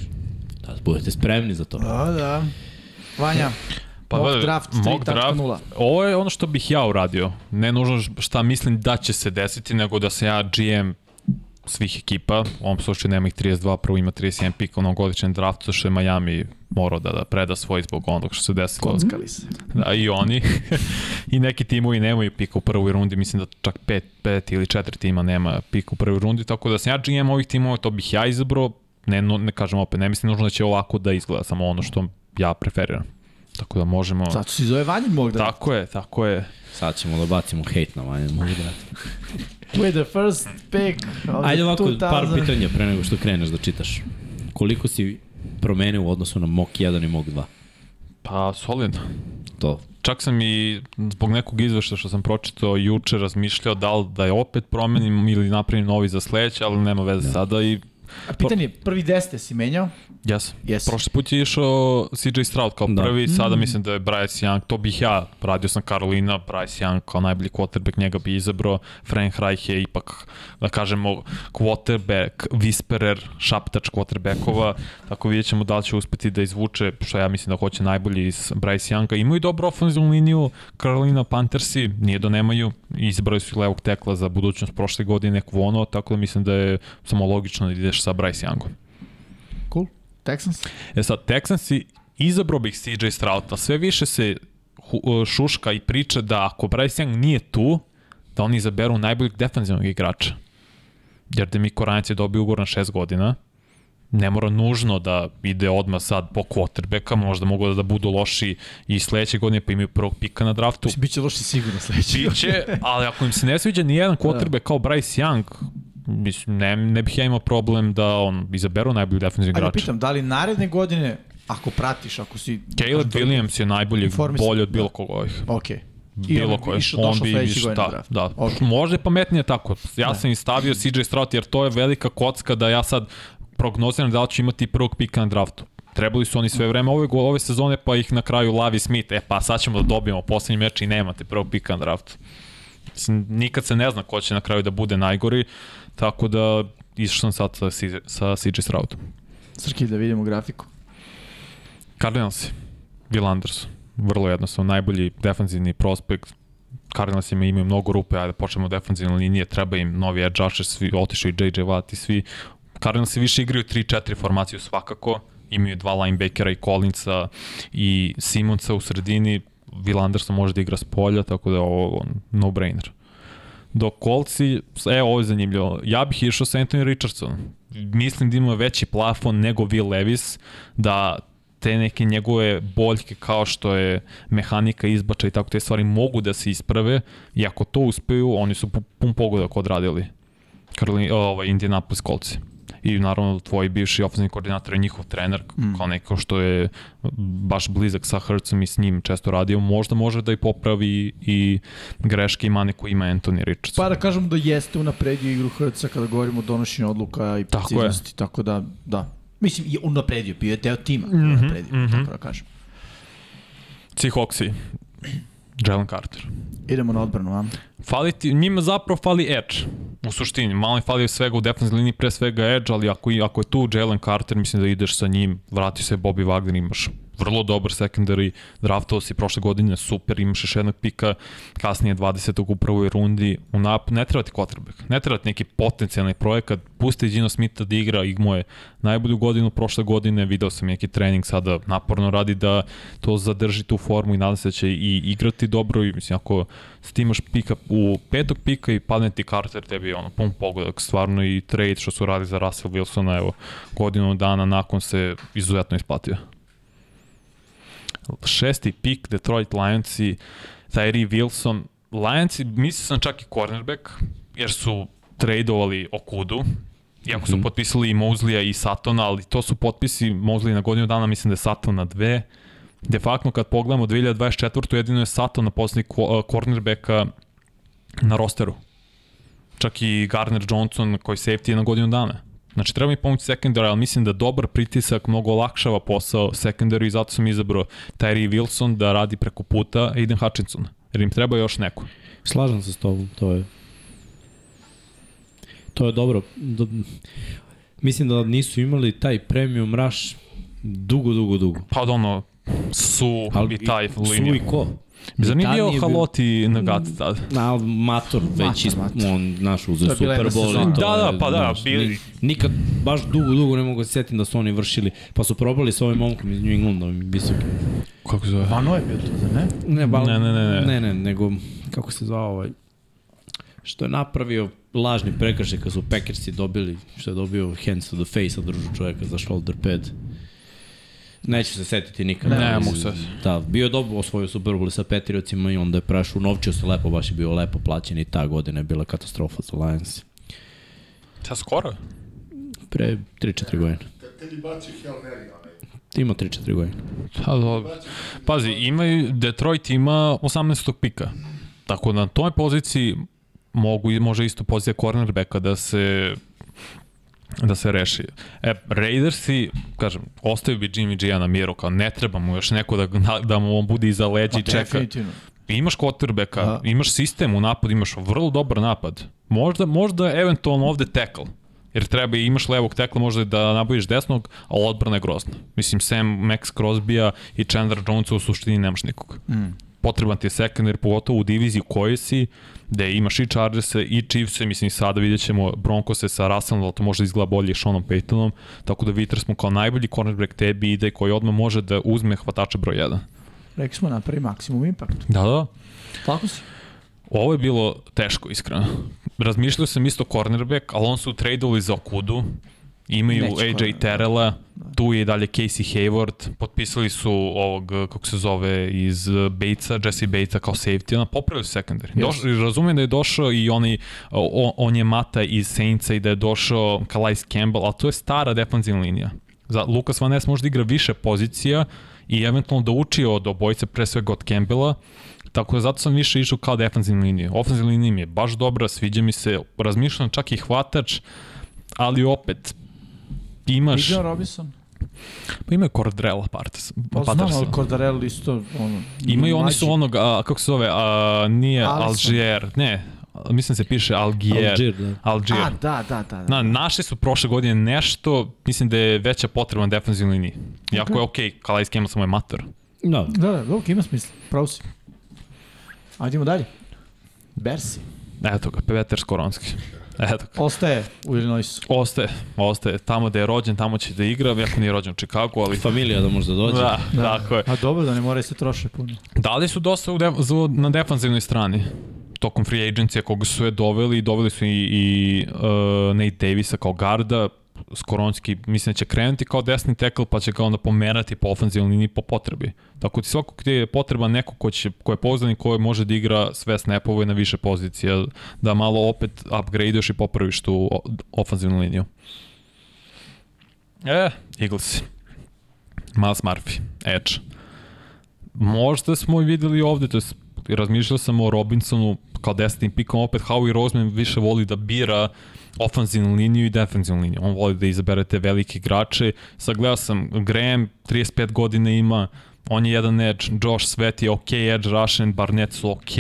C: da budete spremni za to.
D: Da, da. Vanja, Mock
E: Pa gledaj,
D: draft
E: mock
D: 3.0.
E: Ovo je ono što bih ja uradio. Ne nužno š- šta mislim da će se desiti, nego da se ja GM svih ekipa, u ovom slučaju nema ih 32, prvo ima 31 pik onogodičan draft, zato što je Miami morao da, da preda svoj zbog onog što se desilo.
D: kockali se.
E: Da, i oni. (laughs) I neki timovi nemaju pika u prvoj rundi, mislim da čak pet, pet ili četiri tima nema pika u prvoj rundi, tako da sam ja GM ovih timova, to bih ja izabrao, ne, no- ne kažem opet, ne mislim nužno da će ovako da izgleda, samo ono što ja preferiram. Tako da možemo...
D: Zato se i zove Vanjin mog da.
E: Tako je, tako je.
C: Sad ćemo da bacimo hejt na vanje. da
D: With the first pick of
C: Ajde
D: the
C: ovako,
D: 2000.
C: par pitanja pre nego što kreneš da čitaš. Koliko si promenio u odnosu na Mok 1 i Mok 2?
E: Pa, solidno.
C: To.
E: Čak sam i zbog nekog izvešta što sam pročitao juče razmišljao da li da je opet promenim ili napravim novi za sledeće, ali nema veze sada i
D: A pitanje, prvi deste si menjao?
E: Jes.
D: Jes.
E: Prošli put je išao CJ Stroud kao
C: Da.
E: prvi, sada mislim da je Bryce Young, to bih ja, radio sam Karolina, Bryce Young kao najbolji quarterback, njega bi izabrao, Frank Reich je ipak, da kažemo, quarterback, whisperer, šaptač quarterbackova, tako vidjet ćemo da li će uspeti da izvuče, što ja mislim da hoće najbolji iz Bryce Younga. Imaju dobru ofenzivnu liniju, Karolina Panthersi, nije da nemaju, izbrali su i levog tekla za budućnost prošle godine, Kvono, tako da mislim da je samo logično da ideš sa Bryce Youngom.
D: Cool. Texans?
E: E sad, Texansi, izabrao bih CJ Strouta. Sve više se hu- e, šuška i priča da ako Bryce Young nije tu, da oni izaberu najboljeg defensivnog igrača. Jer Demiko Ranac je dobio ugor na 6 godina. Ne mora nužno da ide odmah sad po quarterbacka, možda mogu da budu loši i sledeće godine pa imaju prvog pika na draftu.
D: Mislim, Biće loši sigurno sledeći.
E: Biće, ali ako im se ne sviđa
D: Da.
E: nijedan quarterback kao Bryce Young, mislim, ne, ne bih ja imao problem da on izaberu najboljeg defensivnog
D: Ajde,
E: igrača.
D: pitam, da li naredne godine, ako pratiš, ako si...
E: Caleb
D: Kažem,
E: Williams je najbolji,
D: Informisan,
E: bolji od bilo
D: da.
E: kog ovih.
D: Ok. I
E: Bilo
D: on bi
E: koje.
D: išao,
E: On
D: došao
E: bi
D: sledeće
E: išao,
D: godine na
E: da,
D: draft.
E: da.
D: Ok. Da.
E: Možda je pametnije tako. Ja sam im stavio CJ Stroud jer to je velika kocka da ja sad prognoziram da li ću imati prvog pika na draftu. Trebali su oni sve vreme ove, go- ove sezone, pa ih na kraju lavi Smith. E pa sad ćemo da dobijemo poslednji meč i nemate prvog pika na draftu. Mislim, Nikad se ne zna ko će na kraju da bude najgori, tako da išao sam sad sa, CJ sa CJ Stroudom.
D: Srki, da vidimo grafiku.
E: Cardinals, Will Anderson, vrlo jednostavno, najbolji defanzivni prospekt, Cardinals ima, imaju mnogo rupe, ajde počnemo od defanzivne linije, treba im novi edge rusher, svi, otišao i JJ Watt i svi. Cardinals više igraju 3-4 formaciju svakako, imaju dva linebackera i Collinsa i Simonsa u sredini, Will Anderson može da igra s polja, tako da je ovo no-brainer. Dok Kolci, e, ovo je zanimljivo, ja bih išao sa Anthony Richardsonom. Mislim da ima veći plafon nego Will Levis, da te neke njegove boljke kao što je mehanika izbača i tako te stvari mogu da se isprave i ako to uspeju, oni su pu- pun pogodak odradili. Karolin, ovaj, Indianapolis Colts. I naravno tvoji bivši ofenzivni koordinator je njihov trener, mm. kao neko što je baš blizak sa Hertzom i s njim često radio, možda može da i popravi i greške i mane koje ima Anthony Richardson.
D: Pa da kažemo da jeste unapredio igru HC kada govorimo o donošenju odluka i
E: Tako je.
D: preciznosti, tako, da, da. Mislim, je unapredio, bio je deo tima, mm
E: Mhm,
D: -hmm, unapredio, mm -hmm. tako da kažem.
E: Seahawksi, Jalen Carter.
D: Idemo na odbranu, vam.
E: Fali ti, njima zapravo fali edge, u suštini. Malo im fali svega u defensivnoj liniji, pre svega edge, ali ako, i- ako je tu Jalen Carter, mislim da ideš sa njim, vrati se Bobby Wagner, imaš vrlo dobar secondary, draftovao si prošle godine, super, imaš još jednog pika, kasnije 20. u prvoj rundi, u nap, ne treba ti quarterback, ne treba ti neki potencijalni projekat, pusti Gino Smitha da igra, igmo je najbolju godinu prošle godine, video sam neki trening sada naporno radi da to zadrži tu formu i nadam se da će i igrati dobro i mislim ako ti imaš pika u petog pika i padne ti Carter tebi je ono pun pogodak stvarno i trade što su radili za Russell Wilsona evo godinu dana nakon se izuzetno isplatio šesti pik Detroit Lionsi, Tyree Wilson. Lionsi, mislio sam čak i cornerback, jer su tradeovali Okudu, iako su potpisali i Moslija i Satona, ali to su potpisi Mosley na godinu dana, mislim da je Saton na dve. De facto, kad pogledamo 2024. jedino je Saton na poslednji ko- eh, cornerbacka na rosteru. Čak i Garner Johnson koji safety je na godinu dana. Znači, treba mi pomoći secondary, ali mislim da dobar pritisak mnogo olakšava posao secondary i zato sam izabrao Tyree Wilson da radi preko puta Aiden Hutchinsona. Jer im treba još neko.
C: Slažem se s tobom, to je... To je dobro. Do, mislim da nisu imali taj premium rush dugo, dugo, dugo.
E: Pa od ono, su
C: Al-
E: i taj
C: Su
E: linija.
C: i ko?
E: Zar nije
C: Britanija
E: bio
C: je bio-
E: Haloti na gat tad?
C: Na, mator, već is, on naš
D: To
C: uzeo
D: je bila
C: Super
D: jedna
C: Bowl.
D: sezona.
C: i to
E: Da,
C: je,
E: da, pa da,
C: znaš,
E: bili-
C: ni- Nikad, baš dugo, dugo ne mogu da se setim da su oni vršili. Pa su probali s ovim momkom iz New Englanda, ovim visokim.
E: Kako zove?
D: Vano je bio to, zar ne?
C: Ne, bal,
E: Ne, ne, ne, ne.
C: ne, ne, nego, kako se zvao ovaj, što je napravio lažni prekršaj kad su Packersi dobili, što je dobio hands to the face od družu čoveka za shoulder pad. Neću se setiti nikad.
E: Ne,
C: ali-
E: ne mogu se setiti.
C: Da, bio je dobro osvojio Super Bowl sa Petriocima i onda je prešao, novčio se lepo, baš je bio lepo plaćen i ta godina je bila katastrofa za Lions.
E: Sa skoro?
C: Pre 3-4 godine.
J: Kad tebi bacio Hail Mary, onaj,
C: Ima 3-4 godine.
E: Pa dobro. Pazi, imaju, Detroit ima 18. pika. Tako da na toj poziciji mogu, može isto pozicija cornerbacka da se da se reši. E, Raidersi, kažem, ostaju bi Jimmy G-a na miru, kao ne treba mu još neko da, da, da mu on bude iza leđa i čeka.
D: Pa, Definitivno.
E: Imaš quarterbacka,
D: Da.
E: imaš sistem u napad, imaš vrlo dobar napad. Možda, možda eventualno ovde tackle. Jer treba i imaš levog tekla možda i da nabaviš desnog, ali odbrana je grozna. Mislim, sem Max Crosbya i Chandler Jonesa u suštini nemaš nikog. Mm. Potreban ti je secondary, pogotovo u diviziji u kojoj si, gde imaš i Chargersa i Chiefsa, mislim i sada vidjet ćemo Broncose sa Russellom, da li to možda izgleda bolje i Seanom Paytonom, tako da Viters smo kao najbolji cornerback tebi ide koji odmah može da uzme hvatača broj 1.
D: Rekli smo napravi maksimum impact.
E: Da, da.
D: Tako si.
E: Ovo je bilo teško, iskreno. Razmišljao sam isto cornerback, ali on su tradeovali za Okudu. Imaju
D: Neće
E: AJ
D: cornerback.
E: Terrella, tu je i dalje Casey Hayward, potpisali su ovog, kako se zove, iz eh, Batesa, Jesse Batesa kao safety, ona popravili su secondary. Doš, razumijem da je došao i onaj, o- on je Mata iz Saintsa i da je došao Calais Campbell, ali to je stara defensivna linija. Za Lucas Van Ness možda igra više pozicija i eventualno da uči od obojice, pre svega od Campbella, Tako da zato sam više išao kao defensivnu liniju. Ofensivna linija mi je baš dobra, sviđa mi se, razmišljam čak i hvatač, ali opet, imaš,
D: Bijan Robinson.
E: pa imaju Cordrella Partes,
D: Pa znam, ali
E: Patterson.
D: Cordarell isto, ono...
E: Imaju, oni su
D: mlađi.
E: onog, a, kako se zove, a, nije
D: Alisson.
E: Algier, ne, mislim se piše Algier.
C: Algier, da.
E: Algier.
D: A, da, da, da. da.
E: Na, naše su prošle godine nešto, mislim da je veća potreba na defensivnoj liniji. Iako je okej, okay, Kalais Campbell samo je mator.
C: No,
D: Da, da, dobro, ima smisla. Pravo si. Ajdemo dalje. Bersi.
E: Eto ga, Peter Skoronski. Eto ga.
D: Ostaje u Illinoisu.
E: Ostaje, ostaje. Tamo da je rođen, tamo će da igra, iako nije rođen u Čikagu, ali...
C: familija da može da dođe.
E: Da, da, tako je.
D: A dobro da ne moraju se troše puno.
E: Da li su dosta u def za- na defanzivnoj strani? Tokom free agencija koga su je doveli, doveli su i, i uh, Nate Davisa kao garda, Skoronski mislim da će krenuti kao desni tackle pa će ga onda pomerati po ofenzivnoj liniji po potrebi. Tako da ti svako gde je potreba neko ko, će, ko je poznan i ko može da igra sve snapove na više pozicija, da malo opet upgradeuješ i popraviš tu o- ofenzivnu liniju. E, Eaglesi. Miles Murphy, Edge. Možda smo i videli ovde, to jest razmišljao sam o Robinsonu kao desnim pikom, opet Howie Roseman više voli da bira ofanzivnu liniju i defensivnu liniju. On voli da izabere te velike igrače. Sad gledao sam, Graham 35 godina ima, on je jedan edge, Josh Svet je ok, edge Russian, Barnett su ok.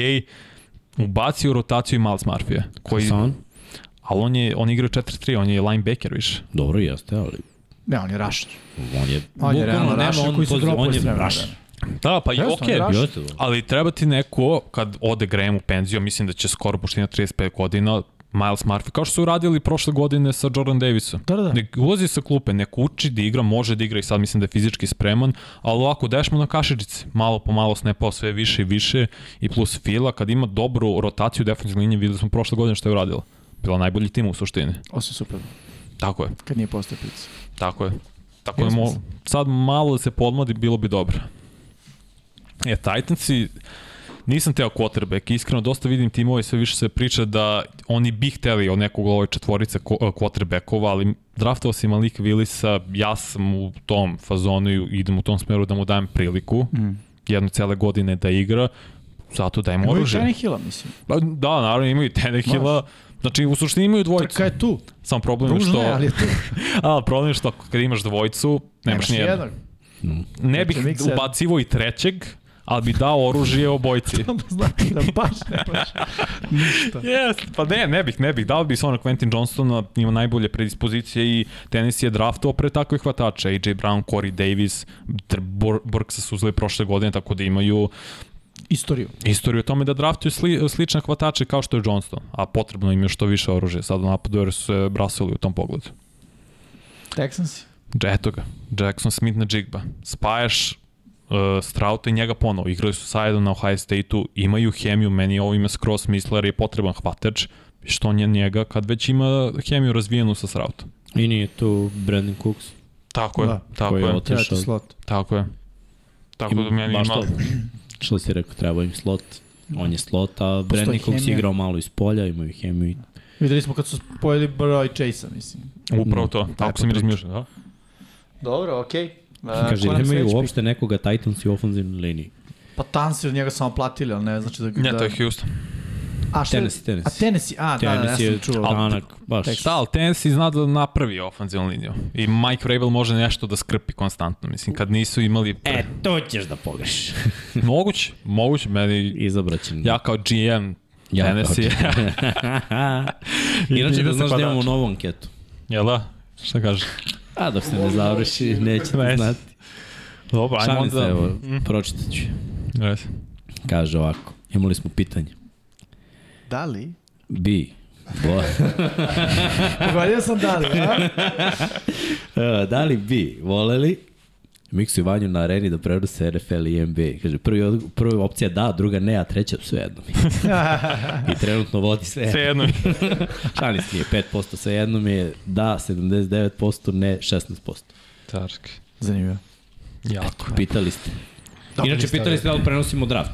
E: Ubaci u rotaciju i Miles Murphy. Koji,
C: Son?
E: ali on, je, on igra 4-3, on je linebacker više.
C: Dobro jeste, ali
D: Ne, on je rašan.
C: on je...
D: On
C: bukvalno
D: je realno
C: nema
D: rašan
C: on
D: koji se
C: poziciju,
D: dropuje
C: On je
D: s vremena.
C: rašan.
E: Da, pa i
D: Jeste, on je
E: okej,
D: Russian.
C: Jeste, da.
E: Ali treba ti neko, kad ode Graham u penziju, mislim da će skoro pošto ima 35 godina, Miles Murphy, kao što su uradili prošle godine sa Jordan Davisom.
D: Da, da, da.
E: Nek ulazi sa klupe, nek uči da igra, može da igra i sad mislim da je fizički spreman, ali ovako daješ mu na kašičici, malo po malo snapao sve više i više i plus Fila, kad ima dobru rotaciju defensivne linije, videli smo prošle godine što je uradila. Bila najbolji tim u suštini.
D: Osim super.
E: Tako je,
D: Kad nije postao pizza.
E: tako je. Tako da
D: Jasno.
E: mo, sad malo da se podmladi, bilo bi dobro. E, Titansi, nisam teo quarterback, iskreno dosta vidim timove i sve više se priča da oni bi hteli od nekog ove četvorice ko- quarterbackova, ali draftovao si Malik Willisa, ja sam u tom fazonu i idem u tom smeru da mu dajem priliku, mm. jednu cele godine da igra, zato dajem
D: Ovo je
E: oružje.
D: Johnny Hilla, mislim.
E: Pa, Da, naravno imaju Tenehila, znači u suštini imaju dvojicu.
D: Trka je tu.
E: Sam problem je
D: Ružno
E: što...
D: je, ali je tu.
E: A, problem je što ako- kad imaš dvojicu, nemaš
D: ni
E: nijednog.
D: (laughs)
E: Ne bih
D: Znači, mikser.
E: ubacivo i trećeg, ali bi dao oružje obojci.
D: (laughs) Onda znači da baš ne baš.
E: Yes, pa ne, ne bih, ne bih. Dao bi se ono Quentin Johnston ima najbolje predispozicije i tenis je draftovao pre takvih hvatača. AJ Brown, Corey Davis, Dr- Bor- Burksa su uzeli prošle godine, tako da imaju
D: Istoriju.
E: istoriju o tome da draftuju sli, slične hvatače kao što je Johnston, a potrebno im je što više oružja. Sad u napadu jer su se brasili u tom pogledu.
D: Texans.
E: Eto ga, Jackson Smith na Jigba. Spajaš uh, Strauta i njega ponovo. Igrali su sajdo na Ohio State-u, imaju hemiju, meni ovo ime skroz smisla jer je potreban hvatač. Što nije njega kad već ima hemiju razvijenu sa Strautom?
C: I nije tu Brandon Cooks.
E: Tako je, da,
D: Da,
E: tako
C: koji
E: je,
C: je
E: je,
C: otišao.
D: Treti slot.
E: tako je. Tako da meni
C: baš
E: ima...
C: to. Što si rekao, treba im slot. On je slot, a Brandon Cooks je
D: hemija.
C: igrao malo iz polja, imaju hemiju. i-
D: Videli smo kad su spojili broj Chase-a, mislim.
E: Upravo to, tako sam i razmišljao. Da?
D: Dobro, okej.
C: (laughs)
E: E,
C: Kaže, nemaju uopšte nekoga Titans i ofenzivne linije.
D: Pa Tansi od njega samo platili, ali ne znači da...
E: Ne,
D: da...
E: to je Houston.
D: A šta?
C: Tennessee, Tennessee.
D: A Tennessee, a da, da, ja
M: Tennessee
D: sam
M: je
D: čuo.
M: tanak, baš.
D: Tekst.
E: Da, ali Tennessee zna da napravi ofanzivnu liniju. I Mike Vrabel može nešto da skrpi konstantno. Mislim, kad nisu imali... Pre...
C: E, to ćeš da (laughs) pogrešiš.
E: E. Moguće, moguće. Meni,
C: Izabraćem.
E: ja kao GM
C: Ja
E: ja,
C: kao
E: Tennessee. (laughs)
C: Inače,
E: ide
C: da
E: se
C: znaš da imamo
E: padač.
C: novu anketu.
E: Jel da? Šta kažeš?
C: A dok se ne
E: (laughs)
C: završi, nećete
E: Ves.
C: znati.
E: Dobro, ajmo
C: Šalim
E: onda... Mhm.
C: se, evo, pročitat ću.
E: Res.
C: Kaže ovako, imali smo pitanje.
D: Da li?
C: Bi, bo,
D: Pogodio sam da li, a?
C: (laughs) E, da li bi voleli Miksu i Vanju na areni da prevrse RFL i NBA? Kaže, prvi, odg- prva opcija da, druga ne, a treća sve jedno mi. je. I trenutno vodi sve.
E: Sve
C: sve.
E: jedno mi.
C: Šalis mi je 5%, sve jedno mi je da, 79%, ne, 16%.
E: Tarski.
D: Zanimljivo.
E: Jako.
C: Pitali ste.
D: Dobro,
M: Inače,
D: niste
M: pitali ste da li prenosimo draft.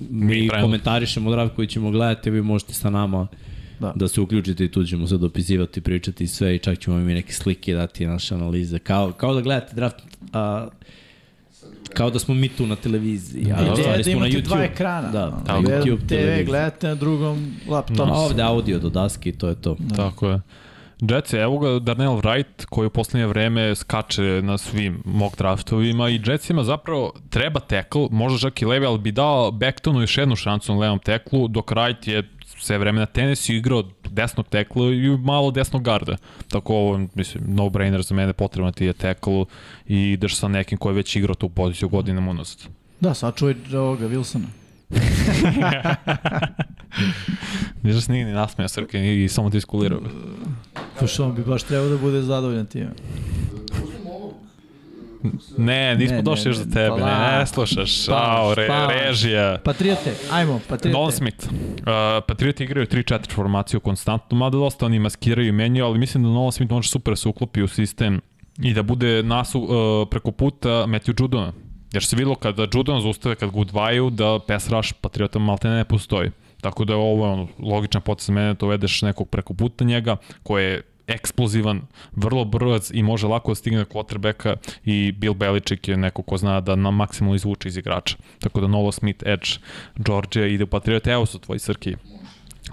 M: Mi,
E: pravimo-
C: Komentarišemo draft koji ćemo gledati, vi možete sa nama
D: Da.
C: da, da se uključite i tu ćemo se dopisivati, pričati i sve i čak ćemo vam i neke slike dati naše analize. Kao, kao da gledate draft, a, kao da smo mi tu na televiziji, a
D: Ideja
C: da,
D: je
C: stvari
D: da
C: smo na
D: imate
C: YouTube.
D: dva ekrana.
C: Da,
D: na
C: na YouTube,
D: TV
C: televiziji.
D: gledate na drugom laptopu.
C: A ovde audio do daske i to je to.
E: Tako je. Jets je, evo ga Darnell Wright koji u poslednje vreme skače na svim mock draftovima i Jetsima zapravo treba tackle, možda čak i levi, ali bi dao Bektonu još jednu šancu na levom teklu, dok Wright je sve vreme na tenisu igrao desnog tekla i malo desnog garda. Tako ovo, mislim, no-brainer za mene, potrebno ti je tekl i ideš sa nekim koji je već igrao tu poziciju godinama unazad.
D: Da, sad čuje ovoga Wilsona.
E: Ništa se nije ni nasmeo Srke i samo ti iskulirao.
D: Pošto on bi baš trebao da bude zadovoljan time.
E: Ne, nismo
D: Ne, ne,
E: došli još
D: ne, Pa,
E: do tebe, ne,
D: polako.
E: ne slušaš. Šao,
D: Spavaš,
E: re,
D: spavaš.
E: režija.
D: Patriote, ajmo, Patriote.
E: Nolan Smith. Uh, Patrioti igraju 3-4 formaciju konstantno, mada dosta oni maskiraju i menjaju, ali mislim da Nolan Smith može super da se uklopi u sistem i da bude nasu, uh, preko puta Matthew Judona. Jer se videlo kada Judon zaustave, kad ga udvaju, da pass rush Patriota malte ne postoji. Tako da je ovo je ono, logičan potez za mene, da uvedeš nekog preko puta njega, koji je eksplozivan, vrlo brz i može lako da stigne quarterbacka i Bill Belichick je neko ko zna da na maksimalno izvuče iz igrača. Tako da Nola Smith, Edge, Georgia ide u Patriot. Evo su tvoji Srki.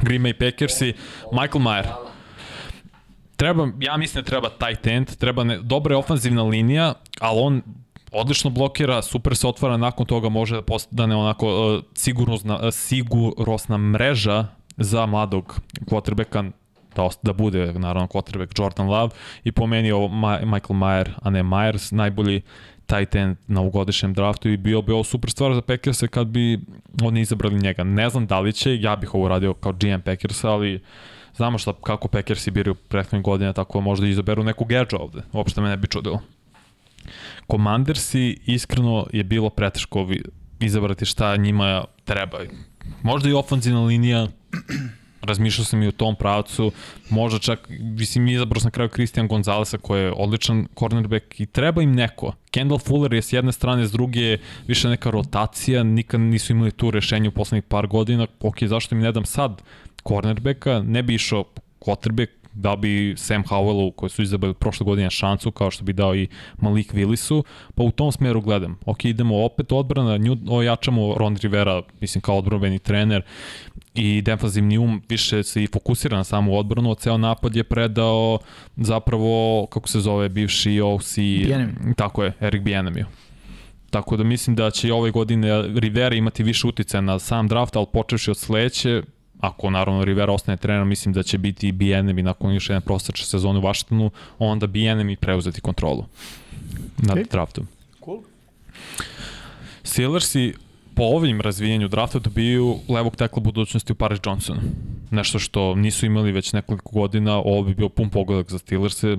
E: Green Bay Packers i Michael Mayer. Treba, ja mislim da treba tight end, treba ne, dobra je ofanzivna linija, ali on odlično blokira, super se otvara, nakon toga može da postane onako uh, sigurnosna, uh, sigurosna mreža za mladog quarterbacka da, ost- da bude naravno quarterback Jordan Love i po meni ovo Ma Michael Mayer, a ne Myers, najbolji tight end na ovogodišnjem draftu i bio bi ovo super stvar za Packersa kad bi oni izabrali njega. Ne znam da li će, ja bih ovo radio kao GM Packersa, ali znamo šta, kako Packersi biraju prethodnih godina, tako možda izaberu nekog edge ovde. Uopšte me ne bi čudilo. Commandersi iskreno je bilo preteško vi- izabrati šta njima treba. Možda i ofanzivna linija, razmišljao sam i u tom pravcu, možda čak, mislim, izabrao sam na kraju Christian Gonzalesa koji je odličan cornerback i treba im neko. Kendall Fuller je s jedne strane, s druge je više neka rotacija, nikad nisu imali tu rešenje u poslednjih par godina, ok, zašto mi ne dam sad cornerbacka, ne bi išao quarterback, da bi Sam Howellu koji su izabrali prošle godine šancu kao što bi dao i Malik Willisu pa u tom smeru gledam, ok idemo opet odbrana, nju ojačamo Ron Rivera mislim kao odbrobeni trener i defanzivni um više se i fokusira na samu odbranu, a ceo napad je predao zapravo kako se zove bivši OC
D: Bienemi.
E: tako je, Eric Bienemiju Tako da mislim da će i ove godine Rivera imati više uticaja na sam draft, ali počevši od sledeće, ako naravno Rivera ostane trener, mislim da će biti i BNM i nakon još jedne prostače sezone u Vašingtonu, onda BNM i preuzeti kontrolu nad
D: Ok.
E: draftom. Steelersi po ovim razvijenju drafta dobiju levog tekla budućnosti u Paris Johnsonu. Nešto što nisu imali već nekoliko godina, ovo bi bio pun pogodak za Steelerse.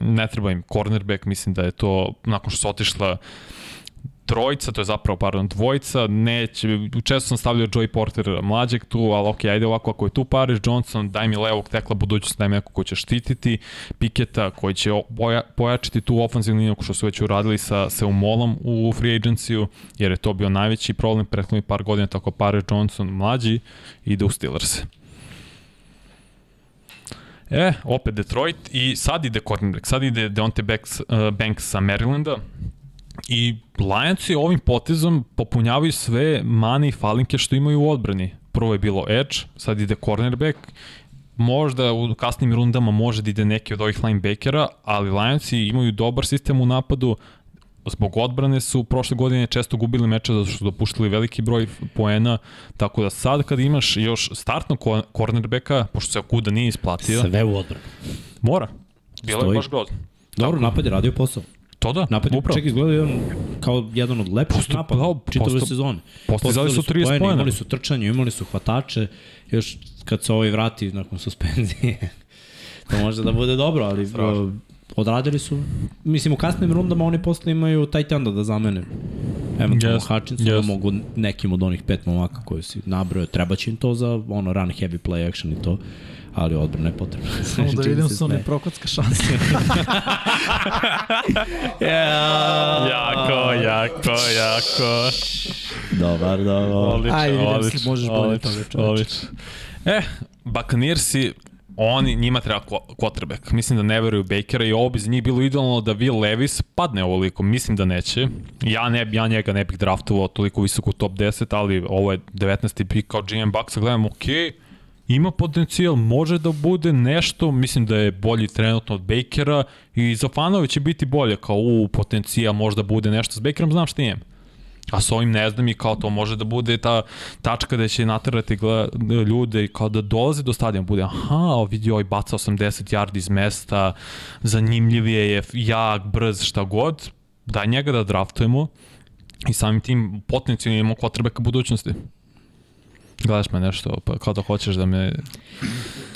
E: Ne treba im cornerback, mislim da je to nakon što su otišla trojica, to je zapravo, pardon, dvojica, neće, često sam stavljao Joey Porter mlađeg tu, ali ok, ajde ovako, ako je tu Paris Johnson, daj mi levog tekla budućnost, daj mi neko ko će štititi, Piketa koji će o- poja, pojačiti tu ofenzivnu liniju, kao što su već uradili sa Seumolom u free agenciju, jer je to bio najveći problem prethodnih par godina, tako Paris Johnson mlađi ide u Steelers. E, opet Detroit i sad ide cornerback, sad ide Deonte Banks, uh, Banks sa Marylanda, I Lionsi ovim potezom popunjavaju sve mane i falinke što imaju u odbrani. prvo je bilo edge, sad ide cornerback, možda u kasnim rundama može da ide neki od ovih linebackera, ali Lionsi imaju dobar sistem u napadu, zbog odbrane su prošle godine često gubili meče zato što su dopuštili veliki broj poena, tako da sad kad imaš još startnog ko- cornerbacka, pošto se Okuda nije isplatio,
C: Sve u odbranu.
E: mora. Bilo je
C: Stoji.
E: baš grozno.
C: Dobro, napad je radio posao.
E: To da,
C: Napad je
E: upravo.
C: čak izgledao jedan, kao jedan od lepših
E: Posto-
C: napada
E: da,
C: čitave
E: posto-
C: sezone.
E: postizali su 30
C: poene,
E: poena.
C: Imali su trčanje, imali su hvatače, još kad se ovaj vrati nakon suspenzije, (laughs) to može da bude dobro, ali
E: (laughs)
C: uh, odradili su, mislim u kasnim rundama oni posle imaju taj tenda da zamene. Eventualno
E: Jest,
C: yes, Hutchinson
E: jest.
C: yes. mogu nekim od onih pet momaka koji si nabrojao, treba će im to za ono run heavy play action i to, ali odbrana je potrebna. (laughs)
D: Samo da
C: Čim
D: vidim
C: se
D: su
C: smeje.
D: ne prokocka
C: (laughs)
D: šansa.
E: Jako, jako, jako.
C: Dobar, dobar.
E: Odlično,
D: Aj, Williams,
E: odlično,
D: možeš bolje
E: odlično,
D: toga, čoveče.
E: odlično. E, Buccaneersi, oni, njima treba kvo- quarterback. Mislim da ne veruju Bakera i ovo bi za njih bilo idealno da Will Levis padne ovoliko. Mislim da neće. Ja, ne, bi- ja njega ne bih draftovao toliko visoko u top 10, ali ovo je 19. pik kao GM Bucks, gledam, okej, ima potencijal, može da bude nešto, mislim da je bolji trenutno od Bakera i za fanove će biti bolje, kao u potencijal možda bude nešto s Bakerom, znam šta imam. A s ovim ne znam i kao to može da bude ta tačka da će natrati gleda, ljude i kao da dolaze do stadiona bude aha, o, vidi ovaj baca 80 yardi iz mesta, zanimljivije je, jak, brz, šta god, daj njega da draftujemo i samim tim potencijalno imamo kvotrbeka budućnosti. Gledaš me nešto, pa kao da hoćeš da me...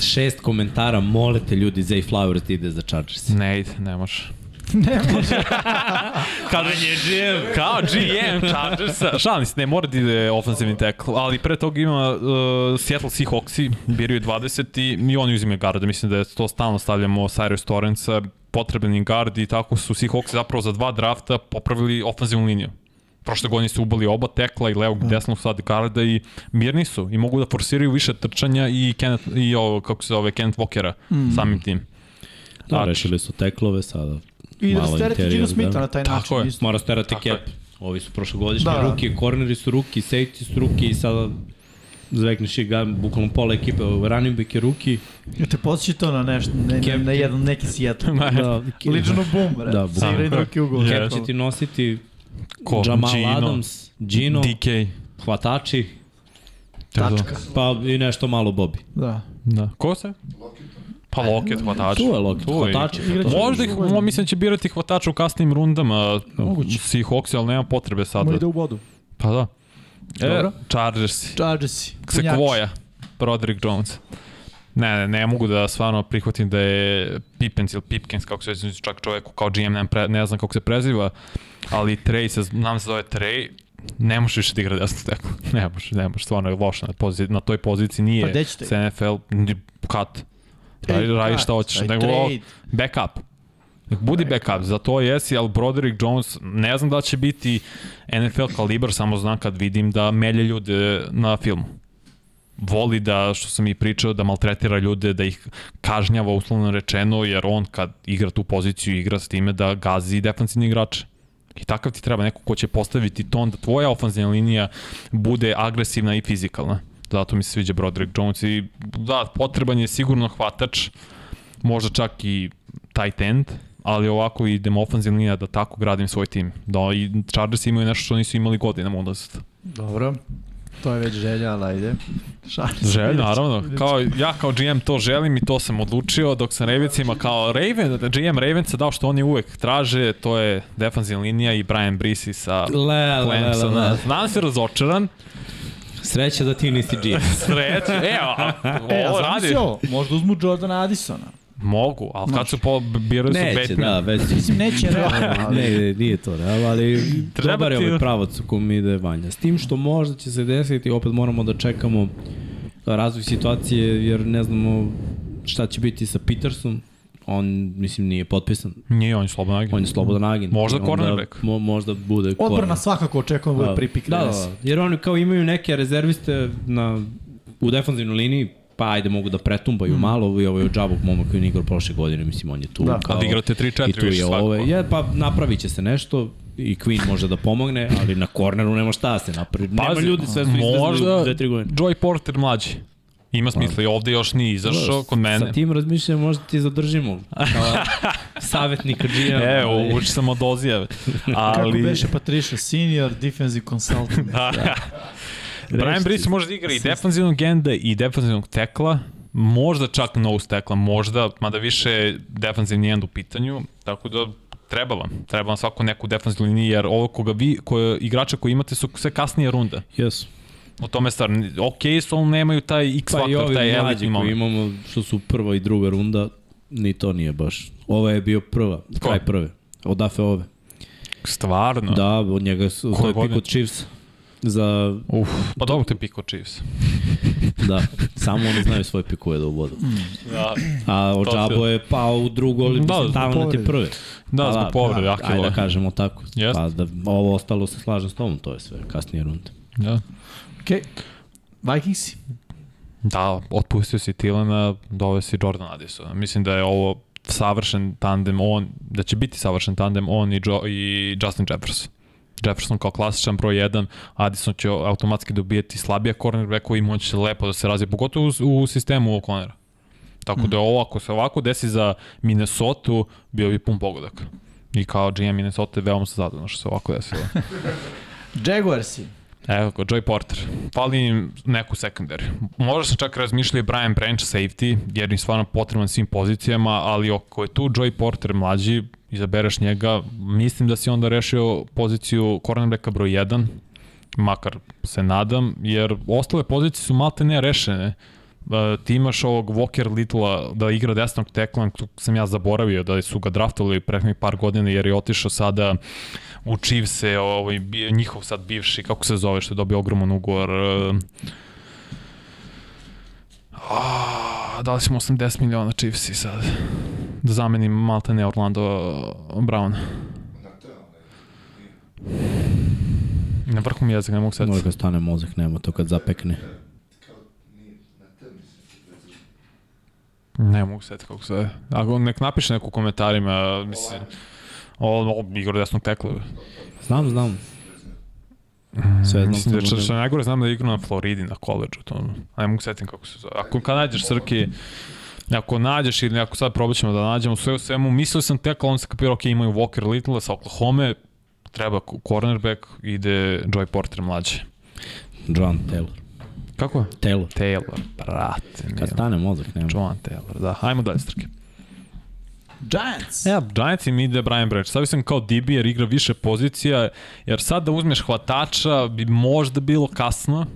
C: šest komentara, molite ljudi, Zay Flowers ide za Chargers.
E: Ne ide, ne može. (laughs) Ne može. Kada je GM. Kao GM Chargersa. Šalim se, ne mora da ide ofensivni tackle, ali pre toga ima uh, Seattle Seahawksi, biraju 20 i, i oni uzimaju garda. Mislim da je to stalno stavljamo Cyrus Torrensa, potreban im gard i tako su Seahawksi zapravo za dva drafta popravili ofenzivnu liniju. Prošle godine su ubali oba tekla i levog i desnog sad garda i mirni su i mogu da forsiraju više trčanja i Kenneth, i ovo, kako se zove, Kenneth Walkera samim tim.
C: Da,
E: Tač.
C: rešili su teklove sada.
D: I da
C: malo
D: stereti Gino
C: interior,
D: Smitha
C: da.
D: na taj
E: Tako
D: način.
E: je.
D: isto.
C: Mora sterati
E: Tako
C: cap.
E: je.
C: Ovi su prošlogodišnji
D: Da,
C: da,
D: da.
C: ruki, corneri su ruki, safety su ruki i sada zvekneš i ga, bukvalno pola ekipe, running back je ruki.
D: Ja te posjeći to na nešto, ne, ne,
C: Cap-
D: ne jedan, neki sijeta.
C: Da,
D: Lično boom, bre.
C: Da,
D: Da,
C: bum.
D: boom. Sigra i drugi ugol.
E: Cap
C: cap će ti nositi
E: Ko?
C: Jamal
E: Gino.
C: Adams, Gino,
E: DK.
C: hvatači,
D: Tačka.
C: pa i nešto malo Bobby.
D: Da.
E: Da. Ko se? Pa Loket, hvatač.
C: Tu je Lockett, hvatači.
D: Igraće
E: Možda ih, mo, mislim, da će birati hvatača u kasnim rundama. Moguće. Seahawks, ali nema potrebe
D: Mo ide
E: sada.
D: u vodu.
E: Pa da. E,
D: Dobro.
E: Chargers.
D: Chargersi. punjači.
E: Sekvoja. Roderick Jones. Ne, ne, ne mogu da stvarno prihvatim da je Pippens ili Pipkins, kako se već čak čoveku kao GM, ne, pre, ne znam kako se preziva, ali Trey se, nam se zove Trey, ne može više da igra desno teklo. (laughs) Ne može, ne može, stvarno je loša na, pozici, na toj poziciji,
D: Pa
E: nije
D: gde ćete?
E: se NFL, ni- cut. Radi,
D: Ej,
E: radi
D: cut,
E: šta hoćeš,
D: E, da, aj,
E: nego ovo,
D: trade.
E: backup. Nek Budi backup, za to jesi, ali Broderick Jones, ne znam da će biti NFL kalibar, samo znam kad vidim da melje ljude na filmu voli da, što sam i pričao, da maltretira ljude, da ih kažnjava uslovno rečeno, jer on kad igra tu poziciju, igra s time da gazi defensivni igrače. I takav ti treba neko ko će postaviti ton da tvoja ofanzivna linija bude agresivna i fizikalna. Zato mi se sviđa Broderick Jones i da, potreban je sigurno hvatač, možda čak i tight end, ali ovako idem ofanzivna linija da tako gradim svoj tim. Da, i Chargers imaju nešto što nisu imali godinama unazad.
D: Dobro. To je već želja, ali ajde. Chargersi.
E: Želj, naravno. Kao, ja kao GM to želim i to sam odlučio dok sam Ravensima kao Raven, GM Ravensa dao što oni uvek traže, to je defanzivna linija i Brian Brisi sa
C: Le, le, le, le,
E: Clemsona.
C: le.
E: Znam se razočaran,
C: Sreća da ti nisi (laughs) G.
E: sreće, evo,
D: E, a
E: ovo
D: znam
E: radi.
D: si ovo, možda uzmu Jordana Addisona.
E: Mogu, ali kad su po, biraju su
C: Neće,
E: Batman.
C: da, već
D: Mislim, neće realno, ali...
C: Ne, ne, nije to realno, ali
E: Treba
C: dobar je
E: ti-
C: ovaj pravac u kom ide Vanja. S tim što možda će se desiti, opet moramo da čekamo razvoj situacije, jer ne znamo šta će biti sa Petersom. On, mislim, nije potpisan.
E: Nije, on je slobodan agent.
C: On je slobodan agent.
E: Možda
C: I onda
E: cornerback.
C: Mo, možda bude
D: Odbrana
C: cornerback.
D: svakako očekujem da bude pripik.
C: Da, da,
D: Reyes.
C: da, jer oni kao imaju neke rezerviste na, u defanzivnoj liniji, pa ajde mogu da pretumbaju mm. malo i ovo je džabog momak koji je igrao prošle godine, mislim on je tu.
D: Da.
C: kao,
E: Ali igrate 3-4
C: i tu
E: više
C: je
E: svakako.
C: ove, je, pa napravit će se nešto, i Queen može da pomogne, ali na korneru nema šta da se napravi. Nema
E: Pazi,
C: ljudi, sve su izvezli
E: Pa možda
C: u dve, tri godine.
E: Joy Porter mlađi. Ima smisla i ovde još nije izašao kod mene.
C: Sa tim razmišljam, možda ti zadržimo kao
E: (laughs)
C: savjetnika GM.
E: E,
C: ali-
E: uči sam od
C: (laughs)
E: ozijeve.
D: Kako
E: Ali... da.
D: beše Patricia, senior defensive consultant.
E: (laughs) Brian
C: Reći
E: Brees može da igra i defanzivnog genda i defanzivnog tekla, možda čak nose tekla, možda, mada više je defanzivni end u pitanju, tako da treba vam, treba vam svako neku defanzivnu liniju, jer ovo koga vi, koje, igrača koji imate su sve kasnije runda.
C: Jesu.
E: O tome je stvar, ok su, ali nemaju taj x
C: Pa i
E: faktor,
C: ovi
E: taj
C: mlađi
E: elitni
C: koji
E: moment.
C: imamo, što su prva i druga runda, ni to nije baš. Ova je bio prva,
E: Ko?
C: kraj prve. Odafe ove.
E: Stvarno.
C: Da, od njega su, to
E: Koje
C: je pick
E: godine?
C: od Chiefs za,
E: Uf, pa dobro te piko Chiefs.
C: da, samo oni znaju svoje pikuje da uvodu.
E: Da,
C: A
E: To
C: Ođabo
E: se-
C: je pao u drugo, ali
E: Da,
C: da,
E: zbog
C: mislim, talent je
D: povrede.
C: prve.
E: (clears throat) da zbog povrede,
C: da,
E: aktivno.
C: Ajde da kažemo tako.
E: Jeste.
C: Pa da, ovo ostalo se slažem s tobom, to je sve, kasnije runde.
E: Da.
D: Okej. Vikingsi.
E: Da, otpustio si Tilana, doveo si Jordan Addisona. Mislim da je ovo savršen tandem on, da će biti savršen tandem on i, jo, i Justin Jefferson. Jefferson kao klasičan broj 1, Addison će automatski dobijeti slabija cornerbacka i moći će lepo da se razvije, pogotovo u, u sistemu O'Connora. Tako da ovo, ako se ovako desi za Minnesota, bio bi pun pogodak. I kao GM Minnesota veoma sam zadovoljno što se ovako desilo.
D: Jaguarsi.
E: Evo ga, Joy Porter. Fali im neku secondary. Možda sam čak razmišljao i Brian Branch safety, jer im stvarno potreban svim pozicijama, ali ako je tu Joy Porter mlađi, izabereš njega, mislim da si onda rešio poziciju cornerbacka broj 1, makar se nadam, jer ostale pozicije su malte ne rešene. E, ti imaš ovog Walker Little-a da igra desnog tekla, tu sam ja zaboravio da su ga draftali prethodnih par godina jer je otišao sada u Chiefs-e, ovaj, bi- njihov sad bivši, kako se zove, što je dobio ogroman ugovor. e, A, dali smo 80 miliona Chiefs-i sad. Da zamenim malte ne Orlando e, Brown. Na vrhu mi jezika, ne mogu sad.
C: Moj kad stane mozak, nema to kad zapekne.
E: Ne mogu setiti kako se zove. Ako nek napiše neko u komentarima, mislim... O, o Igor desnog tekla.
C: Znam, znam. Sve znam.
E: Mislim da
C: samo
E: što,
C: ne-
E: što je najgore znam da je igrao na Floridi na koleđu, to. ono. Ne mogu setiti kako se zove. Ako kad nađeš Srki, ako nađeš ili ako sad probat ćemo da nađemo sve u svemu, mislio sam tekla, on se kapirao, ok, imaju Walker Little sa Oklahoma, treba ko- cornerback, ide Joy Porter mlađe.
C: John Taylor.
E: Kako?
C: Taylor.
E: Taylor, brate.
C: Kad
E: mili.
C: stane mozak, nema.
E: Joan Taylor, da. Hajmo dalje, Srki.
D: Giants.
E: Ja, Giants im ide Brian Branch. Stavio sam kao DB jer igra više pozicija, jer sad da uzmeš hvatača bi možda bilo kasno,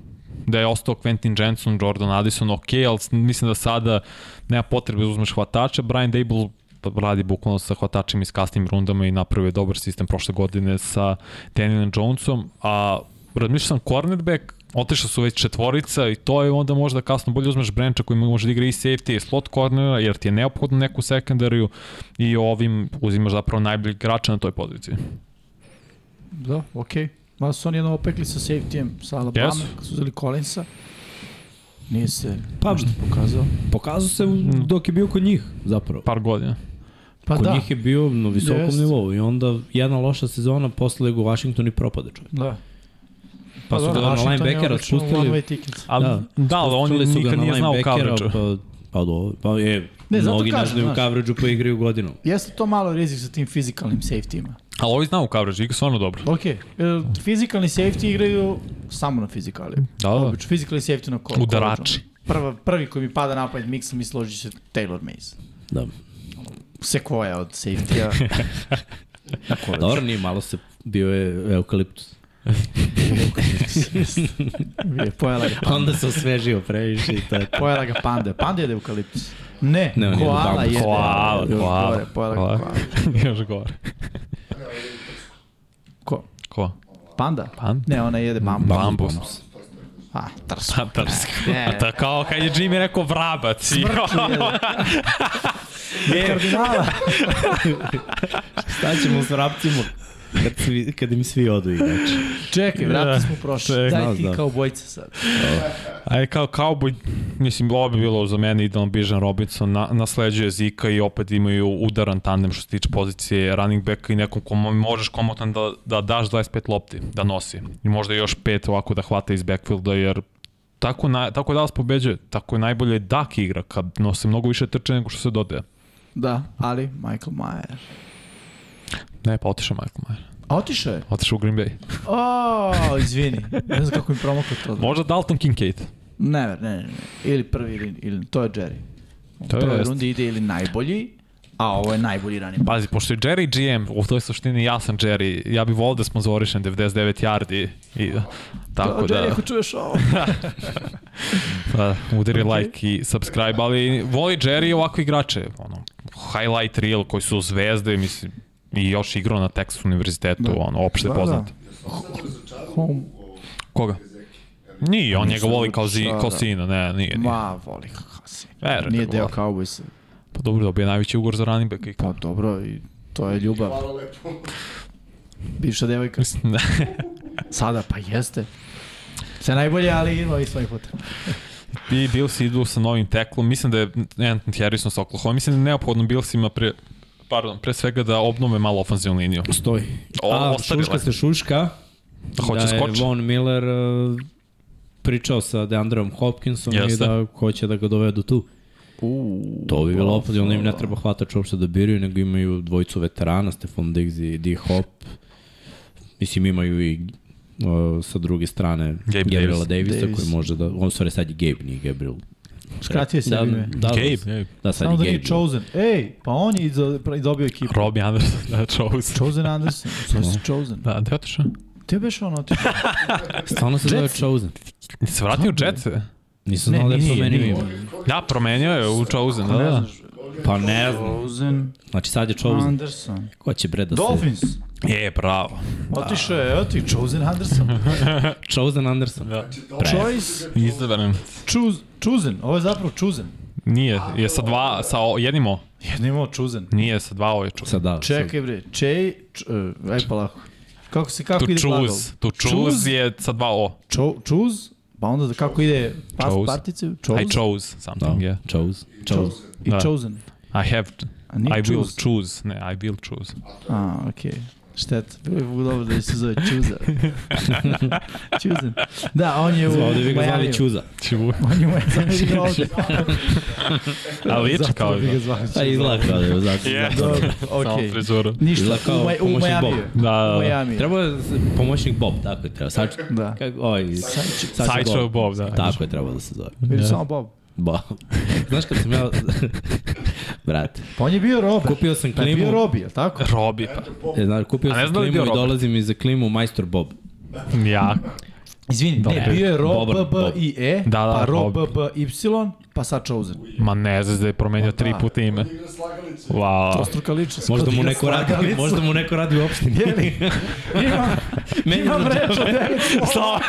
E: da je ostao Quentin Jensen, Jordan Addison, ok, ali s- mislim da sada nema potrebe da uzmeš hvatača. Brian Dable radi bukvalno sa hvatačima iz kasnim rundama i napravio je dobar sistem prošle godine sa Danielom Jonesom, a razmišljao sam cornerback, otišao su već četvorica i to je onda možda kasno bolje uzmeš Brancha koji može da igra i safety i slot cornera jer ti je neophodno neku sekundariju i ovim uzimaš zapravo najbolji igrača na toj poziciji.
D: Da, okej. Okay. Ma su oni jedno opekli sa safety-em, sa Alabama,
E: Jesu.
D: kad su uzeli Collinsa. Nije se
C: Pa,
D: nešto pokazao.
C: pokazao se dok je bio kod njih, zapravo.
E: Par godina.
D: Pa
C: kod
D: da,
C: njih je bio na visokom
D: Jest.
C: nivou i onda jedna loša sezona posle ga u Washington i propade čovjek.
D: da.
C: Pa su ga na
D: Washington je
C: linebackera
D: obično
C: spustili.
D: one-way ticket.
E: Ali, da,
C: Da.
E: da ali on
C: Pustili su ga
E: nikad
C: na
E: nije znao
C: linebackera,
E: coverage.
C: Pa, pa do, pa je,
D: Ne,
C: ne,
D: zato
C: mnogi
D: kažem,
C: ne znaju
D: znaš.
C: coverage-u pa igraju godinu.
D: Jeste to malo rizik sa tim fizikalnim safety-ima.
C: pa-
E: Ali ovi znao coverage, igra stvarno
D: (laughs)
E: dobro.
D: Ok, e, fizikalni safety igraju samo na fizikali.
E: Da, da.
D: Obično, fizikalni safety na kolo.
E: Udarači.
D: Prva, prvi koji mi pada na pamet miksa mi složi se Taylor Mays.
C: Da.
D: Sequoia od safety-a.
C: Pa Dobro, nije malo se, bio je eukaliptus.
D: Je, Pojela ga,
C: A Onda se osvežio previše i to je to.
D: pojela ga panda. Panda jede eukaliptus. Ne,
C: Ne, on jede
D: koala
C: bambus.
D: jede.
E: Koala,
D: Još
E: koala,
D: gore, Pojela ga
E: koala.
D: koala.
E: (laughs) Još gore.
D: Ko?
E: Ko?
D: Panda?
E: Panda?
D: Ne, ona jede bambus.
E: Bambus.
C: (laughs)
D: A, trs.
E: Tatarska. (laughs)
D: Ne.
E: Da, kao kad je Jimmy rekao vrabac. i-
D: Kardinala.
C: Šta ćemo s vrapcima? kad, svi, kad im svi odu igrači.
D: Čekaj, vrati smo prošli.
E: Da. čekaj.
D: Daj
C: Znaš
D: ti
C: da.
D: kao bojca sad.
E: Aj, kao Cowboy, mislim, ovo bi bilo za mene idealno Bijan Robinson, na, nasleđuje Zika i opet imaju udaran tandem što se tiče pozicije running backa i nekom kom možeš komotan da, da daš 25 lopti, da nosi. I možda još pet ovako da hvata iz backfielda, jer tako, na, tako Dallas pobeđuje, tako je najbolje Dak igra kad nose mnogo više trče nego što se dodaje.
D: Da, ali Michael Mayer.
E: Ne, pa otišao Michael Mayer.
D: A otišao je.
E: Otišao u Green Bay.
D: O, izvini. Ne znam kako mi promaklo to.
E: Možda Dalton Kincaid.
D: Ne, ne, ne, ne. Ili prvi, ili, ili to je Jerry. U
E: To je
D: prvoj
E: jest.
D: rundi ide ili najbolji, a ovo je najbolji running back.
E: Pazi, pošto je Jerry GM, u toj suštini ja sam Jerry, ja bih volio da smo zvorišen 99 yardi i tako
D: Tako Jerry,
E: da, (laughs)
D: ako čuješ ovo.
E: da udari like i subscribe, ali voli Jerry ovakve igrače, ono, highlight reel koji su zvezde, mislim, i još igrao na Texas univerzitetu, da. ono, opšte
D: Da,
E: da,
D: da.
E: poznat. Da. Koga? Nije, on njega voli kao, zi, kao sina, ne, nije, nije.
D: da. Ma, voli Hasi.
C: da
E: Verujte,
D: Nije deo
E: voli.
D: Cowboysa.
E: Pa dobro, dobio je najveći ugor za running back. i-
D: Pa dobro, i to je ljubav.
J: Hvala lepo. (laughs)
D: Bivša devojka.
E: Mislim, (laughs) ne.
D: Sada, pa jeste. Sve najbolje, ali ima i svojih potreba.
E: I Bills idu sa novim teklom, mislim da je Anthony Harrison sa Oklahoma, mislim da je neophodno Billsima pre, pardon, pre svega da obnove malo ofenzivnu liniju.
C: Stoji.
E: O,
C: A,
E: ostavila
C: šuška
E: je.
C: se šuška.
E: Da hoće
C: da
E: skoči.
C: je Von Miller uh, pričao sa Deandreom Hopkinsom i
E: Jeste.
C: da hoće da ga dovedu tu.
D: Uuu.
C: To bi bilo opet, onda im ne treba hvatač uopšte da biraju, nego imaju dvojicu veterana, Stefan Diggs i D. Hop. Mislim, imaju i uh, sa druge strane
E: Gabe
C: Gabriela
D: Davis.
C: Davisa
D: Davis.
C: koji može da, on stvari sad je Gabe, nije Gabriel.
D: Skratio si
C: da,
D: da,
C: da,
D: ime.
C: da,
E: Gabe, Gabe.
C: da, sad
D: Samo da
C: je
D: nije
C: Gabe.
D: Chosen. Ej, pa on je izo- dobio ekipu.
E: Robbie Anderson, da, Chose.
D: Chosen Anderson. Sve si Chosen.
E: Da, gde je otišao?
D: Ti beš ono otišao.
C: Stvarno se zove
D: Jets.
C: Chosen.
E: Jel Se vratio u Jetse?
C: Nisam
D: Ne,
C: znao da je
D: nije,
C: promenio
D: nije.
C: ime.
E: Da, promenio je u Chosen, da, da.
C: Pa ne znam.
D: Chosen
C: Znači sad je Chosen.
D: Anderson.
C: Ko će bre da se...
D: Dolphins.
E: Je, E, bravo.
D: Otišao je, oti Chosen Anderson.
C: Chosen Anderson.
E: Da.
D: Choice,
E: Izabran.
D: choose, chosen. Ovo je zapravo chosen.
E: Nije, je sa dva, sa o, jednim o.
D: Jedno imao chosen.
E: Nije, sa dva o je Chose.
C: Sad da.
D: Čekaj bre, čej, č, uh, aj polako. Kako se,
E: Tu
D: kako ide glagol?
E: Choose, tu Choose je sa dva o.
D: Cho, choose, pa onda da kako ide past
E: Chose.
D: partice,
E: I
D: chose,
E: chose
C: Da,
E: something, yeah.
C: Chosen. Chosen.
D: i
E: da.
D: chosen.
E: I have,
D: A nije
E: I will
D: choose.
E: choose. Ne, I will choose.
D: A, okej. Okay. Štet, bilo je dobro da se zove
C: (laughs)
D: Chuza. Chuzen. Da, on je u
C: Ovde bi ga
D: Miami.
C: zvali Čuza.
E: Čivu.
D: On je u Miami ovde.
E: A liči
D: Zato
E: kao
D: bi ga
E: je.
D: zvali
C: Pa
D: Chuza.
C: izgleda kao da je zato.
E: Yeah.
D: Dobro,
E: Samo
D: okej.
E: frizuru.
D: Ništa,
C: Izgleda kao
D: u, Maj- u
C: pomoćnik
D: Miami.
C: Bob.
E: Da, da,
D: U
E: da.
D: Miami.
C: Trebao je pomoćnik Bob, tako je treba. Sač,
D: Da.
C: kako, oj, Sačo
E: Sideshow Bob, da.
C: Tako je trebao da se zove.
D: Ili samo Bob.
C: Bob. (laughs) Znaš kad sam (laughs) ja... Brate,
D: Pa on je bio Robert.
C: kupio sam
D: Pa je bio
C: klimu,
D: Robi, jel tako?
E: Robi, pa.
C: e, znaš, kupio
E: A ne
C: sam
E: znam da je
C: klimu
E: bio
C: i
E: Robert.
C: dolazim iz klimu majstor Bob.
E: Ja.
D: Izvini, ne, bio je Rob,
C: Boban,
D: B, B,
C: Bob.
D: I, E,
E: Da, da,
D: pa Rob,
E: Bob.
D: B, B, Y, pa sad Chosen.
E: Ma ne znaš da je promenio
D: da.
E: tri puta ime.
J: Igra slagalicu.
E: Wow.
D: Ostruka ličnost.
C: Možda mu neko radi,
D: (laughs)
C: možda mu neko radi u opštini.
D: Jeli, ima,
C: (laughs) Meni
D: (laughs) ima
C: za
D: mreža, devet slova.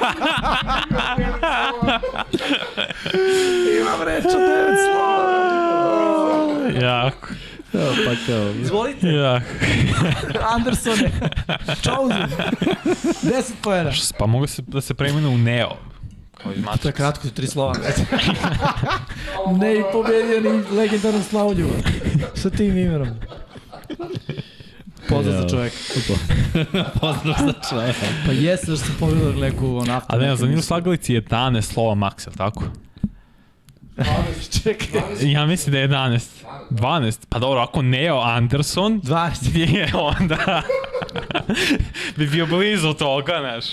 D: (laughs) ima mreža, devet slova.
E: Jako.
C: pa kao.
D: Izvolite,
E: Jako.
D: Andersone, Chosen, deset pojena.
E: Pa mogu se, da se preminu u Neo. Kao iz
D: To je
E: Matrix.
D: kratko, tri slova. (laughs) ne i pobedio ni legendarnom (laughs) Slavljivu. Sa tim imenom. Pozdrav za čoveka.
C: Pozdrav za čovjek.
D: Pa jeste da sam pogledao neku onako.
E: A ne, za Nilo Slagalici je 11 slova maks, je li tako?
D: (laughs) Čekaj.
E: Ja mislim da je 11. 12. Pa dobro, ako Neo Anderson
D: 12.
E: je onda (laughs) bi bio blizu toga, znaš.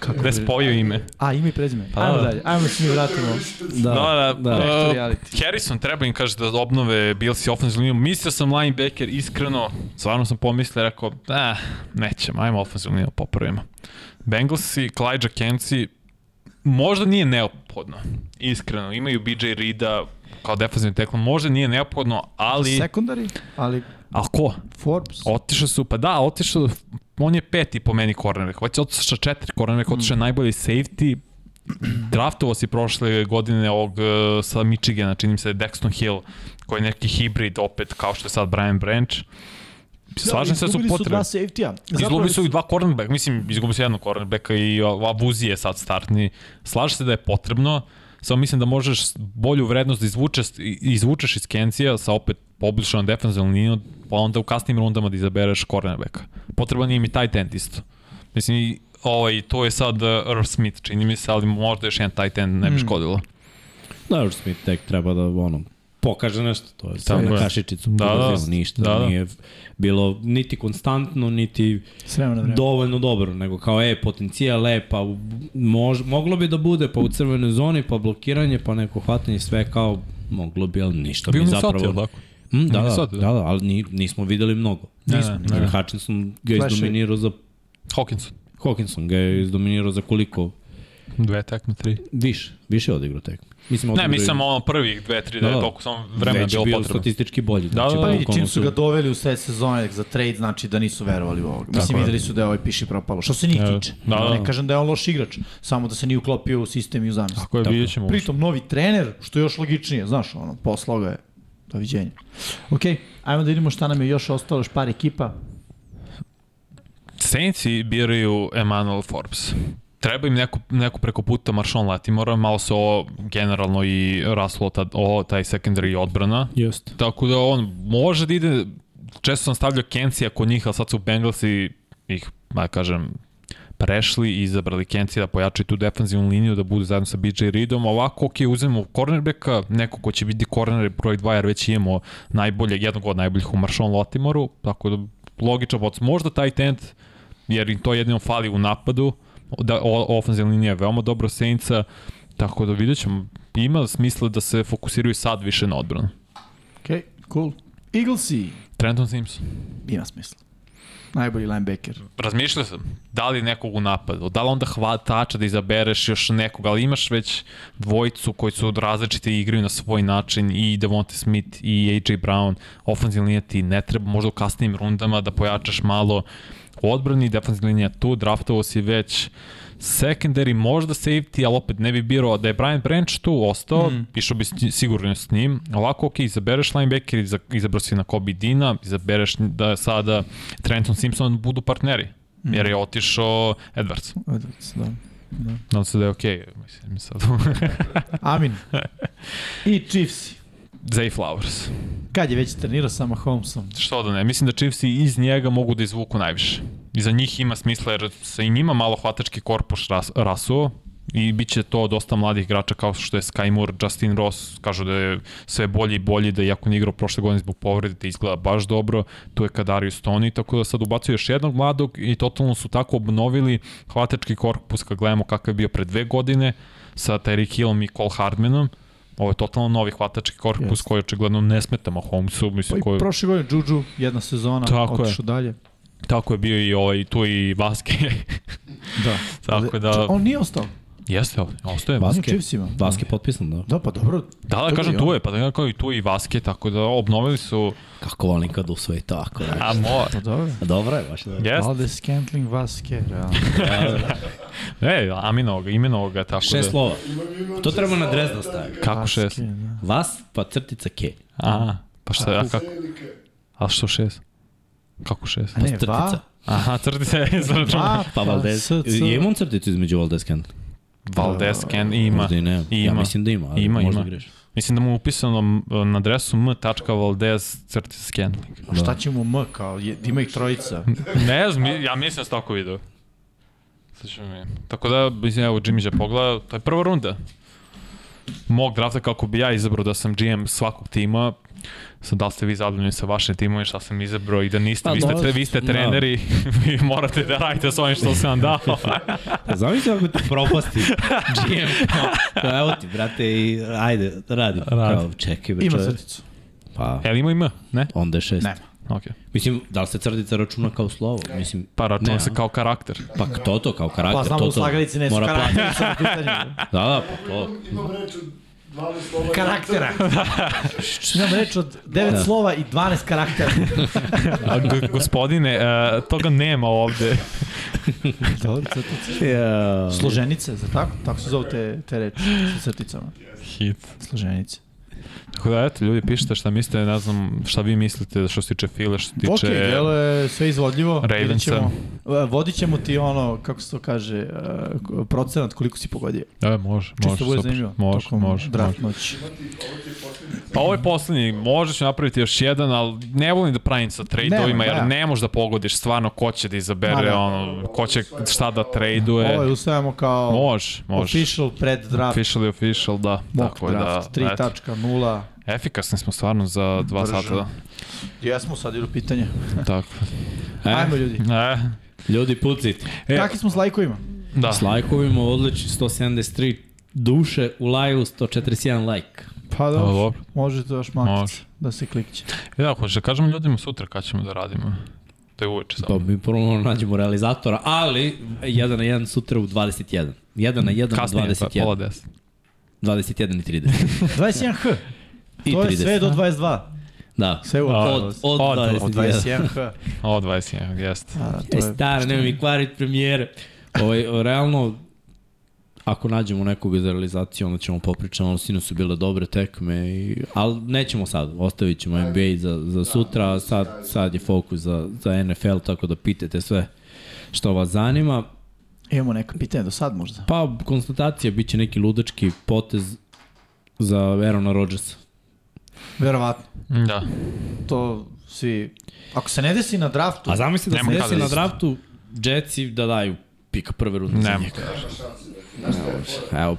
E: Kako da spoju ime.
D: A, ime i prezime.
E: Pa
D: ajmo
E: da.
D: dalje, ajmo se mi vratimo.
E: Da, da. da.
D: Back to
E: Uh,
D: reality.
E: Harrison treba im kaže da obnove Bills i offensive liniju. Mislio sam linebacker, iskreno, stvarno sam pomislio, rekao, eh, nećemo, ajmo offensive liniju popravimo. Bengalsi, Clyde Kenci, možda nije neophodno, iskreno. Imaju BJ Rida kao defensivni teklo, možda nije neophodno, ali...
D: Secondary, ali
E: A ko?
D: Forbes.
E: Otišao su, pa da, otišao, on je peti po meni cornerback, hoće otišao sa četiri cornerback,
D: Mm.
E: otišao je najbolji safety, draftovo si prošle godine ovog e, sa Michigana, čini mi se Dexton Hill, koji je neki hibrid opet kao što je sad Brian Branch. slažem se da su
D: Izgubili su
E: potrebe.
D: dva safety-a.
E: Izgubili su i dva cornerbacka, mislim, izgubili su jednog cornerbacka i Avuzi je sad startni. Slažem se da je potrebno, samo mislim da možeš bolju vrednost da izvučeš, izvučeš iz Kencija sa opet poboljšanom defensivnom linijom, pa onda u kasnim rundama da izabereš cornerbacka. Potreban im i tight end isto. Mislim, i ovaj, to je sad uh, Irv Smith, čini mi se, ali možda još jedan tight end ne bi škodilo.
C: Dobro, Smith tek treba da ono, pokaže nešto, to je samo
E: Tako
C: na
E: je.
C: kašičicu,
E: Da,
C: da,
E: da.
C: da, ništa,
E: Da,
C: da,
E: da.
C: da. nije bilo niti konstantno, niti
D: S vremena na vreme.
C: dovoljno dobro, nego kao e, potencijal e, pa u- mož, moglo bi da bude, pa u crvenoj zoni, pa blokiranje, pa neko hvatanje, sve kao moglo bi, ali ništa
E: Bio
C: mi
E: mi sati,
C: zapravo...
E: jel tako?
C: Mm, da, da,
E: Minnesota,
C: da,
E: da.
C: da, ali ni, nismo videli mnogo.
E: Ne,
C: Nismo.
E: ne, ne.
C: Hutchinson ga je
D: Flash je.
C: izdominirao za...
E: Hawkins,
C: Hawkinson ga je izdominirao za koliko?
E: dve tekme, tri.
C: Više. Više je odigrao tek. Mislim,
E: Ne,
C: odigrao je-
E: mislim ono prvih dve, tri, da je
C: Da, da.
E: toliko samo vremena
C: Već je
E: bilo
C: bio
E: potrebno.
C: statistički bolji. znači
E: da,
D: Pa
E: da.
D: vidi,
C: bukvalno
D: čim
C: su-
D: su ga doveli u sve sezone za trade, znači da nisu verovali u ovog. Mislim,
E: je.
D: videli su da je ovaj piši propalo. Što se njih
E: E,
D: tiče.
E: da, da.
D: Ne kažem da je on loš igrač, samo da se nije uklopio u sistem i u zamisli.
E: Tako je, vidjet ćemo.
D: Pritom, novi trener, što je još logičnije, znaš, ono, poslao ga je. Doviđenja. Ok, ajmo da vidimo šta nam je još ostalo, još par ekipa.
E: Saints i biraju Emmanuel Forbes. Treba im neko, neko preko puta Marshawn Latimora, malo se ovo generalno i raslo ta, o, taj secondary i odbrana.
C: Jeste.
E: Tako da on može da ide, često sam stavljao Kencija kod njih, ali sad su Bengalsi ih, da kažem, prešli i izabrali Kencija da pojačaju tu defanzivnu liniju, da budu zajedno sa BJ Reedom. Ovako, ok, uzmemo cornerbacka, neko ko će biti corner broj 2, jer već imamo najbolje, jednog od najboljih u Marshawn Latimoru, tako da logičan poc. Možda taj tent, jer im to jedino fali u napadu, da, o, ofenzivna linija je veoma dobro Saintsa, tako da vidjet ćemo, ima smisla da se fokusiraju sad više na odbranu.
D: Ok, cool. Eaglesi,
E: Trenton Simpson.
D: ima smisla. Najbolji linebacker.
E: Razmišljao sam, da li nekog u napadu, da li onda hvatača da izabereš još nekog, ali imaš već dvojicu koji su različite i igraju na svoj način i Devonte Smith i AJ Brown, ofenzivna linija ti ne treba, možda u kasnijim rundama da pojačaš malo u odbrani, defensivna linija tu, draftovo si već secondary, možda safety, ali opet ne bi birao da je Brian Branch tu ostao, mm. išao bi s- sigurno s njim. Ovako, ok, izabereš linebacker, iza- izabrao si na Kobe Dina, izabereš da sada Trenton Simpson budu partneri. Jer je otišao Edwards.
D: Edwards, da.
E: Nadam se da je okej, okay, mislim sad. (laughs)
D: Amin. I Chiefs.
E: Zay Flowers.
D: Kad je već trenirao sa Mahomesom?
E: Što da ne, mislim da Chiefs i iz njega mogu da izvuku najviše. I za njih ima smisla jer se i njima malo hvatački korpuš ras, rasuo i bit će to dosta mladih igrača kao što je Sky Moore, Justin Ross, kažu da je sve bolji i bolji, da iako nije igrao prošle godine zbog povrede, da izgleda baš dobro, tu je Kadarius Tony, tako da sad ubacuju još jednog mladog i totalno su tako obnovili hvatački korpus kad gledamo kakav je bio pre dve godine sa Tyreek Hillom i Cole Hardmanom, Ovo je totalno novi hvatački korpus
D: Jeste.
E: yes. koji očigledno ne smeta Mahomesu,
D: Pa
E: mislim
D: i
E: koji...
D: prošle godine Juju, jedna sezona,
E: Tako je.
D: otišao dalje.
E: Tako je bio i ovaj, tu i Vaske.
D: Da.
E: (laughs) Tako da,
D: On nije ostao.
E: jeste ovde, ostaje.
D: On je u
C: Basket.
D: Chiefsima.
C: Basket potpisan, da.
D: Da, pa dobro.
E: Da, da,
D: Dobro,
E: kažem,
D: i
E: tu
D: on.
E: je, pa da kao i tu i Vaske, tako da obnovili su,
C: Kako volim kad usvoji tako. Da.
E: a mo, (laughs)
D: Pa dobro.
C: Dobro je, baš da.
E: jest,
D: Valdez Scantling Vaske, realno.
E: e, Aminog, imenog ga, tako
C: Šest
E: da.
C: slova. To treba na drez da stavi.
E: Kako šest?
D: Vaske, da.
C: Vas, pa crtica ke.
E: A, pa šta, a kako,
J: Е,
E: a što šest? Kako šest?
D: A ne,
C: Crtica. (laughs)
D: va,
E: Aha, crti se, (laughs) izračunam.
D: va,
C: Pa Valdez.
D: s, c.
C: Je imam crticu između Valdez Kent?
E: Valdes, Ken, ima.
C: Možda i ne.
E: Ima.
C: Ja mislim da ima, ali
E: Ima,
C: možda
E: ima.
C: greš.
E: Mislim da mu je upisano m, na adresu m.valdez crti scanling.
D: A šta će mu M, kao, je, ima ih trojica.
E: Ne znam, mi- ja mislim da sam tako video. Sad ćemo mi. Tako da, mislim, evo, Jimmy će pogleda, to je prva runda. Mog drafta kako bi ja izabrao da sam GM svakog tima, sad da li ste vi zadovoljni sa vašim timom i šta sam izabrao i da niste,
C: Pa
E: vi ste,
C: dobro,
E: tre, vi ste
C: da.
E: treneri, (laughs) vi morate da radite s ovim što sam vam dao.
C: Zamisli E, ako ti propasti (laughs) GM. Kao, Pa evo ti, brate, i ajde, radi.
E: Radi.
C: Kao, čekaj, bre,
D: Ima
C: čovječ.
D: crticu.
C: Pa,
E: Jel ima ima? Ne?
C: onda je šest.
D: Ne.
E: Ok.
C: Mislim, da li se crtica računa kao slovo? Mislim,
E: Pa računa
C: Ne,
E: se
C: a?
E: kao karakter.
C: pa to to, kao karakter.
D: Pa znamo
C: to,
D: u
C: to.
D: slagalici ne su
C: Mora platiti.
D: karakterice na pitanju.
C: Da, da, pa to.
J: Imam, imam reč od 12 slova.
D: (laughs) Karaktera. Imam reč od 9
C: Da.
D: slova i 12 karaktera.
E: A, g- (laughs) gospodine, e, toga nema ovde.
D: Dobro, (laughs) crtice.
C: Ja.
D: Složenice, za tako? Tako se zove te, te reči sa crticama.
E: Hit.
D: Složenice.
E: Tako da, eto, ljudi, pišite šta mislite, ne znam šta vi mislite što se tiče File, što se tiče...
D: Ok, delo je sve izvodljivo.
E: Ravensa.
D: Vidjet ćemo. E, Vodit ćemo ti ono, kako se to kaže, e, k- procenat koliko si pogodio.
E: E, može,
D: Čisto
E: može,
D: bude
E: super.
D: zanimljivo.
E: Može,
D: tokom
E: može, može.
D: Draft noći.
E: Pa ovo je poslednji, možda ću napraviti još jedan, ali ne volim da pravim sa trade-ovima,
D: Nemoj, da.
E: jer ne možeš da pogodiš stvarno ko će da
D: Ma
E: izabere,
D: da.
E: ono, ko će šta da
D: Ovo je
E: traduje.
D: usvajamo kao
E: Može, može.
D: official pred draft.
E: Official je official, da.
D: Mock
E: Tako je da,
D: draft
E: eto.
D: 3.0.
E: Efikasni smo stvarno za dva
D: Brže.
E: sata, da.
D: Jesmo sad idu pitanje.
E: Tako.
D: Ajmo ljudi.
E: E,
C: Ljudi, pucajte.
E: e,
D: Kakvi smo s lajkovima?
E: da.
C: S lajkovima odleči 173 duše u laju 141 lajk.
D: Pa
E: A,
D: dobro,
E: dobro.
D: može to još
E: Može.
D: maknuti da se (laughs) klikće.
E: E, da, hoćeš da kažemo ljudima sutra kada ćemo da radimo. To je uveče samo.
C: Pa mi prvo nađemo realizatora, ali 1 na 1 sutra u 21. 1
D: Mm,
C: na 1 u
E: Kasnije, pa,
C: 21.
E: pola deset.
C: 21 i 30.
D: 21H.
C: I
D: To je
C: 30.
D: sve do 22.
C: Da.
D: Sve u
C: Od, od,
E: Od-
C: od,
D: Od 21H.
E: O, 21, jeste.
D: (laughs) A,
C: E,
D: to je
C: star, nemoj mi kvarit premijere. Ovaj, o, realno, ako nađemo nekoga za realizaciju, onda ćemo popričati, ono, sinu su bile dobre tekme, i, ali nećemo sad, ostavit ćemo NBA za,
D: Da,
C: za sutra, a sad, sad je fokus za, za NFL, tako da pitajte sve što vas zanima.
D: Imamo neka pitanja do sad možda.
C: Pa, konstatacija, bit će neki ludački potez za Aarona Rodgersa.
D: Verovatno.
E: Da.
D: To svi... Ako se ne desi na draftu...
C: A zamisli da
E: Nema
C: se
E: kada
C: desi na
E: desi.
C: draftu Jetsi da daju pika prve runde za
E: Nema.
C: njega. Evo,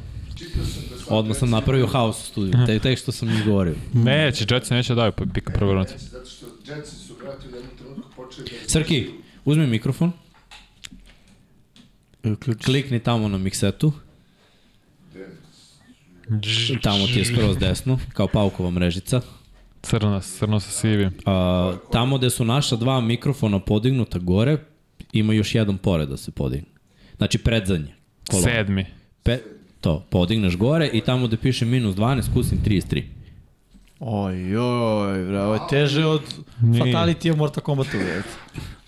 C: odmah sam napravio haos u studiju, tek, tek što sam izgovorio.
D: Mm.
E: Neće, Jetsi neće da daju pa pika prve runde.
J: Zato što Jetsi su vratili u jednom trenutku počeli da...
C: Srki, uzmi mikrofon, klikni tamo na miksetu, tamo ti je skroz desno, kao paukova mrežica.
E: Crno, crno sa sivim.
C: A, tamo gde su naša dva mikrofona podignuta gore, ima još jedan pored da se podigne. Znači predzadnje. kolon.
E: Sedmi.
C: Pe, to, podigneš gore i tamo gde piše minus 12, kusim 33.
D: Oj, oj, bra, ovo je teže od
E: Nije.
D: Fatality of Mortal Kombat uvijek.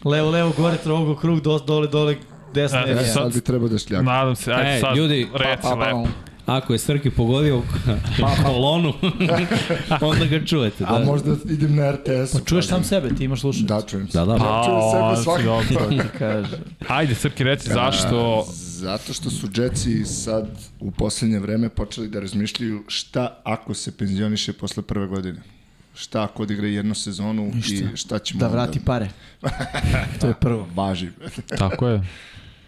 D: Levo, levo, gore, trogo, krug, dos, dole, dole, desno.
E: E,
D: E,
E: sad-
J: Sad bi trebao da šljaka.
E: Nadam se, ajde
C: E,
E: sad,
C: ljudi,
E: reci lepo.
C: Ako je Srki pogodio kolonu, onda ga čujete.
J: A
C: Da.
J: možda idem na RTS.
D: Pa čuješ sam sebe, ti imaš slušaj.
J: Da, čujem se.
C: Da, da,
E: Pa,
C: da.
J: Čujem
E: on
J: sebe
E: si
J: svakako.
E: dobro.
D: Kaže.
E: Ajde, Srki, reci zašto...
J: Zato što su Jetsi sad u poslednje vreme počeli da razmišljaju šta ako se penzioniše posle prve godine. Šta ako odigra jednu sezonu i šta ćemo...
D: Da vrati
E: (laughs)
D: pare. to je prvo.
J: Važi.
E: Tako je.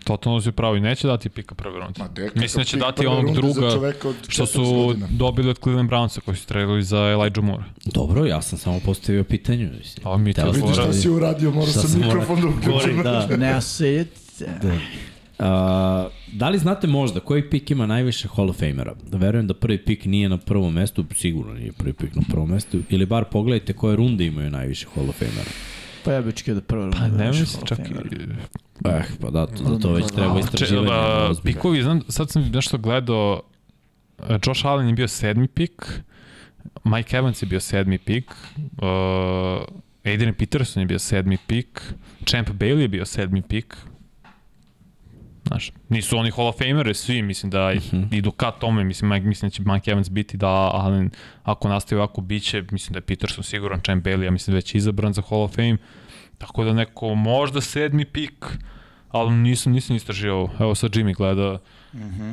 E: Totalno si pravo i neće dati pika prve runde.
J: Ma, deka,
E: Mislim da će
J: pik
E: dati
J: prve
E: onog
J: runde za
E: druga
J: čoveka od
E: što
J: 14
E: su
J: godina.
E: dobili od Cleveland Brownsa koji su trebali za Elijah Moore.
C: Dobro, ja sam samo postavio pitanje. Mislim.
E: A mi
C: Teo
E: to
C: sam-
J: Vidiš šta
E: Morali.
J: si uradio, morao
C: Šta
J: sam
C: sam
J: mikrofon da uključim.
C: Da.
D: Ne osjetite.
E: Da.
C: A, da li znate možda koji pik ima najviše Hall of Famera? Verujem da prvi pik nije na prvom mestu, sigurno nije prvi pik na prvom mestu, ili bar pogledajte koje runde imaju najviše Hall of Famera.
D: Pa ja bih očekio da prvo...
E: Pa ne mislim čak i...
C: Eh, pa da, to, za to već treba
E: Če,
C: istraživanje.
E: da,
C: ozbiljno.
E: pikovi, znam, sad sam nešto gledao, e, Josh Allen je bio sedmi pik, Mike Evans je bio sedmi pik, uh, Adrian Peterson je bio sedmi pik, Champ Bailey je bio sedmi pik, Znaš, nisu oni Hall of Famere svi, mislim da
M: Mhm.
E: idu ka tome, mislim, Mike, mislim da će Mike Evans biti da Allen, ako nastavi ovako, bit će, mislim da je Peterson siguran, Champ Bailey, ja mislim da je već izabran za Hall of Fame, tako da neko možda sedmi pik, ali nisam, nisam istražio, evo sad Jimmy gleda,
D: Mhm.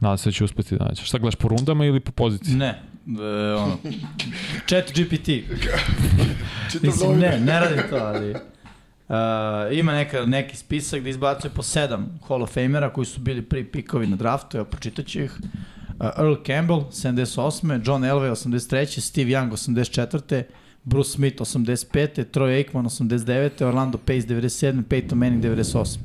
E: nadam se da će uspeti da nađe. Šta gledaš, po rundama ili po poziciji?
D: Ne. E, ono. Chat GPT.
J: Čitav
D: Mislim,
J: novi-
D: ne, ne radi to, ali... Uh, ima neka, neki spisak da izbacuje po sedam Hall of Famera koji su bili prvi pikovi na draftu, ja pročitat ću ih. Uh, Earl Campbell, 78. John Elway, 83. Steve Young, 84. Bruce Smith, 85. Troy Aikman, 89. Orlando Pace, 97. Peyton Manning, 98.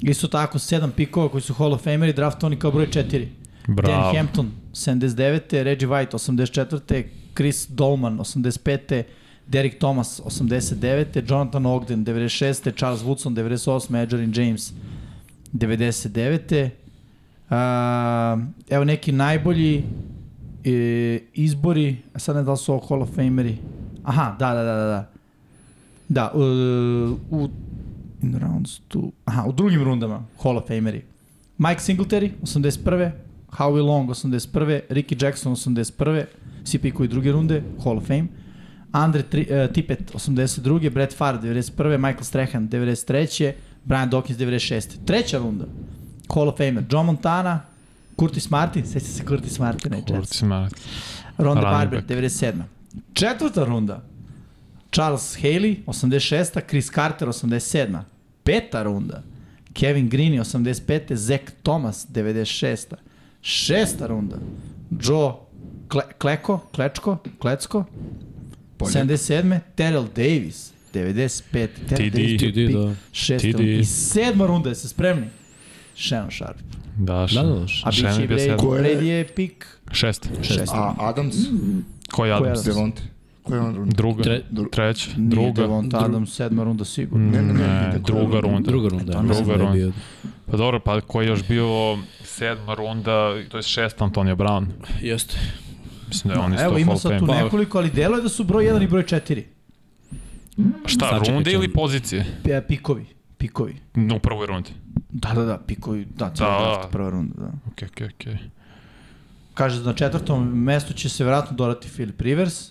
D: Isto tako, sedam pikova koji su Hall of Fameri draftovani kao broj 4. Dan
E: Bravo.
D: Hampton 79. Reggie White 84. Chris Dolman 85. Derek Thomas 89. Jonathan Ogden 96. Charles Woodson 98. Edgerin James 99. Uh, evo neki najbolji e, izbori, a sad ne znam da li su ovo Hall of Fameri. Aha, da, da, da, da. Da, da uh, u in rounds two, aha, u drugim rundama Hall of Fameri. Mike Singletary, 81. Howie Long, 81. Ricky Jackson, 81. svi pikovi druge runde, Hall of Fame. Andre tri, uh, Tippett 82. Brett Favre 91. Michael Strahan 93. Brian Dawkins 96. Treća runda. Hall of Famer. Joe Montana, Curtis Martin, seća se Curtis Martina i Jets.
E: Kurcima.
D: Ronda
E: Running
D: Barber,
E: back.
D: 97. Četvrta runda. Charles Haley, 86. Chris Carter, 87. Peta runda. Kevin Greene, 85. Zach Thomas, 96. Šesta runda. Joe Kle Kleko, Klečko, Klecko,
J: Poljak.
D: 77. Terrell Davis, 95. Terrell
E: TD.
D: Davis,
E: TD,
D: pik,
M: da.
D: Šesta
E: TD.
D: runda. I sedma runda, jeste spremni? Shannon Sharp.
E: Da, še,
M: Da, da, da.
D: A bit će i
E: bio sedam.
D: Brady.
J: Ko je-
D: Brady je pik
E: Šest.
D: šesta.
J: A Adams?
E: Ko je Adams?
D: Mm, Adams?
J: Devonte. Koja je on runda?
E: Druga,
M: Tre-
J: Dru-
E: treća,
D: Nije
E: druga.
D: Devonta Adams, sedma runda sigurno.
E: Ne,
J: ne,
E: ne,
J: ide koja
E: druga
J: runda?
E: runda.
C: Druga runda.
E: Druga
C: mislim da je
E: runda.
C: bio.
E: Pa dobro, pa ko je još bio sedma runda, to je šest Antonio Brown.
C: Jeste.
E: Mislim da je on isto
D: Evo ima
E: Hall
D: sad
E: of
D: tu
E: Fame.
D: nekoliko, ali delo je da su broj 1 i broj 4.
E: Šta,
C: Sačekaj,
E: runde
C: čekaj.
E: ili pozicije?
D: P- e, Pikovi, pikovi.
E: No, u prvoj rundi.
D: Da, da, da, pikovi, da, cijela
E: Da.
D: da. draft, prva runda, da.
E: Okej, okej, okej.
D: Kaže da na četvrtom mestu će se vjerojatno dodati Philip Rivers,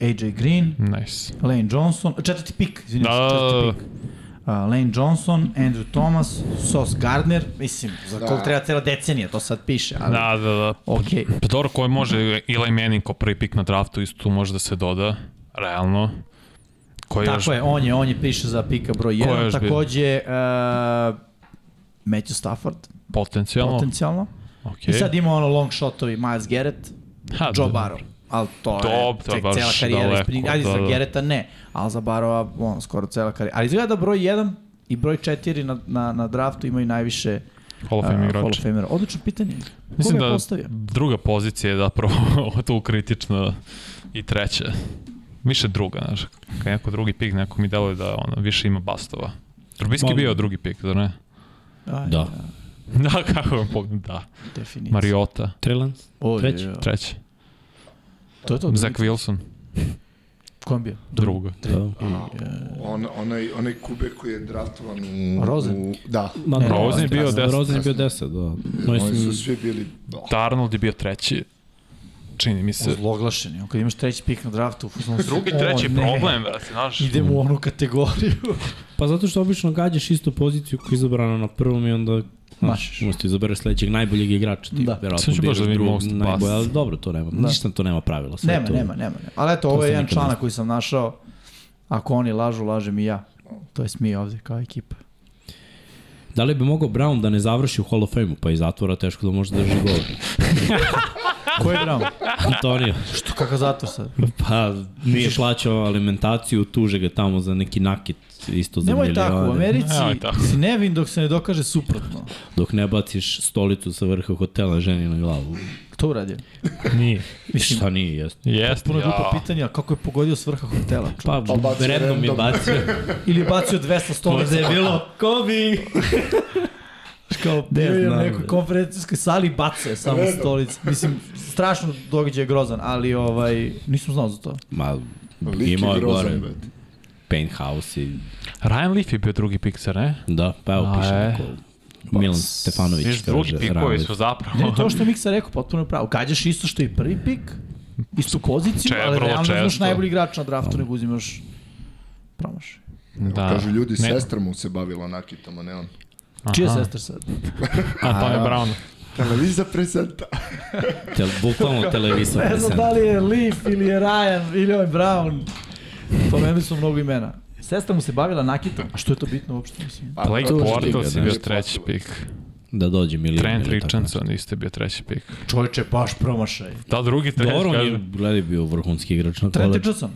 D: AJ Green,
E: Nice.
D: Lane Johnson, četvrti pik, izvinjam
E: Da.
D: se, četvrti pik. Uh, Lane Johnson, Andrew Thomas, Sos Gardner, mislim, za
J: Da.
D: da. koliko treba cela decenija, to sad piše, ali... Da.
E: Da, da, da.
D: Okej,
E: Pa dobro, ko je može, Eli Manning kao prvi pik na draftu, isto tu može da se doda, realno. Ko je još
D: Tako je, on je, on je piše za pika broj
E: Ko je
D: 1,
E: još bio?
D: takođe uh, Matthew Stafford,
E: potencijalno?
D: potencijalno.
E: Okej.
D: I sad ima ono long shotovi Miles Garrett,
E: Ha,
D: Joe
E: da.
D: Barrow. Ali to
E: Dob,
D: je
E: to
D: cek,
E: baš
D: cela karijera.
E: daleko,
D: Ispri... Ajde,
E: da,
D: za
E: da.
D: Gereta ne, ali za Barova on, skoro cela karijera. Ali izgleda da broj 1 i broj 4 na, na, na draftu imaju najviše
E: Hall of
D: uh,
E: Fame
D: Hall
E: igrača.
D: of Famera. Odlično pitanje. Koga
E: Mislim
D: je
E: da
D: postavio?
E: druga pozicija je zapravo (laughs) tu kritična i treća. Više druga, znaš. Kad je neko drugi pik, neko mi deluje da ono, više ima bastova. Trubinski je
M: Mogu.
E: bio drugi pik, zar ne? (laughs)
D: Aj,
C: Da.
E: Da, kako vam pogledam, da.
D: Definicija.
E: Mariota,
M: Trelans?
D: Oj,
M: treći.
D: joj.
E: treći.
D: To je to.
E: Zach Wilson,
D: Kom bio?
E: druga.
C: Da.
J: On, onaj, onaj kube koji je draftovan u...
D: Rosen.
J: U, da.
M: Ma,
D: Ne,
E: Rosen je bio
M: deset.
E: deset.
M: Rozen je bio 10, da. No,
J: Oni su
M: mislim,
J: svi bili... Oh,
E: Darnold je bio treći. Čini mi se.
D: Zloglašen je. On Kad e, imaš treći pik na draftu, fuzon si,
E: Drugi,
D: o,
E: treći
D: ne,
E: problem, brate, znaš.
D: Idem u onu kategoriju.
M: pa zato što obično gađaš istu poziciju koja je izabrana na prvom i onda
D: Mašiš.
C: Možeš ti izabereš sledećeg najboljeg igrača. Ti,
D: Da.
C: da. Verovatno
E: Sad ću baš
C: biraš
E: da vidim
C: drugog
E: most pass.
C: najbolje, ali dobro, to nema.
D: Da.
C: Ništa to nema pravila. Sve
D: Nema,
C: to,
D: nema, nema, nema. Ali eto, ovo
C: se
D: je jedan
C: nikad ne
D: članak
C: zna.
D: koji sam našao. Ako oni lažu, lažem i ja. To je mi ovde
E: (laughs)
D: kao ekipa.
C: Da li bi mogao Brown da ne završi u Hall of Fame-u, pa iz zatvora teško da može da drži
D: (laughs)
C: govor.
D: Ko je Brown?
C: Antonio,
D: Što kakav zatvor sad?
C: pa nije plaćao alimentaciju, tuže ga tamo za neki nakit isto za
D: Nemoj
C: milione.
D: tako, u Americi
E: Nemoj tako.
D: si nevin dok se ne dokaže suprotno.
C: Dok ne baciš stolicu sa vrha hotela ženi na glavu.
D: To uradio.
E: Nije.
D: Mislim,
C: Šta nije, jeste.
E: Jeste,
D: puno je glupo
E: ja.
D: pitanje, ali kako je pogodio s vrha hotela? čovek?
C: Pa,
J: Pa bacio
C: random je
J: random.
C: bacio.
D: Ili je bacio da 200 stolica.
C: Možda je bilo Kobi.
D: (laughs) kao bio je u
C: znam,
D: nekoj
C: bre.
D: konferencijskoj sali i bacio je samo stolice. Mislim, strašno događaj je grozan, ali ovaj, nisam znao za to.
C: Ma,
J: Da, lik je
C: imao je gore
J: grozan, brate.
C: penthouse i...
E: Ryan Leaf je bio drugi pik, zar ne?
C: Da, pa evo
E: A,
C: piše
E: e.
C: neko. Milan Stefanović
E: Viš, drugi pikovi su
D: Ne,
E: zapravo.
D: to što je Miksa rekao, potpuno je pravo. Gađaš isto što i prvi pik, istu poziciju,
E: Če-
D: ali
E: vrlo
D: realno znaš
E: često.
D: najbolji igrač na draftu, nego uzimaš promaš.
E: Da.
J: Kažu ljudi,
E: Ne,
J: sestra mu se bavila nakitama, ne on.
D: Čija
E: Aha.
D: sestra sad?
E: Antonio
D: da.
E: Brown.
J: Televizija presenta.
C: Tel,
E: (laughs)
C: bukvalno televizor.
D: Ne znam da li je Leaf ili je Ryan ili ovaj Brown. Pomenuli su mnogo imena. Sestra mu se bavila nakitom. A što je to bitno uopšte? Mislim?
E: Blake
J: Pa, to je
E: Bortles je
C: liga,
E: bio
J: da.
E: treći pik.
C: da dođe milion.
E: Trent
C: ili tako
E: Richardson isto je bio treći pik.
D: Čovječe, baš promašaj.
E: Da, drugi
C: nešto.
E: treći,
C: Dobro, on je,
E: kažem.
C: gledaj, bio vrhunski igrač na
D: Trent
C: koleđu.
D: Richardson.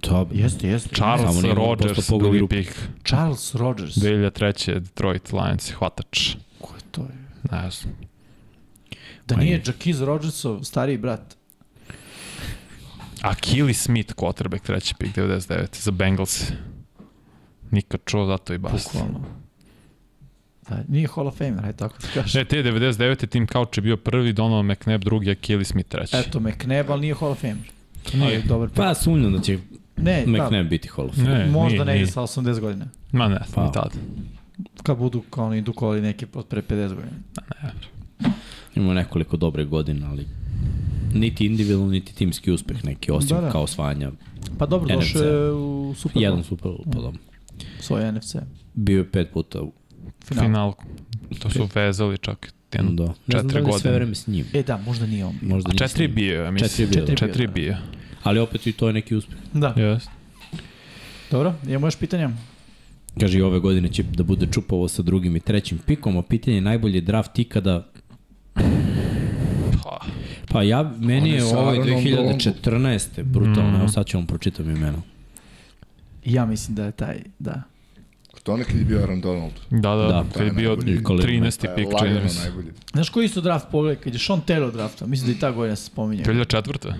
C: To,
D: Jeste, jeste.
C: Samo
E: Charles
C: nije mogao
E: Rodgers,
C: posle
E: drugi
C: pogodi rupu.
E: pik.
D: Charles Rogers.
E: 2003. Detroit Lions, hvatač.
D: Ko je to? je?
E: Ne znam.
D: Da nije Jakiz Rogersov stariji brat.
E: Akili Smith, quarterback, treći pik, 99. Za Bengals. Nikad čuo, zato i bast.
D: Bukvalno. Da, nije Hall of Famer, aj tako ti kažem.
E: Ne, te 99. Tim Couch je bio prvi, Donovan McNabb drugi, Akili Smith treći.
D: Eto, McNabb, ali nije Hall of Famer.
E: Nije.
D: Ali dobar pa,
C: Pa sumnjam da će
D: ne,
C: McNabb biti Hall of Fame.
D: E, da,
E: Ne,
D: možda
E: nije,
D: negde
E: nije.
D: sa 80 godina.
E: Ma ne,
C: Pa.
E: ni tad.
D: Kad budu kao oni dukovali neke od pre 50 godina.
C: Ima nekoliko dobre godine, ali niti individualno, niti timski uspeh neki, osim
D: Da, da.
C: kao osvajanja.
D: Pa dobro, došao
C: NFC.
D: je u Super Bowl.
C: Jedan super Bowl, pa dobro.
D: Svoj NFC.
C: Bio je pet puta u
D: Final.
E: Final. To su vezali čak jedno
C: da.
E: do
C: Ne znam da
E: četiri
C: li je sve
E: godine.
C: vreme s njim.
D: E da, možda nije on. bio.
C: Možda
E: A četiri
C: bi.
E: bio, ja
C: Četiri je
E: mislim.
C: bio, da.
D: Četiri
E: Četiri
D: bio, da.
E: bio.
C: Ali opet i to je neki uspeh.
D: Da,
E: Yes.
D: dobro, imamo još pitanja?
C: Kaže i ove godine će da bude čupovo sa drugim i trećim pikom, a pitanje je najbolji draft ikada
E: Pa,
C: Pa ja, meni
J: Oni
C: je
J: sa
C: ovaj
J: Aaronom Mhm.
C: 2014. brutalno,
E: Mm.
C: evo sad ću vam pročitam imena.
D: Ja mislim da je taj, da.
J: To nekad je bio Aaron Donald.
E: da, da,
C: Da,
E: da
J: to
E: kad
J: je
E: je bio
J: najbolji.
C: I Colin
E: 13. pik, čini
J: lagano
E: mi se.
J: najbolji.
D: Znaš koji su draft pogled, kad je Sean Taylor drafta, mislim da i ta godina se spominje.
E: 2004.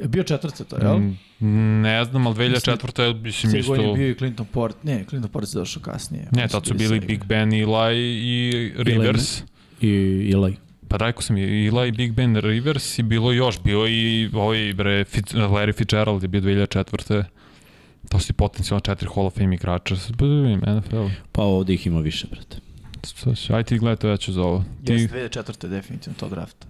D: Je bio četvrca to, jel? Mm,
E: Mm, Ne znam, ali 2004. je, mislim,
D: Sve godine
E: isto...
D: je bio i Clinton Port, ne, Clinton Port se došao kasnije.
E: Ne,
D: Oni
E: tad su
D: sa-
E: bili Big Ben, Eli i Rivers.
C: I Eli.
E: Pa rekao sam je Eli, Big Ben, Rivers i bilo još. Bio i ovaj bre, Fitz, Larry Fitzgerald je bio 2004. To su i potencijalno četiri Hall of Fame igrača. Pa da vidim, NFL.
C: Pa ovde ih ima više, brate.
E: Sad, Aj ti gledaj to, ja ću za ovo. Ti,
D: Jeste 2004. definitivno to drafta.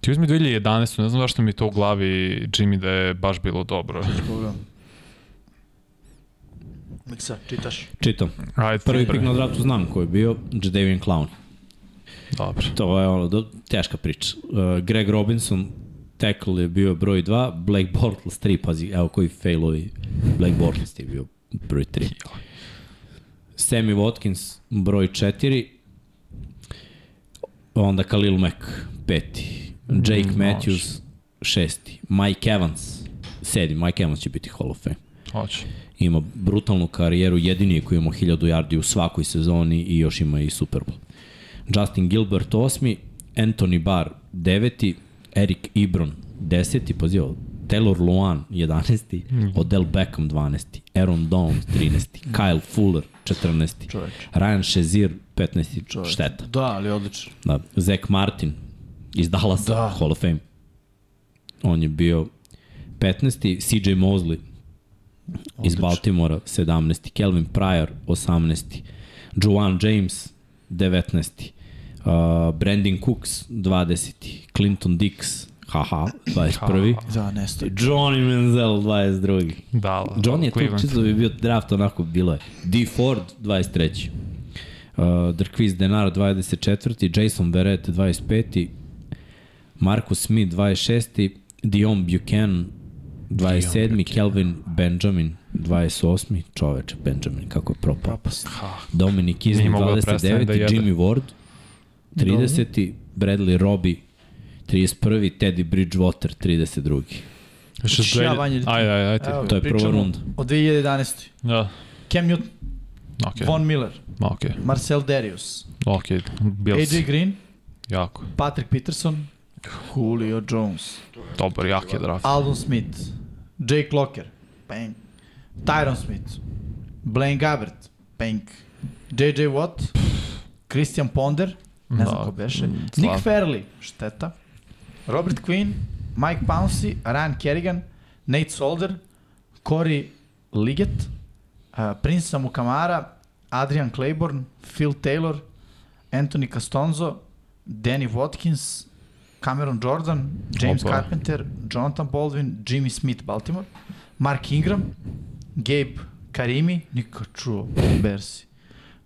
E: ti uzmi 2011. Ne znam zašto mi je to u glavi, Jimmy, da je baš bilo dobro.
D: Pogledam. Miksa, čitaš.
C: Čitam.
E: Ajde,
C: Prvi
E: ti
C: pik na draftu znam ko je bio, Jadavian Clown.
E: Dobro.
C: To je ono, do, teška priča. Uh, Greg Robinson, tackle je bio broj 2, Blake Bortles 3, pazi, evo koji failovi. Blake Bortles je bio broj 3. Sammy Watkins, broj 4. Onda Khalil Mack, peti. Jake
E: Mm,
C: Matthews, šesti. Mike Evans, sedmi. Mike Evans će biti Hall of Fame
E: Hoće.
C: ima brutalnu karijeru, jedini je koji ima 1000 yardi u svakoj sezoni i još ima i Super Bowl. Justin Gilbert osmi, Anthony Barr deveti, Eric Ibron deseti, pazi ovo, Taylor Luan 11.
D: Mhm.
C: Odell Beckham 12. Aaron Downs 13. Kyle Fuller 14.
D: Čoveče.
C: Ryan Shazier 15. Šteta.
D: Da, ali odlično.
C: Da. Zach Martin iz Dallasa, da.
D: Da.
C: Hall of Fame. On je bio 15. CJ Mosley iz Baltimora 17. Kelvin Pryor 18. Juwan James 19. Uh, Brandon Cooks 20. Clinton Dix haha 21.
D: Da, nestoji.
C: Johnny Manziel 22.
E: Da, da,
C: Johnny je tu
E: Cleveland.
C: čisto bi bio draft onako bilo je. D. Ford 23. Uh, Drquiz Denar 24. Jason Verrett 25. Marcus Smith 26. Dion Buchanan 27. Kelvin Benjamin 28. Čoveče Benjamin kako je propao.
D: Propast.
C: Dominic Kizmi
E: Nije mogao da prestane
C: 29.
E: da
C: Da
E: jede.
C: Jimmy Ward 30. Bradley Roby 31. Teddy Bridgewater 32.
E: Još
D: Ja,
E: ja
D: Vanja,
E: Ajde, ajde, ajde. ti.
D: Evo,
C: To je prva
D: pričamo
C: runda.
D: Od 2011.
E: Da,
D: Cam Newton,
E: okej.
D: Von Miller,
E: Ma, Okej,
D: Marcel Darius,
E: okej. Bills,
D: AJ Green,
E: jako.
D: Patrick Peterson, Julio Jones,
E: Dobar, jak je draft.
D: Aldon Smith, Jake Locker, bang, Tyron Smith, Blaine Gabbert, bang, JJ Watt, Christian Ponder, ne znam
E: Da.
D: ko beše,
E: slabo.
D: Nick Fairley, šteta, Robert Quinn, Mike Pouncey, Ryan Kerrigan, Nate Solder, Corey Liggett, uh, Prince Samukamara, Adrian Claiborne, Phil Taylor, Anthony Castonzo, Danny Watkins, Cameron Jordan, James
E: Opa.
D: Carpenter, Jonathan Baldwin, Jimmy Smith, Baltimore, Mark Ingram, Gabe Karimi, niko čuo, Bersi,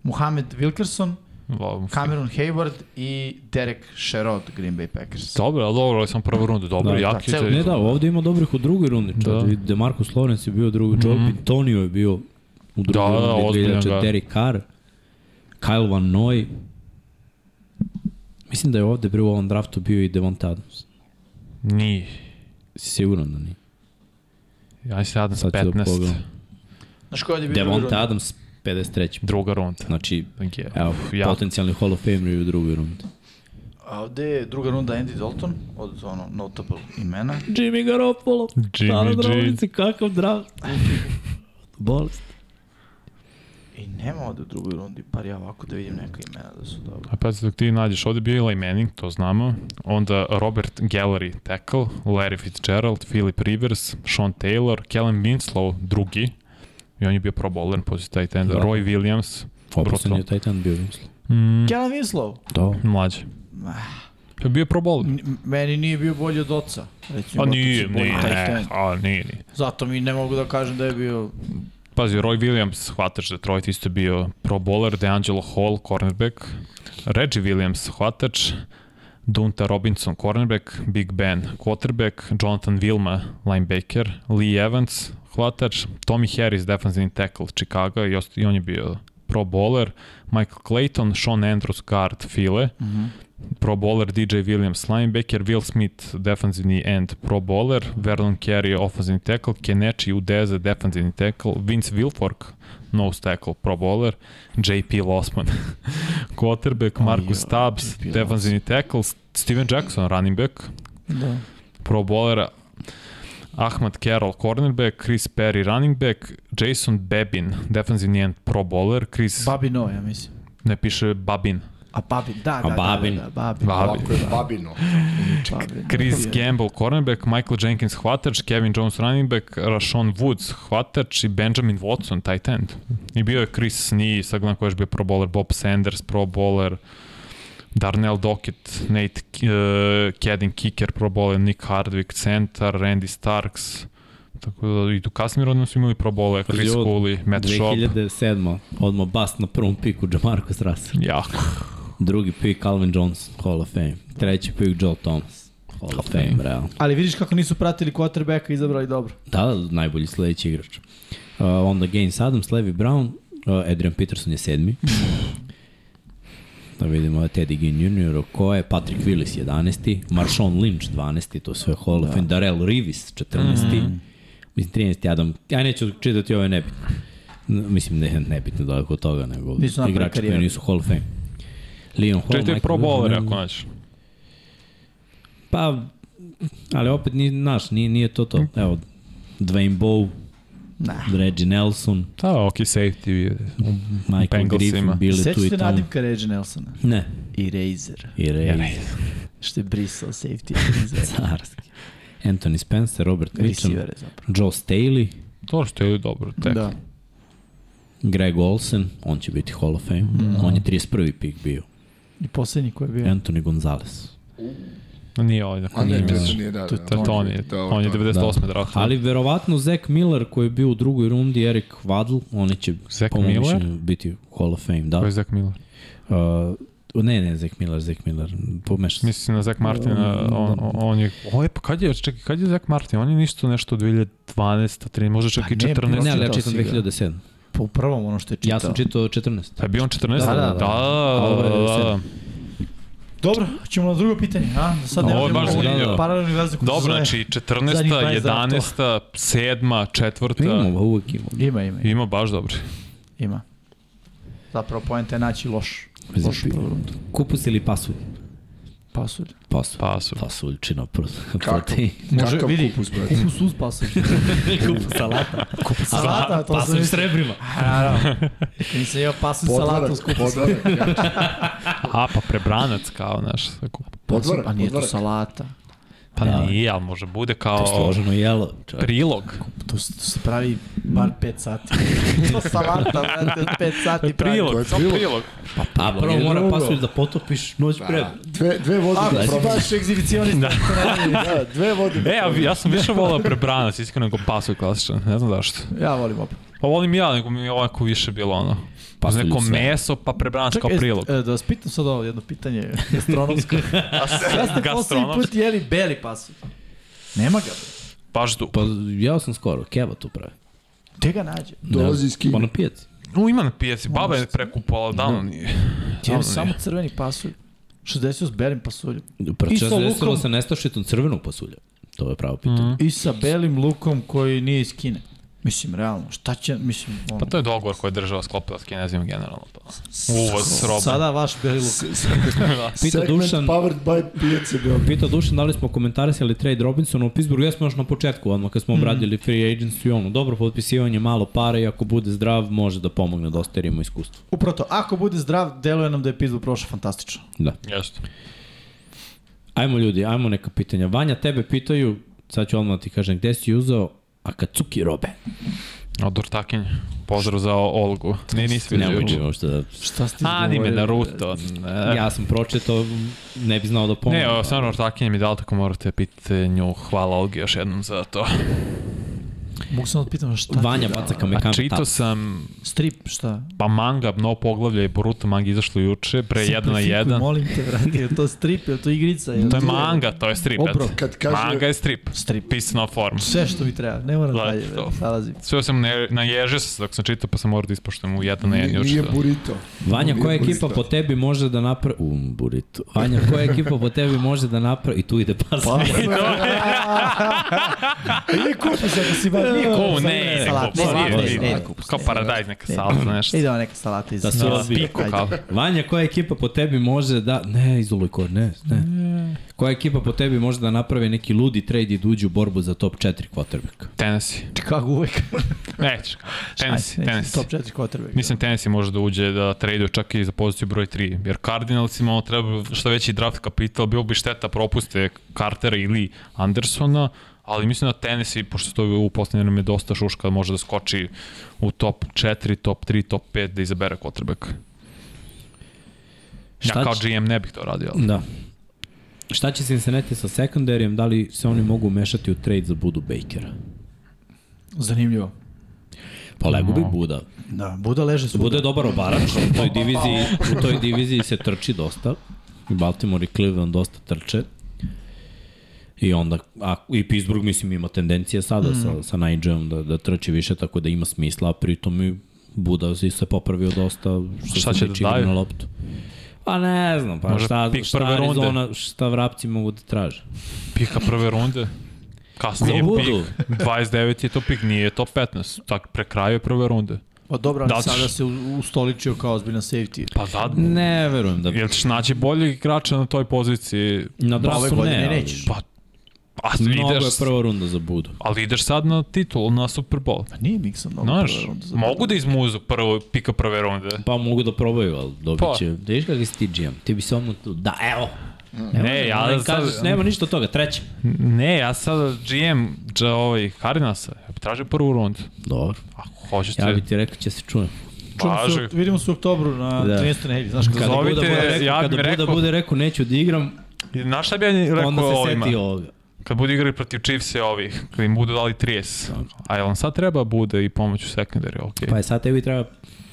D: Muhammed Wilkerson,
E: Wow.
D: Cameron Hayward i Derek Sherrod, Green Bay Packers.
E: Dobro, ali dobro, ali sam prvu rundu, dobro,
C: Da,
E: da,
D: da,
E: jak je
D: ceo-
E: te...
C: Ne da, ovde ima dobrih u drugoj rundi. Da.
E: Da. Mhm.
C: Demarcus Lawrence je bio u drugoj, mm. Joe Pintonio je bio u drugoj
E: Da, da,
C: rundi.
E: ozbiljan, da.
C: Derek Carr, Kyle Van Noy. Mislim da je ovde bio u ovom draftu bio i Devonta Adams.
E: Nije.
C: Si siguran da nije.
E: Aj se Adams
C: Sad ću da
E: 15.
C: pogledam.
D: Znaš ko je bio drugi
C: Devonta
D: rund?
C: Adams 53.
E: Druga runda.
C: Znači,
E: Je.
C: evo,
E: Uf,
C: ja.
E: ja.
C: potencijalni Hall of Famer je u drugoj rundi.
D: A ovde je druga runda Andy Dalton, od ono notable imena.
C: Jimmy Garoppolo.
E: Jimmy G.
C: kakav draft. Bolest.
D: I nema ovde u drugoj rundi, par ja ovako da vidim neka imena da su dobro.
E: A pazi dok ti nađeš, ovde je bio Eli Manning, to znamo. Onda Robert Gallery, tackle, Larry Fitzgerald, Philip Rivers, Sean Taylor, Kellen Winslow, drugi. I on je bio pro bowler, poslije taj tenda.
C: Da.
E: Roy Williams,
C: Opasan
E: Brutal. Mm.
C: je taj ten bio, mislim.
D: Kellen Winslow.
C: Da.
E: mlađi. Je bio pro bowler.
D: N- Meni nije bio bolji od oca. Recimo,
E: A Pa
D: otac je
E: nije,
D: bolji
E: nije,
D: taj
E: ne,
D: ten.
E: a nije, nije.
D: Zato mi ne mogu da kažem da je bio...
E: Pazi, Roy Williams, hvatač Detroit, isto je bio pro bowler, DeAngelo Hall, cornerback, Reggie Williams, hvatač, Dunta Robinson, cornerback, Big Ben, quarterback, Jonathan Vilma, linebacker, Lee Evans, hvatač, Tommy Harris, defensivni tackle Chicago i, ost- i on je bio pro bowler, Michael Clayton, Sean Andrews, guard, file, mm
D: Mhm.
E: -hmm. pro bowler DJ Williams, linebacker, Will Smith, defensivni end, pro bowler, Vernon Carey, ofenzivni tackle, Kenechi Udeze, defensivni tackle, Vince Wilfork, nose tackle, pro bowler, JP Losman, (laughs) quarterback, Marcus Stubbs, defensivni tackle, Steven Jackson, running back,
D: Da.
E: pro bowlera, Ahmad Carroll, cornerback, Chris Perry, running back, Jason Babin, defensivni end, pro bowler, Chris,
D: Babino, ja mislim.
E: ne piše Babin,
D: A Babin, da, da,
O: Babin.
D: da, da, da, Babin.
E: Babin.
J: Ovako je babino.
D: Babin. da.
E: Chris Gamble, cornerback, Michael Jenkins, hvatač, Kevin Jones, running back, Rashawn Woods, hvatač i Benjamin Watson, tight end. I bio je Chris Snee, sad gledam ko je još bio pro bowler, Bob Sanders, pro bowler, Darnell Dockett, Nate uh, Kedin, kicker, pro bowler, Nick Hardwick, centar, Randy Starks, tako da i tu kasnije rodno su imali pro bowler, Chris
C: Pazi, ovo
E: Cooley, Matt Schaub,
C: 2007. Odmah bast na prvom piku Jamarcus Russell.
E: jako.
C: Drugi pik Calvin Jones, Hall of Fame. Treći pik Joe Thomas, Hall of Fame, realno.
D: Ali vidiš kako nisu pratili quarterbacka i izabrali dobro.
C: Da, najbolji sledeći igrač. Uh, onda Gaines Adams, Levi Brown, uh, Adrian Peterson je sedmi. Da vidimo Teddy Ginn Jr. Oko je, Patrick Willis 11. Marshawn Lynch 12. To sve Hall
D: Da.
C: of Fame. Darrell Reeves 14. Mm. Mislim 13. Adam. Ja neću čitati ove nebitne. N- Mislim ne, nebitno daleko od toga, nego
D: Nisu napravili
C: igrači koji
D: karijeru.
C: nisu Hall of Fame. Leon Hall,
E: Čekaj,
C: Michael
E: pro bowler,
C: Wilson,
E: ako naći.
C: Pa, ali opet ni, naš, nije, nije to to.
D: Mhm.
C: Evo, Dwayne Bowe,
D: Nah.
C: Reggie Nelson,
E: Da, ok, safety,
C: Michael
E: Bengalsima.
C: Griffin, bili tu
D: Sećaš
C: i
D: se
C: tamo.
D: nadimka Rage Nelsona?
C: Ne.
D: I Razer.
C: I Ray,
D: Što je brisao safety. (laughs) Razer.
C: carski. Anthony Spencer, Robert Mitchum,
D: Receivere zapravo.
C: Joe Staley,
E: to što je dobro, tek. Da.
D: Da.
C: Greg Olsen, on će biti Hall of Fame.
D: Mhm.
C: On je 31. pik bio.
D: I poslednji ko je bio.
C: Anthony Gonzalez.
E: Nije ovaj, ako
J: Andrej
E: nije.
J: Peterson nije da. da,
E: To je Tony, on je 98. Da. draft.
C: Ali verovatno Zach Miller koji je bio u drugoj rundi, Eric Waddle, oni će
E: Zach
C: po mom
E: Miller?
C: mišljenju, biti Hall of Fame. Da.
E: Ko je Zach Miller?
C: Uh, ne, ne, Zach Miller, Zach Miller. Pomešao sam.
E: Mislim na Zach Martina, on, on je... On je, pa kad je, čekaj, kad je Zach Martin? On je ništa nešto 2012, 13, možda čak
D: Pa
E: i
D: ne,
E: 14.
C: Ne,
E: Ne,
C: ali ja
D: čitao
C: čitam
D: si ga.
C: 2007.
D: Po Pa prvom ono što je čitao.
C: Ja sam čitao 14.
E: Pa je bio on 14? Da, da,
C: Da,
E: da.
C: da, da. A ovo je
E: da.
D: Dobro, ćemo na drugo pitanje. A? Da sad ne
E: Ovo je
D: radimo
E: baš
D: ovu
E: zanimljivo.
D: Paralelni vezu koji se
E: Dobro,
D: zove-
E: znači
D: Zadnjih
E: 14,
D: 12 za to.
E: 11, 7,
D: da.
E: 4.
C: Pa Imamo, ba, uvek imamo.
D: Ima, ima, ima.
E: Ima baš dobri.
D: ima. Zapravo poenta je naći loš. Loš
C: Mislim,
D: prorundu.
C: Kupus ili pasulj?
D: Pasulj.
C: Pasulj.
E: Pasulj.
C: Pasuljčina
J: Kako?
C: protein.
D: Može,
J: Kakav
D: vidi.
J: kupus, (laughs) brate?
D: Kupus uz (laughs) pasulj.
C: Kupus salata.
D: Salata, to sam
C: Pasulj s
D: mislim.
C: srebrima.
D: Naravno. Nisam jeo pasulj salatu uz
J: Podvarak,
D: kupus.
J: podvarak, ja,
E: A, pa prebranac kao, znaš. tako.
J: podvarak,
D: Pa nije to
J: podvarak.
D: salata.
E: Pa nije, ali može bude
D: Pa,
E: kao
C: Složeno jelo. čovek.
E: prilog.
D: To, s- to se pravi bar 5 sati. (laughs) to salata, brate, od 5 sati pravi.
E: Prilog, samo prilog.
C: A Pa, prvo
O: je
C: mora
O: drugo.
C: pasulj da potopiš noć
J: Pa.
C: pre.
J: Dve, dve vode
D: Ako
J: da
D: si
J: probaš.
D: baš egzibicionista,
J: Da, dve vode da
E: E, a ja sam više volao prebranac, iskreno, nego pasulj klasičan. Ne znam zašto.
D: ja volim opet.
E: Pa volim ja, nego mi je ovako više bilo ono. Pa
C: Pasulj
E: neko
C: sve.
E: meso, pa prebranac kao prilog.
D: E, da vas pitam sad ovo jedno
E: (laughs)
D: pitanje gastronomsko. ja ste poslednji
E: Gastronomsko.
D: put jeli beli pasulj. Nema ga. bre.
E: Baš dup.
C: Pa jeo sam skoro, keva tu pravi.
D: Gde ga nađe?
E: Da,
J: dolazi iz
C: Pa
J: Kine.
C: na pijaci.
E: U, ima na pijaci, baba je prekupovala, davno nije.
D: Jeli
E: Davno
D: samo
E: nije.
D: crveni pasulj. 60 s belim pasuljem. I sa
C: Prčeo Pa, desilo
D: lukom.
C: sa nestašitom crvenog pasulja. To je pravo
E: Hm?
C: pitanje.
D: I sa belim lukom koji nije iz Kine. Mislim, realno, šta će, mislim, ono,
E: Pa to je dogovor koji je država sklopila s kinezima generalno. Pa. Uvoz roba.
D: sada vaš beli luk.
C: Pita
J: Segment pa-
C: Dušan,
J: powered by pijace Beograd.
C: Pitao Dušan da li smo komentarisali trade Robinsona u Pittsburghu, ja smo još na početku, odmah kad smo
D: Mm.
C: obradili free agency i ono, dobro potpisivanje, malo pare i ako bude zdrav može da pomogne da osterimo iskustvo.
D: Upravo to, ako bude zdrav, deluje nam da je Pittsburgh prošao fantastično.
C: Da.
E: Jeste.
C: Ajmo ljudi, ajmo neka pitanja. Vanja, tebe pitaju, sad ću odmah da ti kažem, gde si uzao Akatsuki robe?
E: Od Ortakinja. Pozdrav za Olgu. Ne, nisi
O: Ne
E: vidio
O: mogu
E: juče.
O: uopšte da...
D: Šta ste
E: Anime,
D: izgovorili?
E: Naruto. ne.
C: Ja sam pročitao, ne bi znao da pomogam.
E: Ne, ovo stvarno Ortakinja mi dala, tako morate pitati nju. Hvala Olgi još jednom za to.
D: Mogu samo da pitam šta ti
C: Vanja
D: je dala?
C: baca kame
E: A
C: kamen
E: čitao
C: tap.
E: sam
D: Strip, šta?
E: Pa manga, mnogo poglavlja i Boruto manga izašlo juče, pre 1 na
D: Simplifikuj,
E: 1.
D: Molim te, vrati, je to strip, je to igrica?
E: To je manga, to je strip.
D: Obrok.
E: brate.
J: Kad kaže-
E: Manga je strip,
D: Strip.
E: pisana forma.
D: Sve što mi treba, ne moram
E: Da,
D: dalje,
E: to.
D: već,
E: (laughs)
D: nalazim.
E: Sve sam ne, naježio sam se dok sam čitao, pa sam morao da ispoštujem u 1 na 1
J: Nije, nije
E: juče. da.
J: burrito.
C: Vanja,
J: Nije
C: koja
J: burrito.
C: ekipa po tebi može da napravi... Um, burrito. Vanja, koja ekipa po tebi može da napravi... I tu ide pas. Pa,
D: (laughs) Ili kupiš ako si ba... Nije
E: Ko, ne, ne,
D: salata,
E: ko,
D: salata,
E: nije,
D: ne,
E: nije.
D: ne, kupus,
E: Kao
D: ne,
E: paradajz, neka
D: ne.
E: salata, nešto.
D: Idemo neka salata iz...
C: Da se
E: Da,
C: razbija.
E: piko, kao.
C: Vanja, koja ekipa po tebi može da... Ne, izoluj kor, ne, ne. Koja ekipa po tebi može da napravi neki ludi trade i da uđe u borbu za top 4 quarterbacka?
E: Tennessee.
D: Kako uvek.
E: Nećeš. Tennessee,
D: Ajde,
E: Tennessee.
D: Top 4 quarterback.
E: Mislim Tennessee može da uđe da traduje čak i za poziciju broj 3, jer Cardinalsima ono treba što veći draft kapital, bilo bi šteta propuste Cartera ili Andersona, ali mislim da Tennessee, pošto to u poslednje vreme dosta šuška, može da skoči u top 4, top 3, top 5 da izabere quarterback.
C: Šta
E: Ja kao
C: će-
E: GM ne bih to radio, ali
C: Da. Šta će Cincinnati sa sekundarijem? Da li se oni mogu mešati u trade za Budu Bakera?
D: Zanimljivo.
C: Pa lego bi Buda.
D: Da, Buda leže svuda.
C: Bude dobar obarač, u
E: (laughs)
C: toj diviziji, u toj diviziji se trči dosta. I Baltimore i Cleveland dosta trče. I onda, a, i Pittsburgh mislim ima tendencije sada
E: Mm.
C: sa, sa Nigelom da, da trči više, tako da ima smisla, a pritom i Buda si se popravio dosta što
E: Šta
C: se
E: će
C: tiče
E: da
C: igre
E: daju?
C: na loptu. Pa ne znam, pa
E: Možda
C: šta,
E: pik
C: šta
E: prve runde?
C: Arizona, šta vrapci mogu da traže.
E: pika prve runde, kasnije
C: Za Budu.
E: pik, 29 je to pik, nije top 15, tak pre kraju je prve runde.
D: Pa dobro, ali
E: Da,
D: sada
E: ćeš-
D: se u- ustoličio kao ozbiljna safety.
E: Pa da,
C: Ne verujem da
E: jel ćeš naći boljeg igrača na toj poziciji?
C: Na
D: ove
C: draftu
D: godine
C: ne, ali
D: nećeš.
E: Pa, a
C: mnogo je
E: ideš,
C: prva runda za Budu.
E: ali ideš sad na titul, na Super Bowl.
D: Pa nije Mixon mnogo.
E: Znaš,
D: prva runda za-
E: mogu da izmuzu prvo pika prve runde.
C: Pa mogu da probaju, ali dobit
E: Pa.
C: će. Pa. Da viš kak si ti GM, ti bi se odmah tu, da, evo.
E: Ne, ja
C: Ali
E: E, sad-
C: kažeš, nema ništa od toga, treća.
E: Ne, ja sad GM, dža, ovaj, Harinasa, ja bi tražio prvu rundu.
C: Dobro,
E: Ako hoćete,
C: ja bi ti rekao će se čujem.
D: Čujemo se-
E: važi.
D: Vidimo se u oktobru na
C: Da.
D: 13. nedelji, znaš kada.
E: Kad- Zovite,
C: Buda bude rekao,
E: ja bi
C: kada Buda
E: rekao-
C: bude rekao neću da igram,
E: Znaš šta bi ja rekao
C: onda se
E: ovima?
C: seti ovoga.
E: Kad budu igrali protiv Chiefs-e ovih, kad im budu dali 30. A jel vam sad treba bude i pomoć u sekundari, okej.
C: Pa je sad tebi treba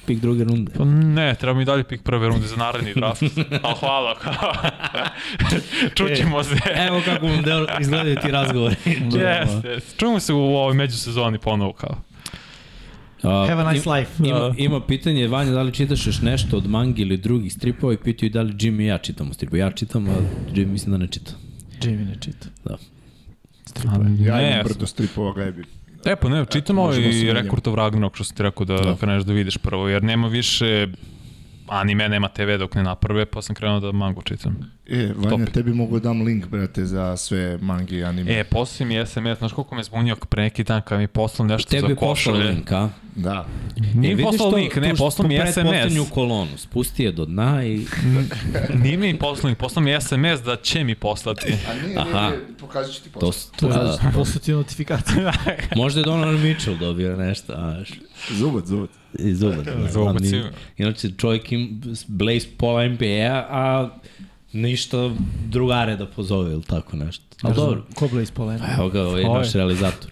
C: pik druge
E: (laughs)
C: runde.
E: Pa ne, treba mi dalje pik prve runde za naredni
C: (laughs)
E: draft. Ali hvala. (laughs)
C: E,
E: Čućemo se.
C: Evo kako vam del, izgledaju ti razgovori.
E: Yes, yes. Čujemo se u ovoj međusezoni ponovo kao.
D: Have a nice life. Da.
C: Ima, ima pitanje, Vanja, da li čitaš još nešto od mangi ili drugih stripova i pitaju da li Jimmy i ja čitamo stripove. Ja čitam, a Jimmy mislim da ne čita.
D: Jimmy ne čita.
C: Da.
J: Ja
E: Ne,
J: imam
E: ja sam-
J: brdo stripova glebi.
E: E pa ne, čitam ovaj
J: možemo se vidimo.
E: Rekord of Ragnarok što sam ti rekao da, da. kreneš da vidiš prvo, jer nema više anime, nema TV dok ne naprve, pa sam krenuo da mangu čitam.
J: E, Vanja,
E: Top.
J: tebi mogu dam link, brate, za sve mangi i anime.
E: E, poslao mi SMS, znaš koliko me zbunio pre neki dan kad mi je poslao nešto
C: Tebi
E: za
C: je poslao
E: košulje.
C: link, a?
J: Da.
E: Nije mi
C: vidiš
E: poslao
C: to-
E: link, ne,
C: tu
E: poslao mi
C: pretposlednju
E: SMS.
C: kolonu, spusti je do dna i...
E: (laughs) Nije mi poslao link, poslao mi SMS da će mi poslati.
J: A nije, nije,
C: Aha.
J: nije, pokazat ću ti
C: To,
J: posle.
C: to, a,
D: Da. Posle ti notifikacije.
E: (laughs)
C: možda je Donovan Mitchell dobio nešto, a, š-
J: Zubac, zubac.
C: iz uvoda.
E: Zubac
C: Ali,
E: je-
C: Inače, čovjek im Blaze pola NBA, a ništa drugare da pozove ili tako nešto. Ali dobro,
D: Ko Blaze Polen?
C: evo ga, ovo je
D: Ovo je.
C: naš realizator.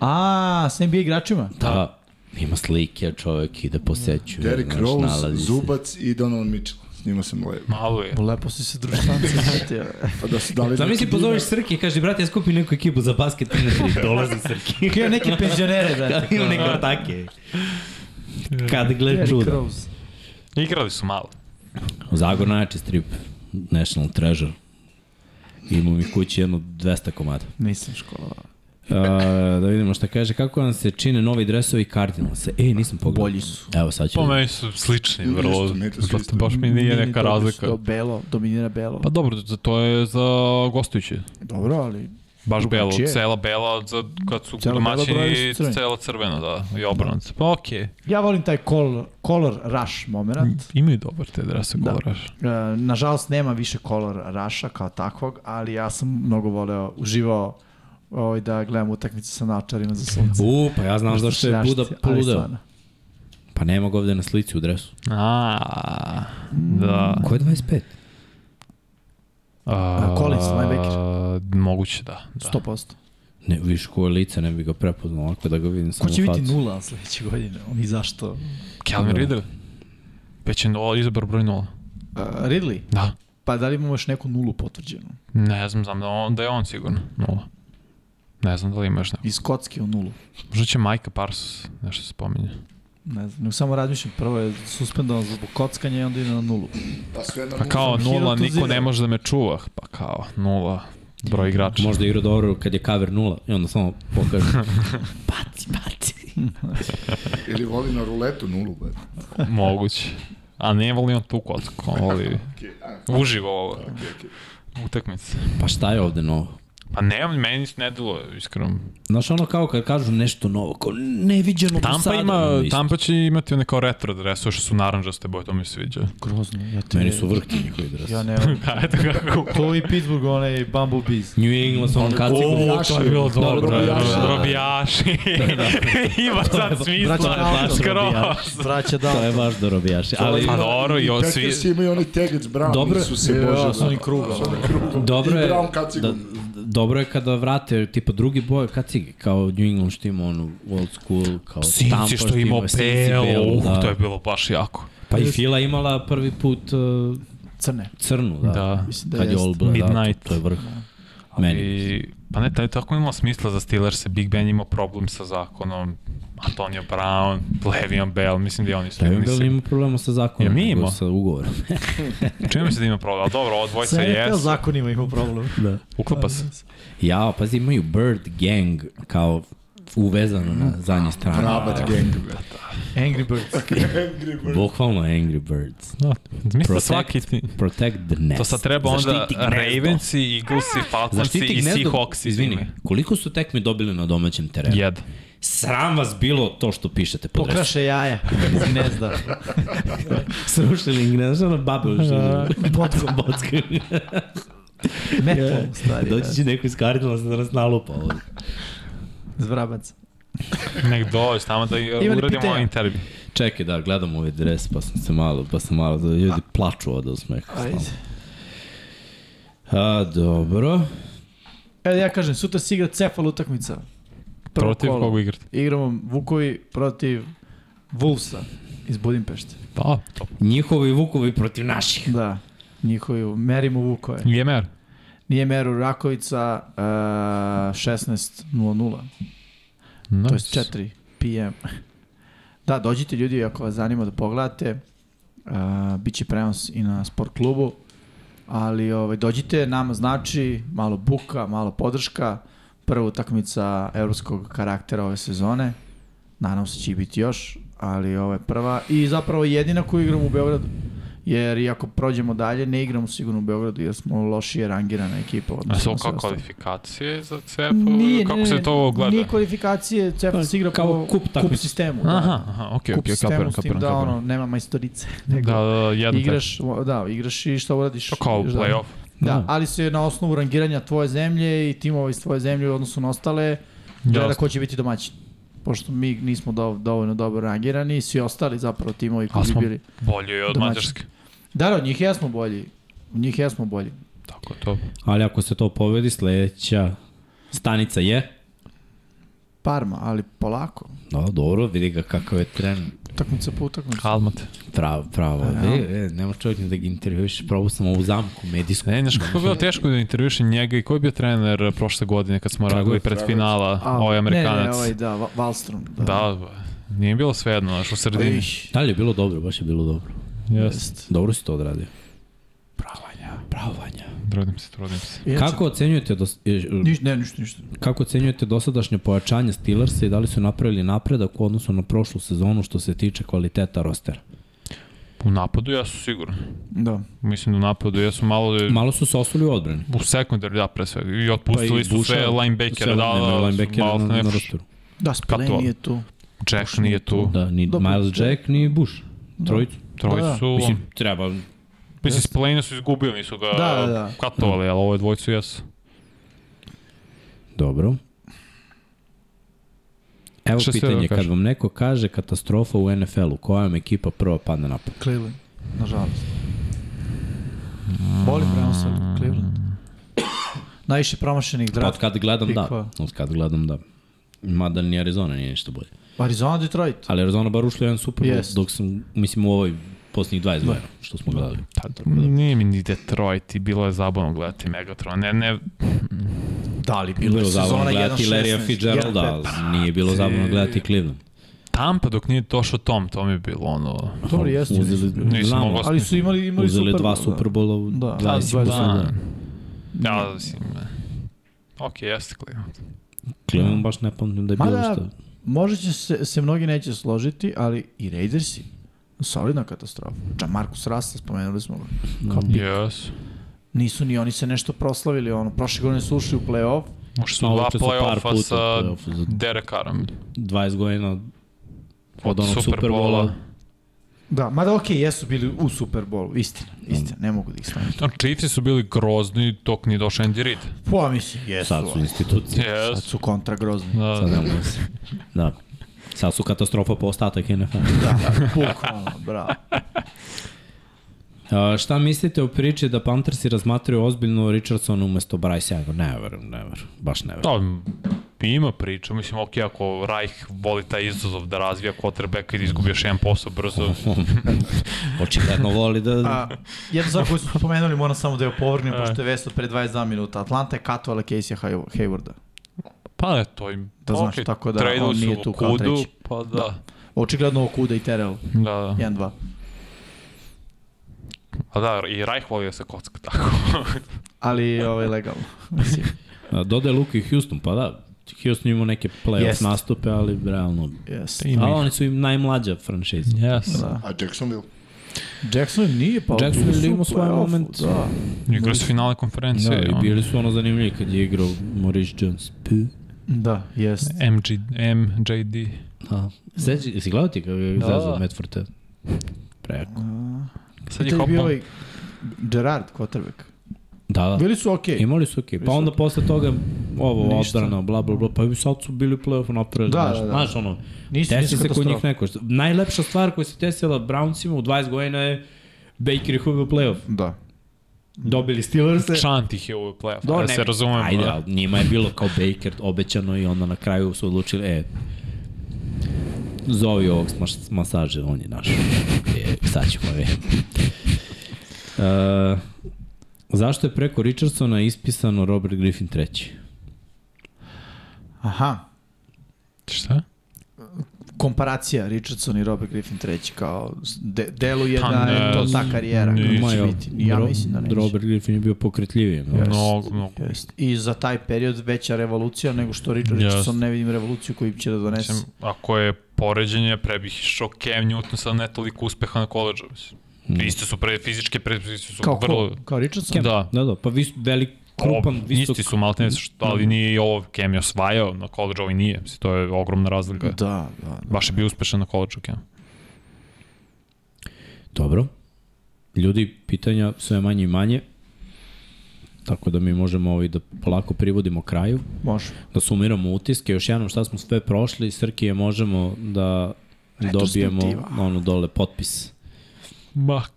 D: A, s NBA igračima?
C: Da, ima slike, čovjek ide posećuje.
J: Derrick
C: znaš,
J: Rose,
C: nalazi se.
J: Zubac i Donovan Mitchell. S njima sam lepo.
E: Malo je.
D: Lepo si se društvanci (laughs) sjetio.
J: Pa da su dali... neki
C: Zamisli,
J: dinar.
C: pozoveš Srki i kaže, brate, ja skupim neku ekipu za basket, ti ne (laughs) tri, dolazi Srki.
D: Ima neke
C: (laughs)
D: penzionere, brate.
C: Ima neke ortake. (laughs) Kad gle
D: Derrick
C: čuda.
D: Rose.
E: Igrali su malo.
C: Zagor najjači strip, National Treasure. Imam mi kući jedno 200 komada.
D: Nisam školovao.
C: Uh, da vidimo šta kaže, kako nam se čine novi dresovi Cardinalsa? E, nisam pogledao.
D: Bolji su.
C: Evo sad ću.
E: Po meni su slični, vrlo.
J: Isto, meni su slični.
E: Zato baš mi nije
D: Meni
E: neka
D: dobro su
E: razlika.
D: To belo, dominira belo.
E: Pa dobro, za to je za gostujući.
D: dobro, ali
E: Baš belo,
D: Drugačije.
E: cela bela, za, kad su
D: Cela bela brojevi
E: domaćini,
D: su crveni.
E: cela crvena, da, i obrnuto. Pa okej,
D: ja volim taj color, color rush moment.
E: imaju dobar te drese da. koloraš.
D: E, nažalost nema više color rusha kao takvog, ali ja sam mnogo voleo, uživao ovaj, da gledam utakmice sa načarima za sunce.
C: U, pa ja znam zašto je
D: Strašno,
C: Buda
D: ali
C: poludeo.
D: stvarno.
C: Pa nema ga ovde na slici u dresu.
E: A, da.
C: Ko je 25?
E: A,
D: Collins, linebacker.
E: Moguće, da. da.
D: 100%.
C: Ne, viš ko je lice, ne bi ga prepoznao ovako da ga vidim
D: Ko
C: samo
D: će
C: u
D: biti
C: facu.
D: nula sledeće godine? I zašto?
E: Calvin Ridley. Već je no- izabar broj nula.
D: Uh, Ridley?
E: Da.
D: Pa da li imamo još neku nulu potvrđenu?
E: Ne znam, znam da, on, da je on sigurno nula. Ne znam da li ima još neko.
D: Iz Kocke u nulu.
E: Možda će Majka Parsons nešto se spominje.
D: Ne znam, nego samo razmišljam, prvo je suspendovan zbog kockanja i onda ide na nulu.
J: Pa sve na
E: Pa kao
D: Sam hero
E: nula,
D: to
E: niko
D: zero.
E: ne može da me čuva. Pa kao nula, broj igrača.
C: Možda igra dobro kad je cover nula i onda samo pokaže.
E: (laughs)
C: baci, baci.
E: da.
J: Ili voli na ruletu nulu, bad.
E: Moguće. A ne voli on tu kocku, on voli uživo ovo. Utakmice.
C: Pa šta je ovde novo?
E: Pa ne, meni se ne delo, iskreno.
C: Znaš ono kao kad kažu nešto novo, kao neviđeno do
E: Tampa,
C: sada.
E: ima,
C: Isto.
E: Tampa će imati one kao retro drese, što su naranđaste boje, to mi se
C: (laughs)
E: sviđa.
D: Grozno, ja te...
C: Meni su
D: (laughs)
C: vrh ti njihovi dres.
D: Ja ne,
E: Eto kako.
D: to i Pittsburgh, onaj Bumblebees.
C: New England sa onom kacigom.
E: O, to je bilo dobro.
J: Robijaši.
C: (laughs)
E: Robijaši.
C: Da,
E: (laughs) Ima sad
D: Braća
E: smisla.
D: Dalton.
E: Skroz.
D: Braća
C: To je
D: Dalton.
C: baš da robijaš. Ali
E: Pa dobro, i ovo svi...
J: Packers imaju oni Tegec Brown,
C: Dobro.
J: nisu se
D: Ja,
J: božali.
D: s onim krugom.
J: S onim krugom.
C: dobro
J: I
C: je,
J: Brown kacigom.
C: da, dobro je kada vrate tipa drugi boje kacige, kao New England što ima onu old school, kao Tampa
E: Sinci što je imao
C: Sinci
E: pelo,
C: belu,
E: uh,
C: da.
E: to je bilo baš jako.
C: Pa i Fila imala prvi put uh,
D: Crne.
C: crnu, da.
E: Da.
D: Mislim da
C: Kad je
D: jeste.
C: All Black, da,
E: Midnight.
C: to, to je vrh. Meni.
E: I, pa ne, taj tako imao smisla za Steelers, Big Ben imao problem sa zakonom, Antonio Brown, Le'Veon Bell, mislim da i oni su.
C: Kevin
E: mislim.
C: Bell ima problema sa zakonom,
E: Jel mi
C: nego
E: imao?
C: sa ugovorom. (laughs)
E: Čini mi se da ima problem, ali dobro, ovo
D: Sa
E: dvojca
D: NFL
E: jes,
D: zakonima ima problem.
C: da.
E: uklapa se.
C: Ja, pazi, imaju Bird Gang kao uvezano na zadnje strane.
J: Rabat gang, bad.
D: Angry Birds.
C: Bukvalno Angry Birds.
E: Da, mislim da
C: Protect.
E: svaki ti...
C: Protect the nest.
E: To sad treba onda
C: Zaštiti gnezdo.
E: Ravens i Eagles i Falcons
C: Zaštiti
E: i
C: gnezdo.
E: Seahawks i
C: Izvini,
E: time.
C: koliko su tekmi dobili na domaćem terenu?
E: Jed.
C: Sram vas bilo to što pišete po dresu.
D: Pokraše jaja iz gnezda.
C: Srušili gnezda na babe ušli. Bockom, (laughs) bockom.
D: Metalom, stari.
C: Doći će neko iz Cardinalsa da nas nalupa ovde.
D: da. Zvrabac.
E: Nek dođe tamo da i
D: li
E: uradimo
D: pitanja?
E: ovaj intervju.
C: Čekaj da gledam ovaj dres pa sam se malo, pa sam malo, da ljudi plaču od osmeha.
D: Ajde.
C: stalno. A, dobro.
D: Evo ja kažem, sutra se igra cefal utakmica. Prvo
E: Protiv
D: kolo.
E: koga igrate?
D: Igramo Vukovi protiv Vulsa iz Budimpešte.
E: Pa, to.
C: Njihovi vukovi protiv naših.
D: Da, njihovi, merimo Vukove.
E: Jemer.
D: Nije meru Rakovica, uh, 16.00,
E: Nice.
D: to je 4 p.m. Da, dođite ljudi ako vas zanima da pogledate, uh, bit će prenos i na sport klubu, ali ovaj, dođite, nama znači malo buka, malo podrška, prva utakmica evropskog karaktera ove sezone, nadam se da će i biti još, ali ovo je prva i zapravo jedina koju igram u Beogradu. Jer i ako prođemo dalje, ne igramo sigurno u Beogradu jer smo lošije rangirana ekipa.
E: A
D: odnosno
E: su
D: na sve
E: kao
D: ostalo.
E: kvalifikacije za CEP?
D: Nije,
E: uh, Kako
D: ne,
E: se
D: ne,
E: to gleda?
D: Nije kvalifikacije, CEFA se igra
C: Kao
D: po
C: kup
D: kup
C: takmičenja.
D: sistemu.
E: Aha,
D: da.
E: aha, okej,
D: kup
E: okej,
D: sistemu
E: kapiram,
D: s tim
E: kapiram,
D: da
E: kapiram.
D: ono, nema majstorice. Nego
E: Da, da, jedno igraš
D: igraš, da, igraš i šta uradiš.
E: tako. To kao
D: igraš dalje.
E: play-off.
D: Da,
C: Da.
D: ali se na osnovu rangiranja tvoje zemlje i timova iz tvoje zemlje u odnosu na ostale, gleda
E: Jasno.
D: ko će biti domaćin. Pošto mi nismo dov, dovoljno dobro rangirani, svi ostali zapravo timovi koji
E: Ali
D: bi
E: smo-
D: bili.
E: Bolje je od
D: Domaćin.
E: Mađarske.
D: Da, da, od njih jesmo bolji. Od njih jesmo bolji.
E: Tako je to.
C: Ali ako se to povedi, sledeća stanica je...
D: Parma, ali polako.
C: No, dobro, vidi ga kakav je tren.
D: Utakmica po utakmicu.
E: Kalmate.
C: Pravo, pravo. E, e, nema čovjek ni da ga intervjuiš. Probao sam ovu zamku medijsku. E,
E: Ne, znaš kako
D: (laughs)
E: je bilo teško da intervjuši njega i ko je bio trener prošle godine kad smo radili pred finala,
D: A,
E: ovaj
D: Ne, ne,
E: Amerikanac.
D: ovaj, da, Va- Wallstrom. Da.
E: Da, ba, nije bilo svejedno, znaš, u sredini.
C: Da li je bilo dobro? Baš je bilo dobro.
E: Jeste.
C: Dobro si to odradio. Bravo, Vanja. Bravo, Vanja.
E: Trudim se, trudim se.
D: Inače,
C: Kako ocenjujete, dos, e,
D: Niš, ne, ništa, ništa.
C: kako ocenjujete dosadašnje pojačanje Steelersa i da li su napravili napredak u odnosu na prošlu sezonu što se tiče kvaliteta rostera?
E: U napadu ja su sigurno.
D: Da.
E: Mislim da u napadu ja su malo... da-
C: Malo su se osuli u odbrani.
E: U sekundari, da, pre svega. I otpustili
C: Pa i
E: su sve
C: Buša,
E: linebackere,
C: Sve
E: da, da,
C: nema
E: da,
C: linebackera
E: malo
C: na,
E: ne-
C: na rosteru.
D: Da, Spillane
E: Kato.
D: nije tu.
E: Jack nije tu.
C: Da, ni
D: Dobro.
C: Miles Jack, ni Bush. Trojicu.
E: Troji
D: Da, da.
E: su...
C: Mislim, treba...
E: Mislim, Spillane su izgubili, nisu ga
D: Da, da, da.
E: katovali, ali ovo je dvojcu jesu.
C: Dobro. Evo
E: Šta si teo da
C: pitanje, kad
E: kažem?
C: vam neko kaže katastrofa u NFL-u, koja vam ekipa prva padne na pamet?
D: Cleveland, nažalost. Boli prenosa
C: (coughs)
D: Cleveland. Najviše promašenih
C: Od
D: draft.
C: kad gledam, da.
D: Pikova.
C: Od kad gledam, da. Mada ni Arizona nije ništa bolje.
D: Arizona, Detroit.
C: Ali Arizona bar ušla u jedan Super Bowl,
D: Jest. Da.
C: dok sam, mislim, u ovoj posljednjih 20 godina, što smo gledali.
E: Da, Nije mi ni Detroit i bilo je zabavno gledati Megatron. Ne, ne,
D: Da li
C: Bilo je zabavno gledati Larrya
D: 1.16,
C: Fitzgeralda,
D: 1.15.
C: ali nije bilo zabavno gledati Cleveland.
E: Tampa dok nije došao Tom, to mi je bilo
C: Da,
E: ono...
D: Dobro, jeste.
C: Uzeli,
E: Nisam
C: znamo,
E: mogao-
D: Ali su imali, imali
C: uzeli
D: Super
C: dva
D: Bowl,
C: Super Bowl-a u
D: Da.
C: 20
D: Da,
C: godina.
E: Ja, mislim, ne. Ok, jeste Cleveland.
C: Cleveland baš ne pamtim da je bilo
D: Mada,
C: što.
D: možda će se, se mnogi neće složiti, ali i Raidersi, solidna katastrofa. Ča Markus Rasta, spomenuli smo ga.
C: Da.
D: Kao pik.
E: Yes.
D: Nisu ni oni se nešto proslavili, ono, prošle godine su ušli u play-off,
E: Možda su
C: Ma,
E: dva
C: uopće su par puta
E: play-offa
C: u
E: sa
C: play-offu za-
E: Derek Carom.
C: 20 godina od onog
E: Super
C: Super
E: Bowla.
C: Bowla.
D: Da, mada okej, jesu bili u Super Bowlu, istina, istina, ne mogu da ih stavim.
E: No, Chiefs su bili grozni dok nije došao Andy Reid.
D: Pa mislim, jesu.
C: Sad su
E: (laughs)
C: institucije.
E: Yes.
D: Sad su kontra grozni.
E: Da,
C: Sad ne mogu se. Da. Sad su katastrofa po ostatak NFL.
D: Da, bukvalno, (laughs) bravo.
C: A, šta mislite o priči da Panthersi razmatraju ozbiljno Richardsona umesto Bryce Younga? Ne verujem, ne verujem. Baš ne verujem.
E: Da, ima priča, mislim, ok, ako Reich voli taj izazov da razvija quarterbacka i da izgubi još jedan posao brzo,
C: (laughs) Očigledno voli da...
D: A, jedna stvar koju smo spomenuli, moram samo da je opovrgnem, pošto je vest od pre 22 minuta. Atlanta je katovala Casey Hay- Haywarda.
E: pa ne, to im...
D: Da znaš,
E: ok,
D: tako da
E: traduju
D: on
E: su
D: nije tu kao
E: Okudu,
D: treći.
E: Pa da,
D: Očigledno Okuda i Terrell,
E: da, da.
D: 1-2.
E: A da, i Reich voli da se kocka
C: (laughs)
E: tako.
D: Ali ovaj, legalno. (laughs) Mislim,
C: A, Dode Luka i Houston, pa da. Houston imao neke playoff
D: Jest.
C: nastupe, ali realno...
D: yes.
E: Ima
C: A
E: ih.
C: oni su im najmlađa franšiza.
E: Yes.
D: Da.
J: A Jacksonville?
D: Jackson nije, pa
C: Jacksonville
D: bili su
C: imao
D: u
C: svoj
D: play-offu,
C: moment.
D: Da.
E: Igra su finale konferencije.
C: Da, i
E: ono.
C: bili su ono zanimljivi kad je igrao Maurice Jones. Puh.
D: da, jest.
E: MG, MJD.
C: Da. Sveći, si gledao ti kako je
E: Da.
C: izrezao Medforte? Preko.
E: Sad
D: To
E: je
D: je bio
E: hopao.
D: ovaj Gerard, quarterback.
C: Da, da.
D: Bili su okej.
C: Imali su okej. Okay. Pa onda posle toga ovo
D: Ništa.
C: odbrana, bla bla bla, pa i sad su bili u play-offu napravili.
D: Da,
C: znaš,
D: da, da.
C: Znaš ono,
D: Nisu,
C: desi
D: nisu
C: se kod njih
D: katastrofa.
C: neko. što- Najlepša stvar koja se desila Browncima u 20 godina je Baker ih uveo u play-off.
D: Da.
C: Dobili Steelers-e.
E: Čant ih je u play-off,
C: Do,
E: da
C: ne
E: se
C: bi-
E: razumemo.
C: Ajde,
E: da.
C: ali njima je bilo kao Baker obećano i onda na kraju su odlučili, e, zovi ovog s mas masaže, on je naš. E, sad ćemo je. E, zašto je preko Richardsona ispisano Robert Griffin treći?
D: Aha.
E: Šta?
D: komparacija Richardson i Robert Griffin treći kao de, deluje
E: Pa
D: da je
E: ne,
D: to ta karijera koja
E: neće
D: će biti. Ja mislim da neće.
C: Robert Griffin je bio pokretljiviji. No.
E: Mnogo, mnogo.
D: Jest. I za taj period veća revolucija nego što Richard
E: Jest.
D: Richardson ne vidim revoluciju koju će da donese.
E: Mislim, ako je poređenje, pre bih išao Cam Newton sa ne toliko uspeha na koleđu. Mislim. Isto su pre fizičke predpozicije su
D: Hmm. Kao
E: vrlo...
D: ko? Kao Richardson?
E: Da.
C: Da, da, pa vis, velik, krupan,
E: Ob-
C: visok. Mm.
E: Isti su malte ne, što- ali nije i ovo Cam je osvajao na koleđu, ovi nije. Mislim, to je ogromna razlika.
D: Da, da. da.
E: Baš je bio uspešan na koleđu Cam.
C: Dobro. Ljudi, pitanja sve manje i manje. Tako da mi možemo ovaj da polako privodimo kraju.
D: Može.
C: da sumiramo utiske, još jednom šta smo sve prošli, Srkije možemo da dobijemo
D: Retrospektiva.
C: ono dole potpis.
E: Max.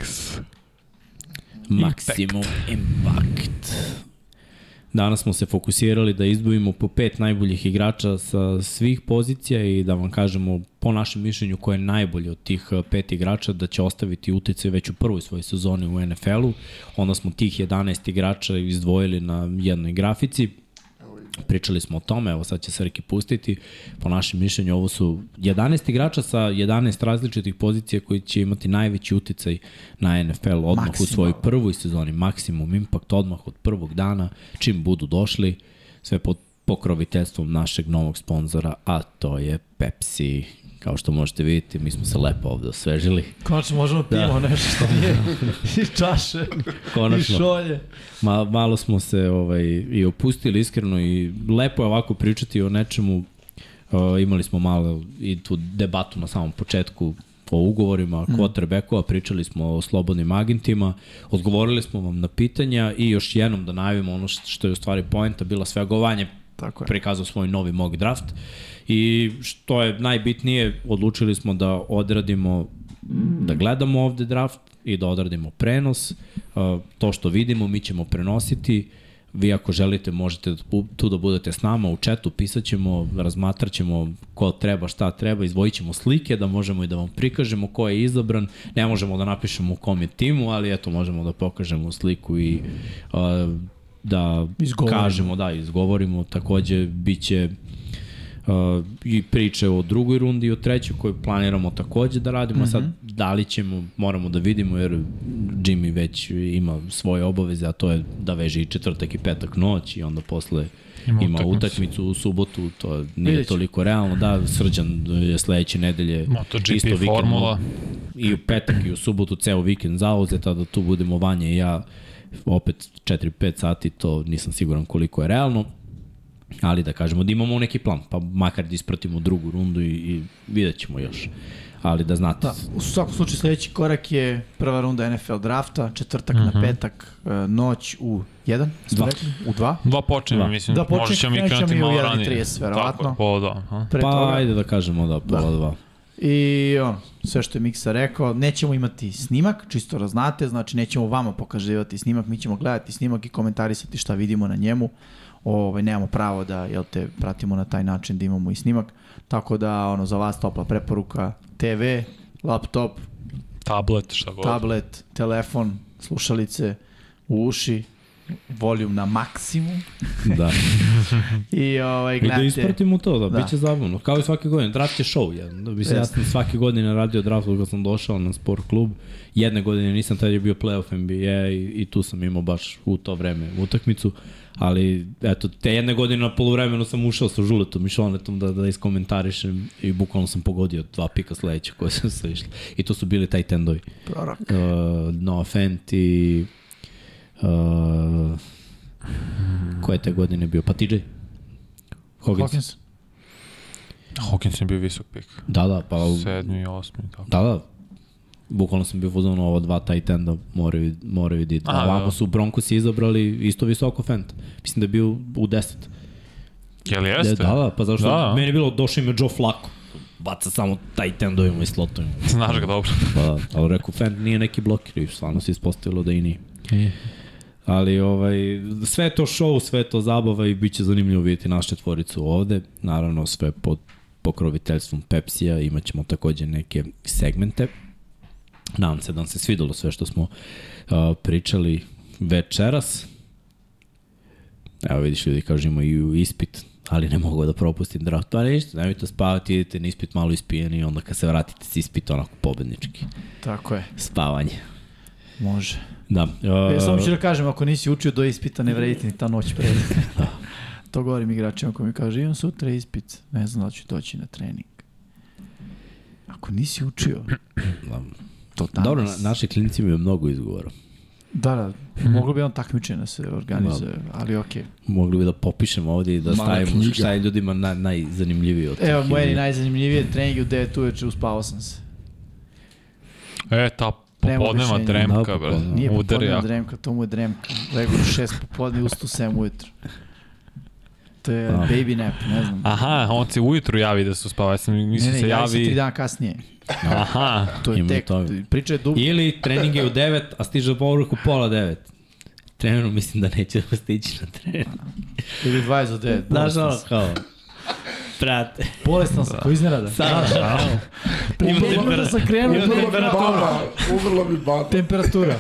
C: Maximum impact. Danas smo se fokusirali da izdvojimo po pet najboljih igrača sa svih pozicija i da vam kažemo po našem mišljenju ko je najbolji od tih eh, pet igrača da će ostaviti uticaj već u prvoj svojoj sezoni u NFL-u. Onda smo tih 11 igrača izdvojili na jednoj grafici. Pričali smo o tome, evo sad će Srki pustiti. Po našem mišljenju ovo su 11 igrača sa 11 različitih pozicija koji će imati najveći uticaj na NFL odmah u
D: Maksimalno.
C: svojoj prvoj sezoni. Maksimum impact odmah od prvog dana, čim budu došli, sve pod pokroviteljstvom našeg novog sponzora, a to je Pepsi. Kao što možete vidjeti, mi smo se lepo ovde osvežili.
D: Konačno možemo
E: Da.
D: pijemo nešto što
E: (laughs)
D: nije i čaše i
C: Konačno.
D: šolje.
C: Ma, malo smo se ovaj, i opustili iskreno i lepo je ovako pričati o nečemu. Uh, imali smo malo i tu debatu na samom početku o
D: Mhm.
C: ugovorima quarterbackova, pričali smo o slobodnim agentima, odgovorili smo vam na pitanja i još jednom da najavimo ono što je u stvari poenta bila svegovanje
D: Tako je.
C: prikazao svoj novi mock draft i što je najbitnije, odlučili smo da odradimo, da gledamo ovde draft i da odradimo prenos. Uh, To što vidimo mi ćemo prenositi, vi ako želite možete da bu- tu da budete s nama u četu, pisat ćemo, razmatrat ćemo ko treba, šta treba, izdvojit ćemo slike da možemo i da vam prikažemo ko je izabran, ne možemo da napišemo u kom je timu, ali eto možemo da pokažemo sliku i uh, da
D: Izgovorimo.
C: kažemo kažemo, da, izgovorimo, takođe biće uh, i priče o drugoj rundi i o trećoj koju planiramo takođe da radimo, mm -hmm.
E: Mhm.
C: sad da li ćemo, moramo da vidimo jer Jimmy već ima svoje obaveze, a to je da veže i četvrtak i petak noć i onda posle
E: Ima
C: ima, ima
E: utakmicu.
C: utakmicu u subotu, to nije
D: Vidjet ćemo.
C: toliko realno, da, srđan je sledeće nedelje
E: MotoGP
C: isto vikend,
E: formula.
C: i u petak i u subotu ceo vikend zauzeta da tu budemo Vanja i ja opet 4-5 sati, to nisam siguran koliko je realno, ali da kažemo da imamo neki plan, pa makar da ispratimo drugu rundu i, i vidjet ćemo još. Ali da znate,
D: Da, u svakom slučaju sledeći korak je prva runda NFL drafta, četvrtak mm -hmm. na petak, e, noć u 1,
C: Dva.
D: u 2.
E: Mhm. Dva počinje,
C: Da.
E: mislim,
D: Da,
E: da
D: počinje,
E: možda ćemo i
D: krenut ćemo
E: krenuti
D: i u
E: malo
D: 1:30
E: ranije.
D: verovatno.
E: Tako, je, pola dva. aha.
D: Pre
C: pa
D: toga.
C: ajde da kažemo da, pola dva.
D: I ono, sve što je Miksa rekao, nećemo imati snimak, čisto da znate, znači nećemo vama pokazivati snimak, mi ćemo gledati snimak i komentarisati šta vidimo na njemu. Ovaj, nemamo pravo da jel te, pratimo na taj način da imamo i snimak. Tako da ono, za vas topla preporuka TV, laptop,
E: Tablet, šta god.
D: tablet, telefon, slušalice u uši, voljum na maksimum
C: Da.
D: i ovaj,
C: I da
D: gledajte.
C: ispratimo to, da,
D: Da.
C: da. bit će zabavno. Kao i svake godine, draft je show jedan. Da bi se ja
D: Jeste.
C: sam svake godine radio draft od kad sam došao na sport klub. Jedne godine nisam, tad je bio playoff NBA i, i tu sam imao baš u to vreme utakmicu. Ali, eto, te jedne godine na polovremenu sam ušao sa žuletom i šonetom da, da iskomentarišem i bukvalno sam pogodio dva pika sledeća koja sam se išla. I to su bili taj tendovi.
D: Prorok.
C: Uh, Noah Fent i... Uh, koje te godine bio? Pa TJ? Hawkins.
D: Hawkins.
E: Hawkins je bio visok pik.
C: Da, da, pa...
E: Sedmi i osmi, tako.
C: Da, da. Bukvalno sam bio fuzon ovo dva tight enda moraju, moraju da idu.
E: Aha,
C: A
E: da.
C: ovako su Broncos izdobali isto visoko Fent. Mislim da je bio u 10.
E: Jel jeste?
C: Da, da, pa zašto?
E: Da.
C: Da. Meni je bilo došao im je Joe Flacco. Baca samo tight endovima i slotovima.
E: Znaš ga dobro.
C: Pa da, ali rekao, Fent nije neki bloker i stvarno se ispostavilo da i nije. Ali ovaj, sve je to show, sve je to zabava i bit će zanimljivo vidjeti našu četvoricu ovde. Naravno sve pod pokroviteljstvom Pepsija, imat ćemo takođe neke segmente. Nadam se da vam se svidelo sve što smo uh, pričali večeras. Evo vidiš ljudi kažemo i u ispit, ali ne mogu da propustim draft, pa ništa, nemojte spavati, idete na ispit malo ispijeni i onda kad se vratite s ispit onako pobednički.
D: Tako je,
C: Spavanje.
D: može.
C: Da.
D: E, samo ću
C: Uh,
D: da kažem, ako nisi učio do ispita, ne vredite ni ta noć pre. (laughs) to govorim igračima koji mi kaže, imam sutra ispit, ne znam da li ću doći na trening. Ako nisi učio,
C: (clears throat)
D: to danas.
C: dobro, na, naši klinici imaju mnogo izgovora.
D: Da, da, moglo bi on takmičenje da se organizuje, ali okej.
C: Mogli bi da popišemo ovde i da
J: Mala
C: stavimo
J: knjiga.
C: šta je ljudima na, najzanimljivije od
D: Evo,
C: tih
D: moje
C: izgovora.
D: najzanimljivije, trening je u 9 uveče, uspavao sam se.
E: E, ta
D: Nema
E: popodneva
D: objašnjenja.
E: dremka,
C: Da,
E: brate.
C: popodneva.
D: Nije
E: Udari
D: popodnevna
E: jako.
D: dremka, to mu je dremka. Lego u 6 popodne, (laughs) ustu 7 ujutru. To je
C: A.
D: baby nap, ne znam.
E: Aha, on se ujutru javi da se uspava. Ja sam
D: Ne,
E: mislim
D: ne,
E: se
D: javi se 3
E: javi...
D: dana kasnije.
E: Aha,
D: To je
C: Ima i
D: tek,
C: toga.
D: priča je dugo.
C: Ili trening je u 9, a stiže povrh u pola 9. Treneru mislim da neće (laughs) da stići na trening.
D: Ili 20 do 9.
C: Znaš
D: Bolestan
C: ono
D: sam.
C: kao, brate,
D: Bolestan sam, ko iznenada.
C: sad, Ima
D: Ubrlo da
C: temperatura.
D: sam krenuo,
C: Ima
D: ubrlo
C: temperatura.
J: Baba, ugrlo mi baba.
D: temperatura.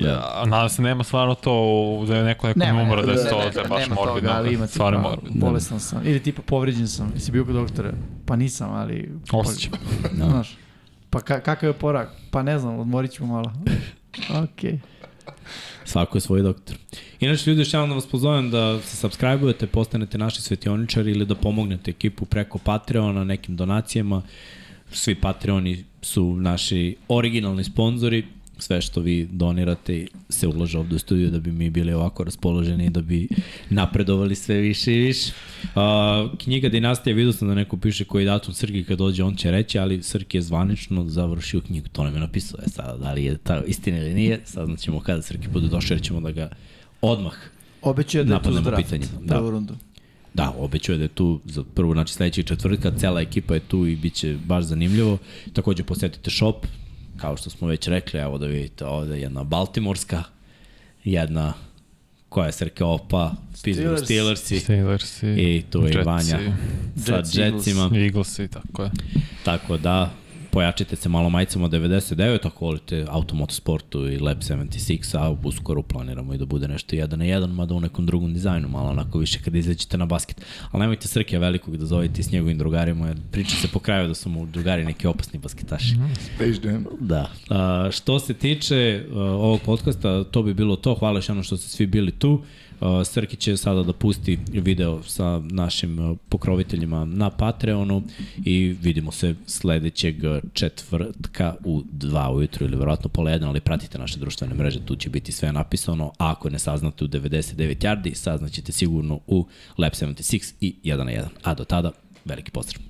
C: Da.
E: Ja, nadam se nema stvarno to u- da je neko nekom
D: Nema,
E: umra da je
D: nema,
E: to
D: nema,
E: da je baš
D: nema
E: morbidno.
D: toga, ali ima
E: Stvarno
D: tipa,
C: da.
E: morbidno.
D: bolestan sam. Ili tipa povređen sam. Jesi bio kod doktora? Pa nisam, ali...
E: Osjećam.
C: Da.
D: No. Znaš, pa ka, kakav je porak? Pa ne znam, odmorit ćemo
C: (laughs)
D: malo. Okej. Okay.
C: Svako je svoj doktor. Inače, ljudi, još jednom da vas pozovem da se subscribe-ujete, postanete naši svetioničari ili da pomognete ekipu preko Patreona nekim donacijama. Svi Patreoni su naši originalni sponzori. Sve što vi donirate se ulaže ovde u studiju da bi mi bili ovako raspoloženi i da bi napredovali sve više i više. A, knjiga Dinastija, vidio sam da neko piše koji datum Srki kad dođe, on će reći, ali Srki je zvanično završio knjigu, to nam je napisao. E sada, da li je ta istina ili nije, saznaćemo kada Srki bude došao, jer ćemo da ga odmah
D: Obećao je da je tu
C: Napadnemo
D: zdrav.
C: pitanje, da.
D: Da. Prvu rundu.
C: Da, obećao je da je tu za prvo, znači sledećeg četvrtka, cela ekipa je tu i bit će baš zanimljivo. Takođe posetite shop, kao što smo već rekli, evo da vidite ovde je jedna Baltimorska, jedna koja je Srke Opa, Pittsburgh
D: Steelers.
C: Steelersi,
E: Steelers i
C: i tu E, je i
E: Jetsi.
C: Vanja sa
D: Jets, Eagles.
C: Jetsima.
E: Eagles i tako je.
C: Tako da, pojačite se malo majicama 99, ako volite automotosportu i Lab 76, a uskoro planiramo i da bude nešto 1 na 1, mada u nekom drugom dizajnu, malo onako više kada izađete na basket. Ali nemojte Srke velikog da zovete i s njegovim drugarima, jer priča se po kraju da su mu drugari neki opasni basketaši.
J: Space Jam.
C: Da. A, što se tiče a, ovog podcasta, to bi bilo to. Hvala još jednom što ste svi bili tu. A, Srki će sada da pusti video sa našim a, pokroviteljima na Patreonu i vidimo se sledećeg četvrtka u 2 ujutru ili verovatno pola 1, ali pratite naše društvene mreže, tu će biti sve napisano. A ako ne saznate u 99 yardi, saznaćete sigurno u Lab 76 i 1 na 1. A do tada, veliki pozdrav.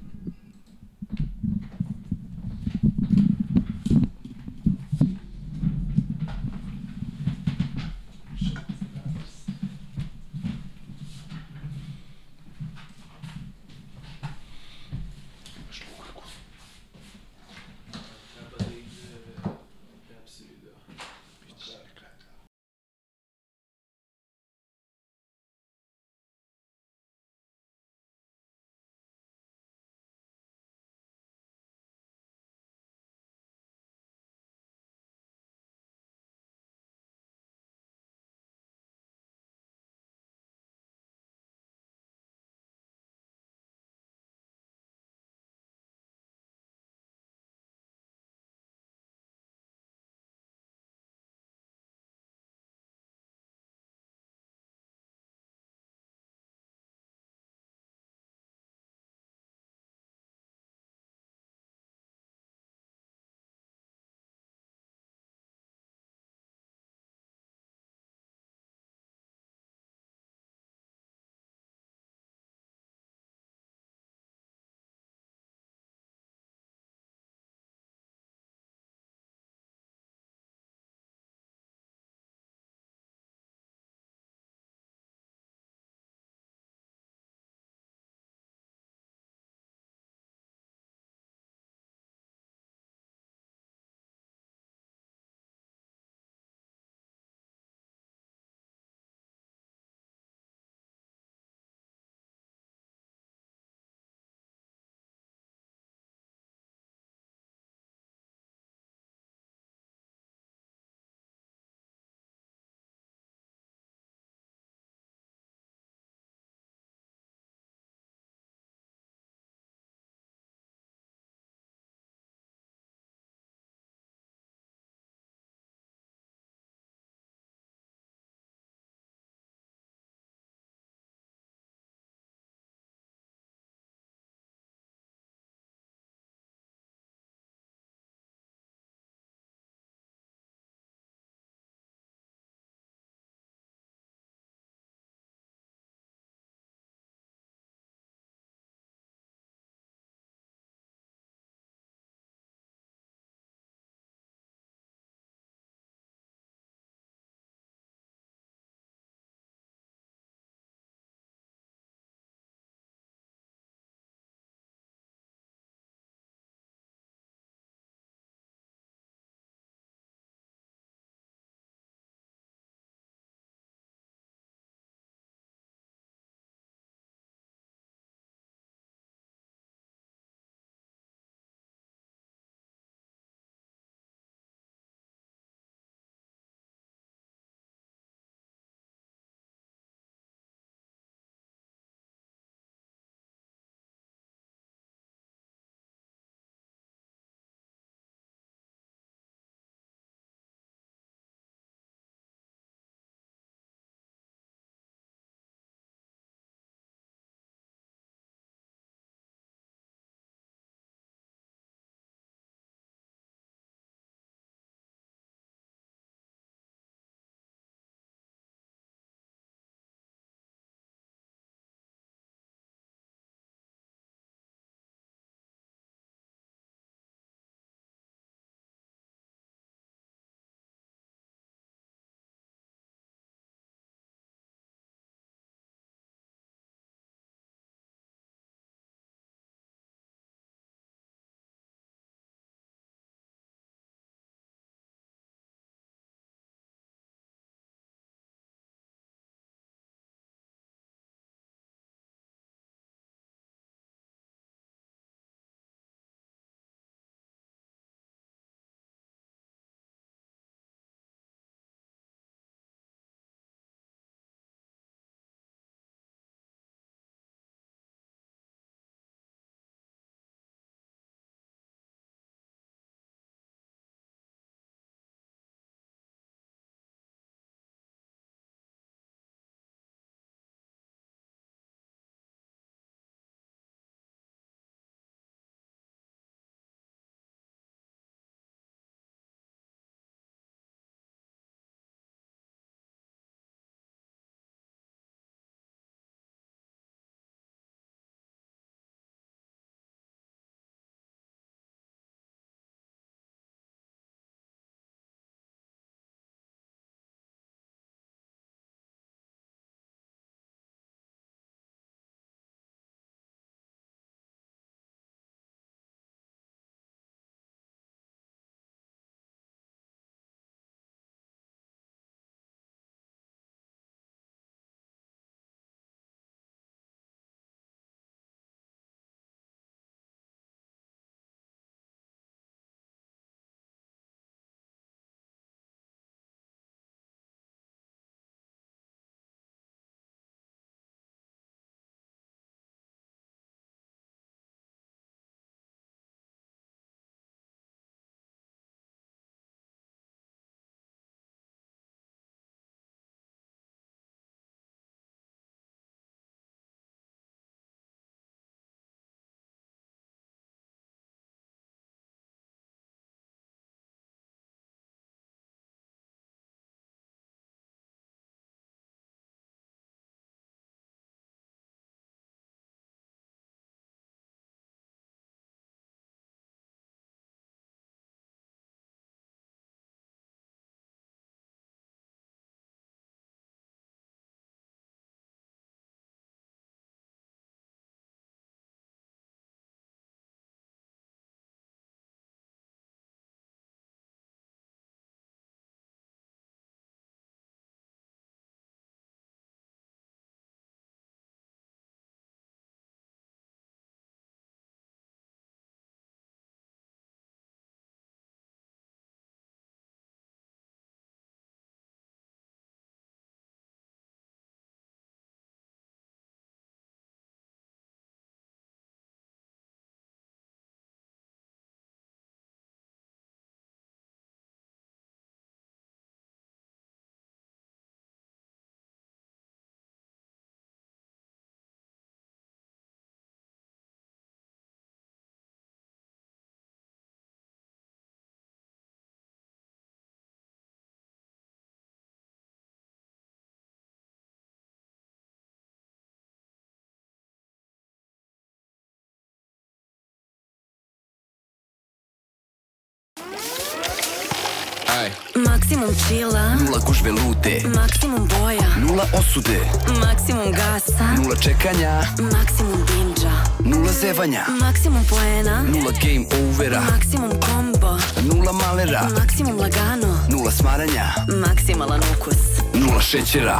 B: Aj.
A: Maksimum čila,
B: Nula gužve lute.
A: maksimum boja,
B: Nula osude.
A: maksimum gasa,
B: Nula čekanja.
A: maksimum binđa,
B: Nula zevanja.
A: maksimum poena,
B: Nula game overa.
A: maksimum kombo,
B: Nula malera.
A: maksimum lagano,
B: Nula smaranja.
A: maksimalan ukus.
B: Nula šećera.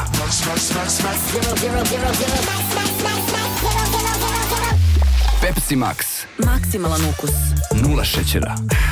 B: Pepsi Max.
A: Maksimalan ukus.
B: Nula šećera.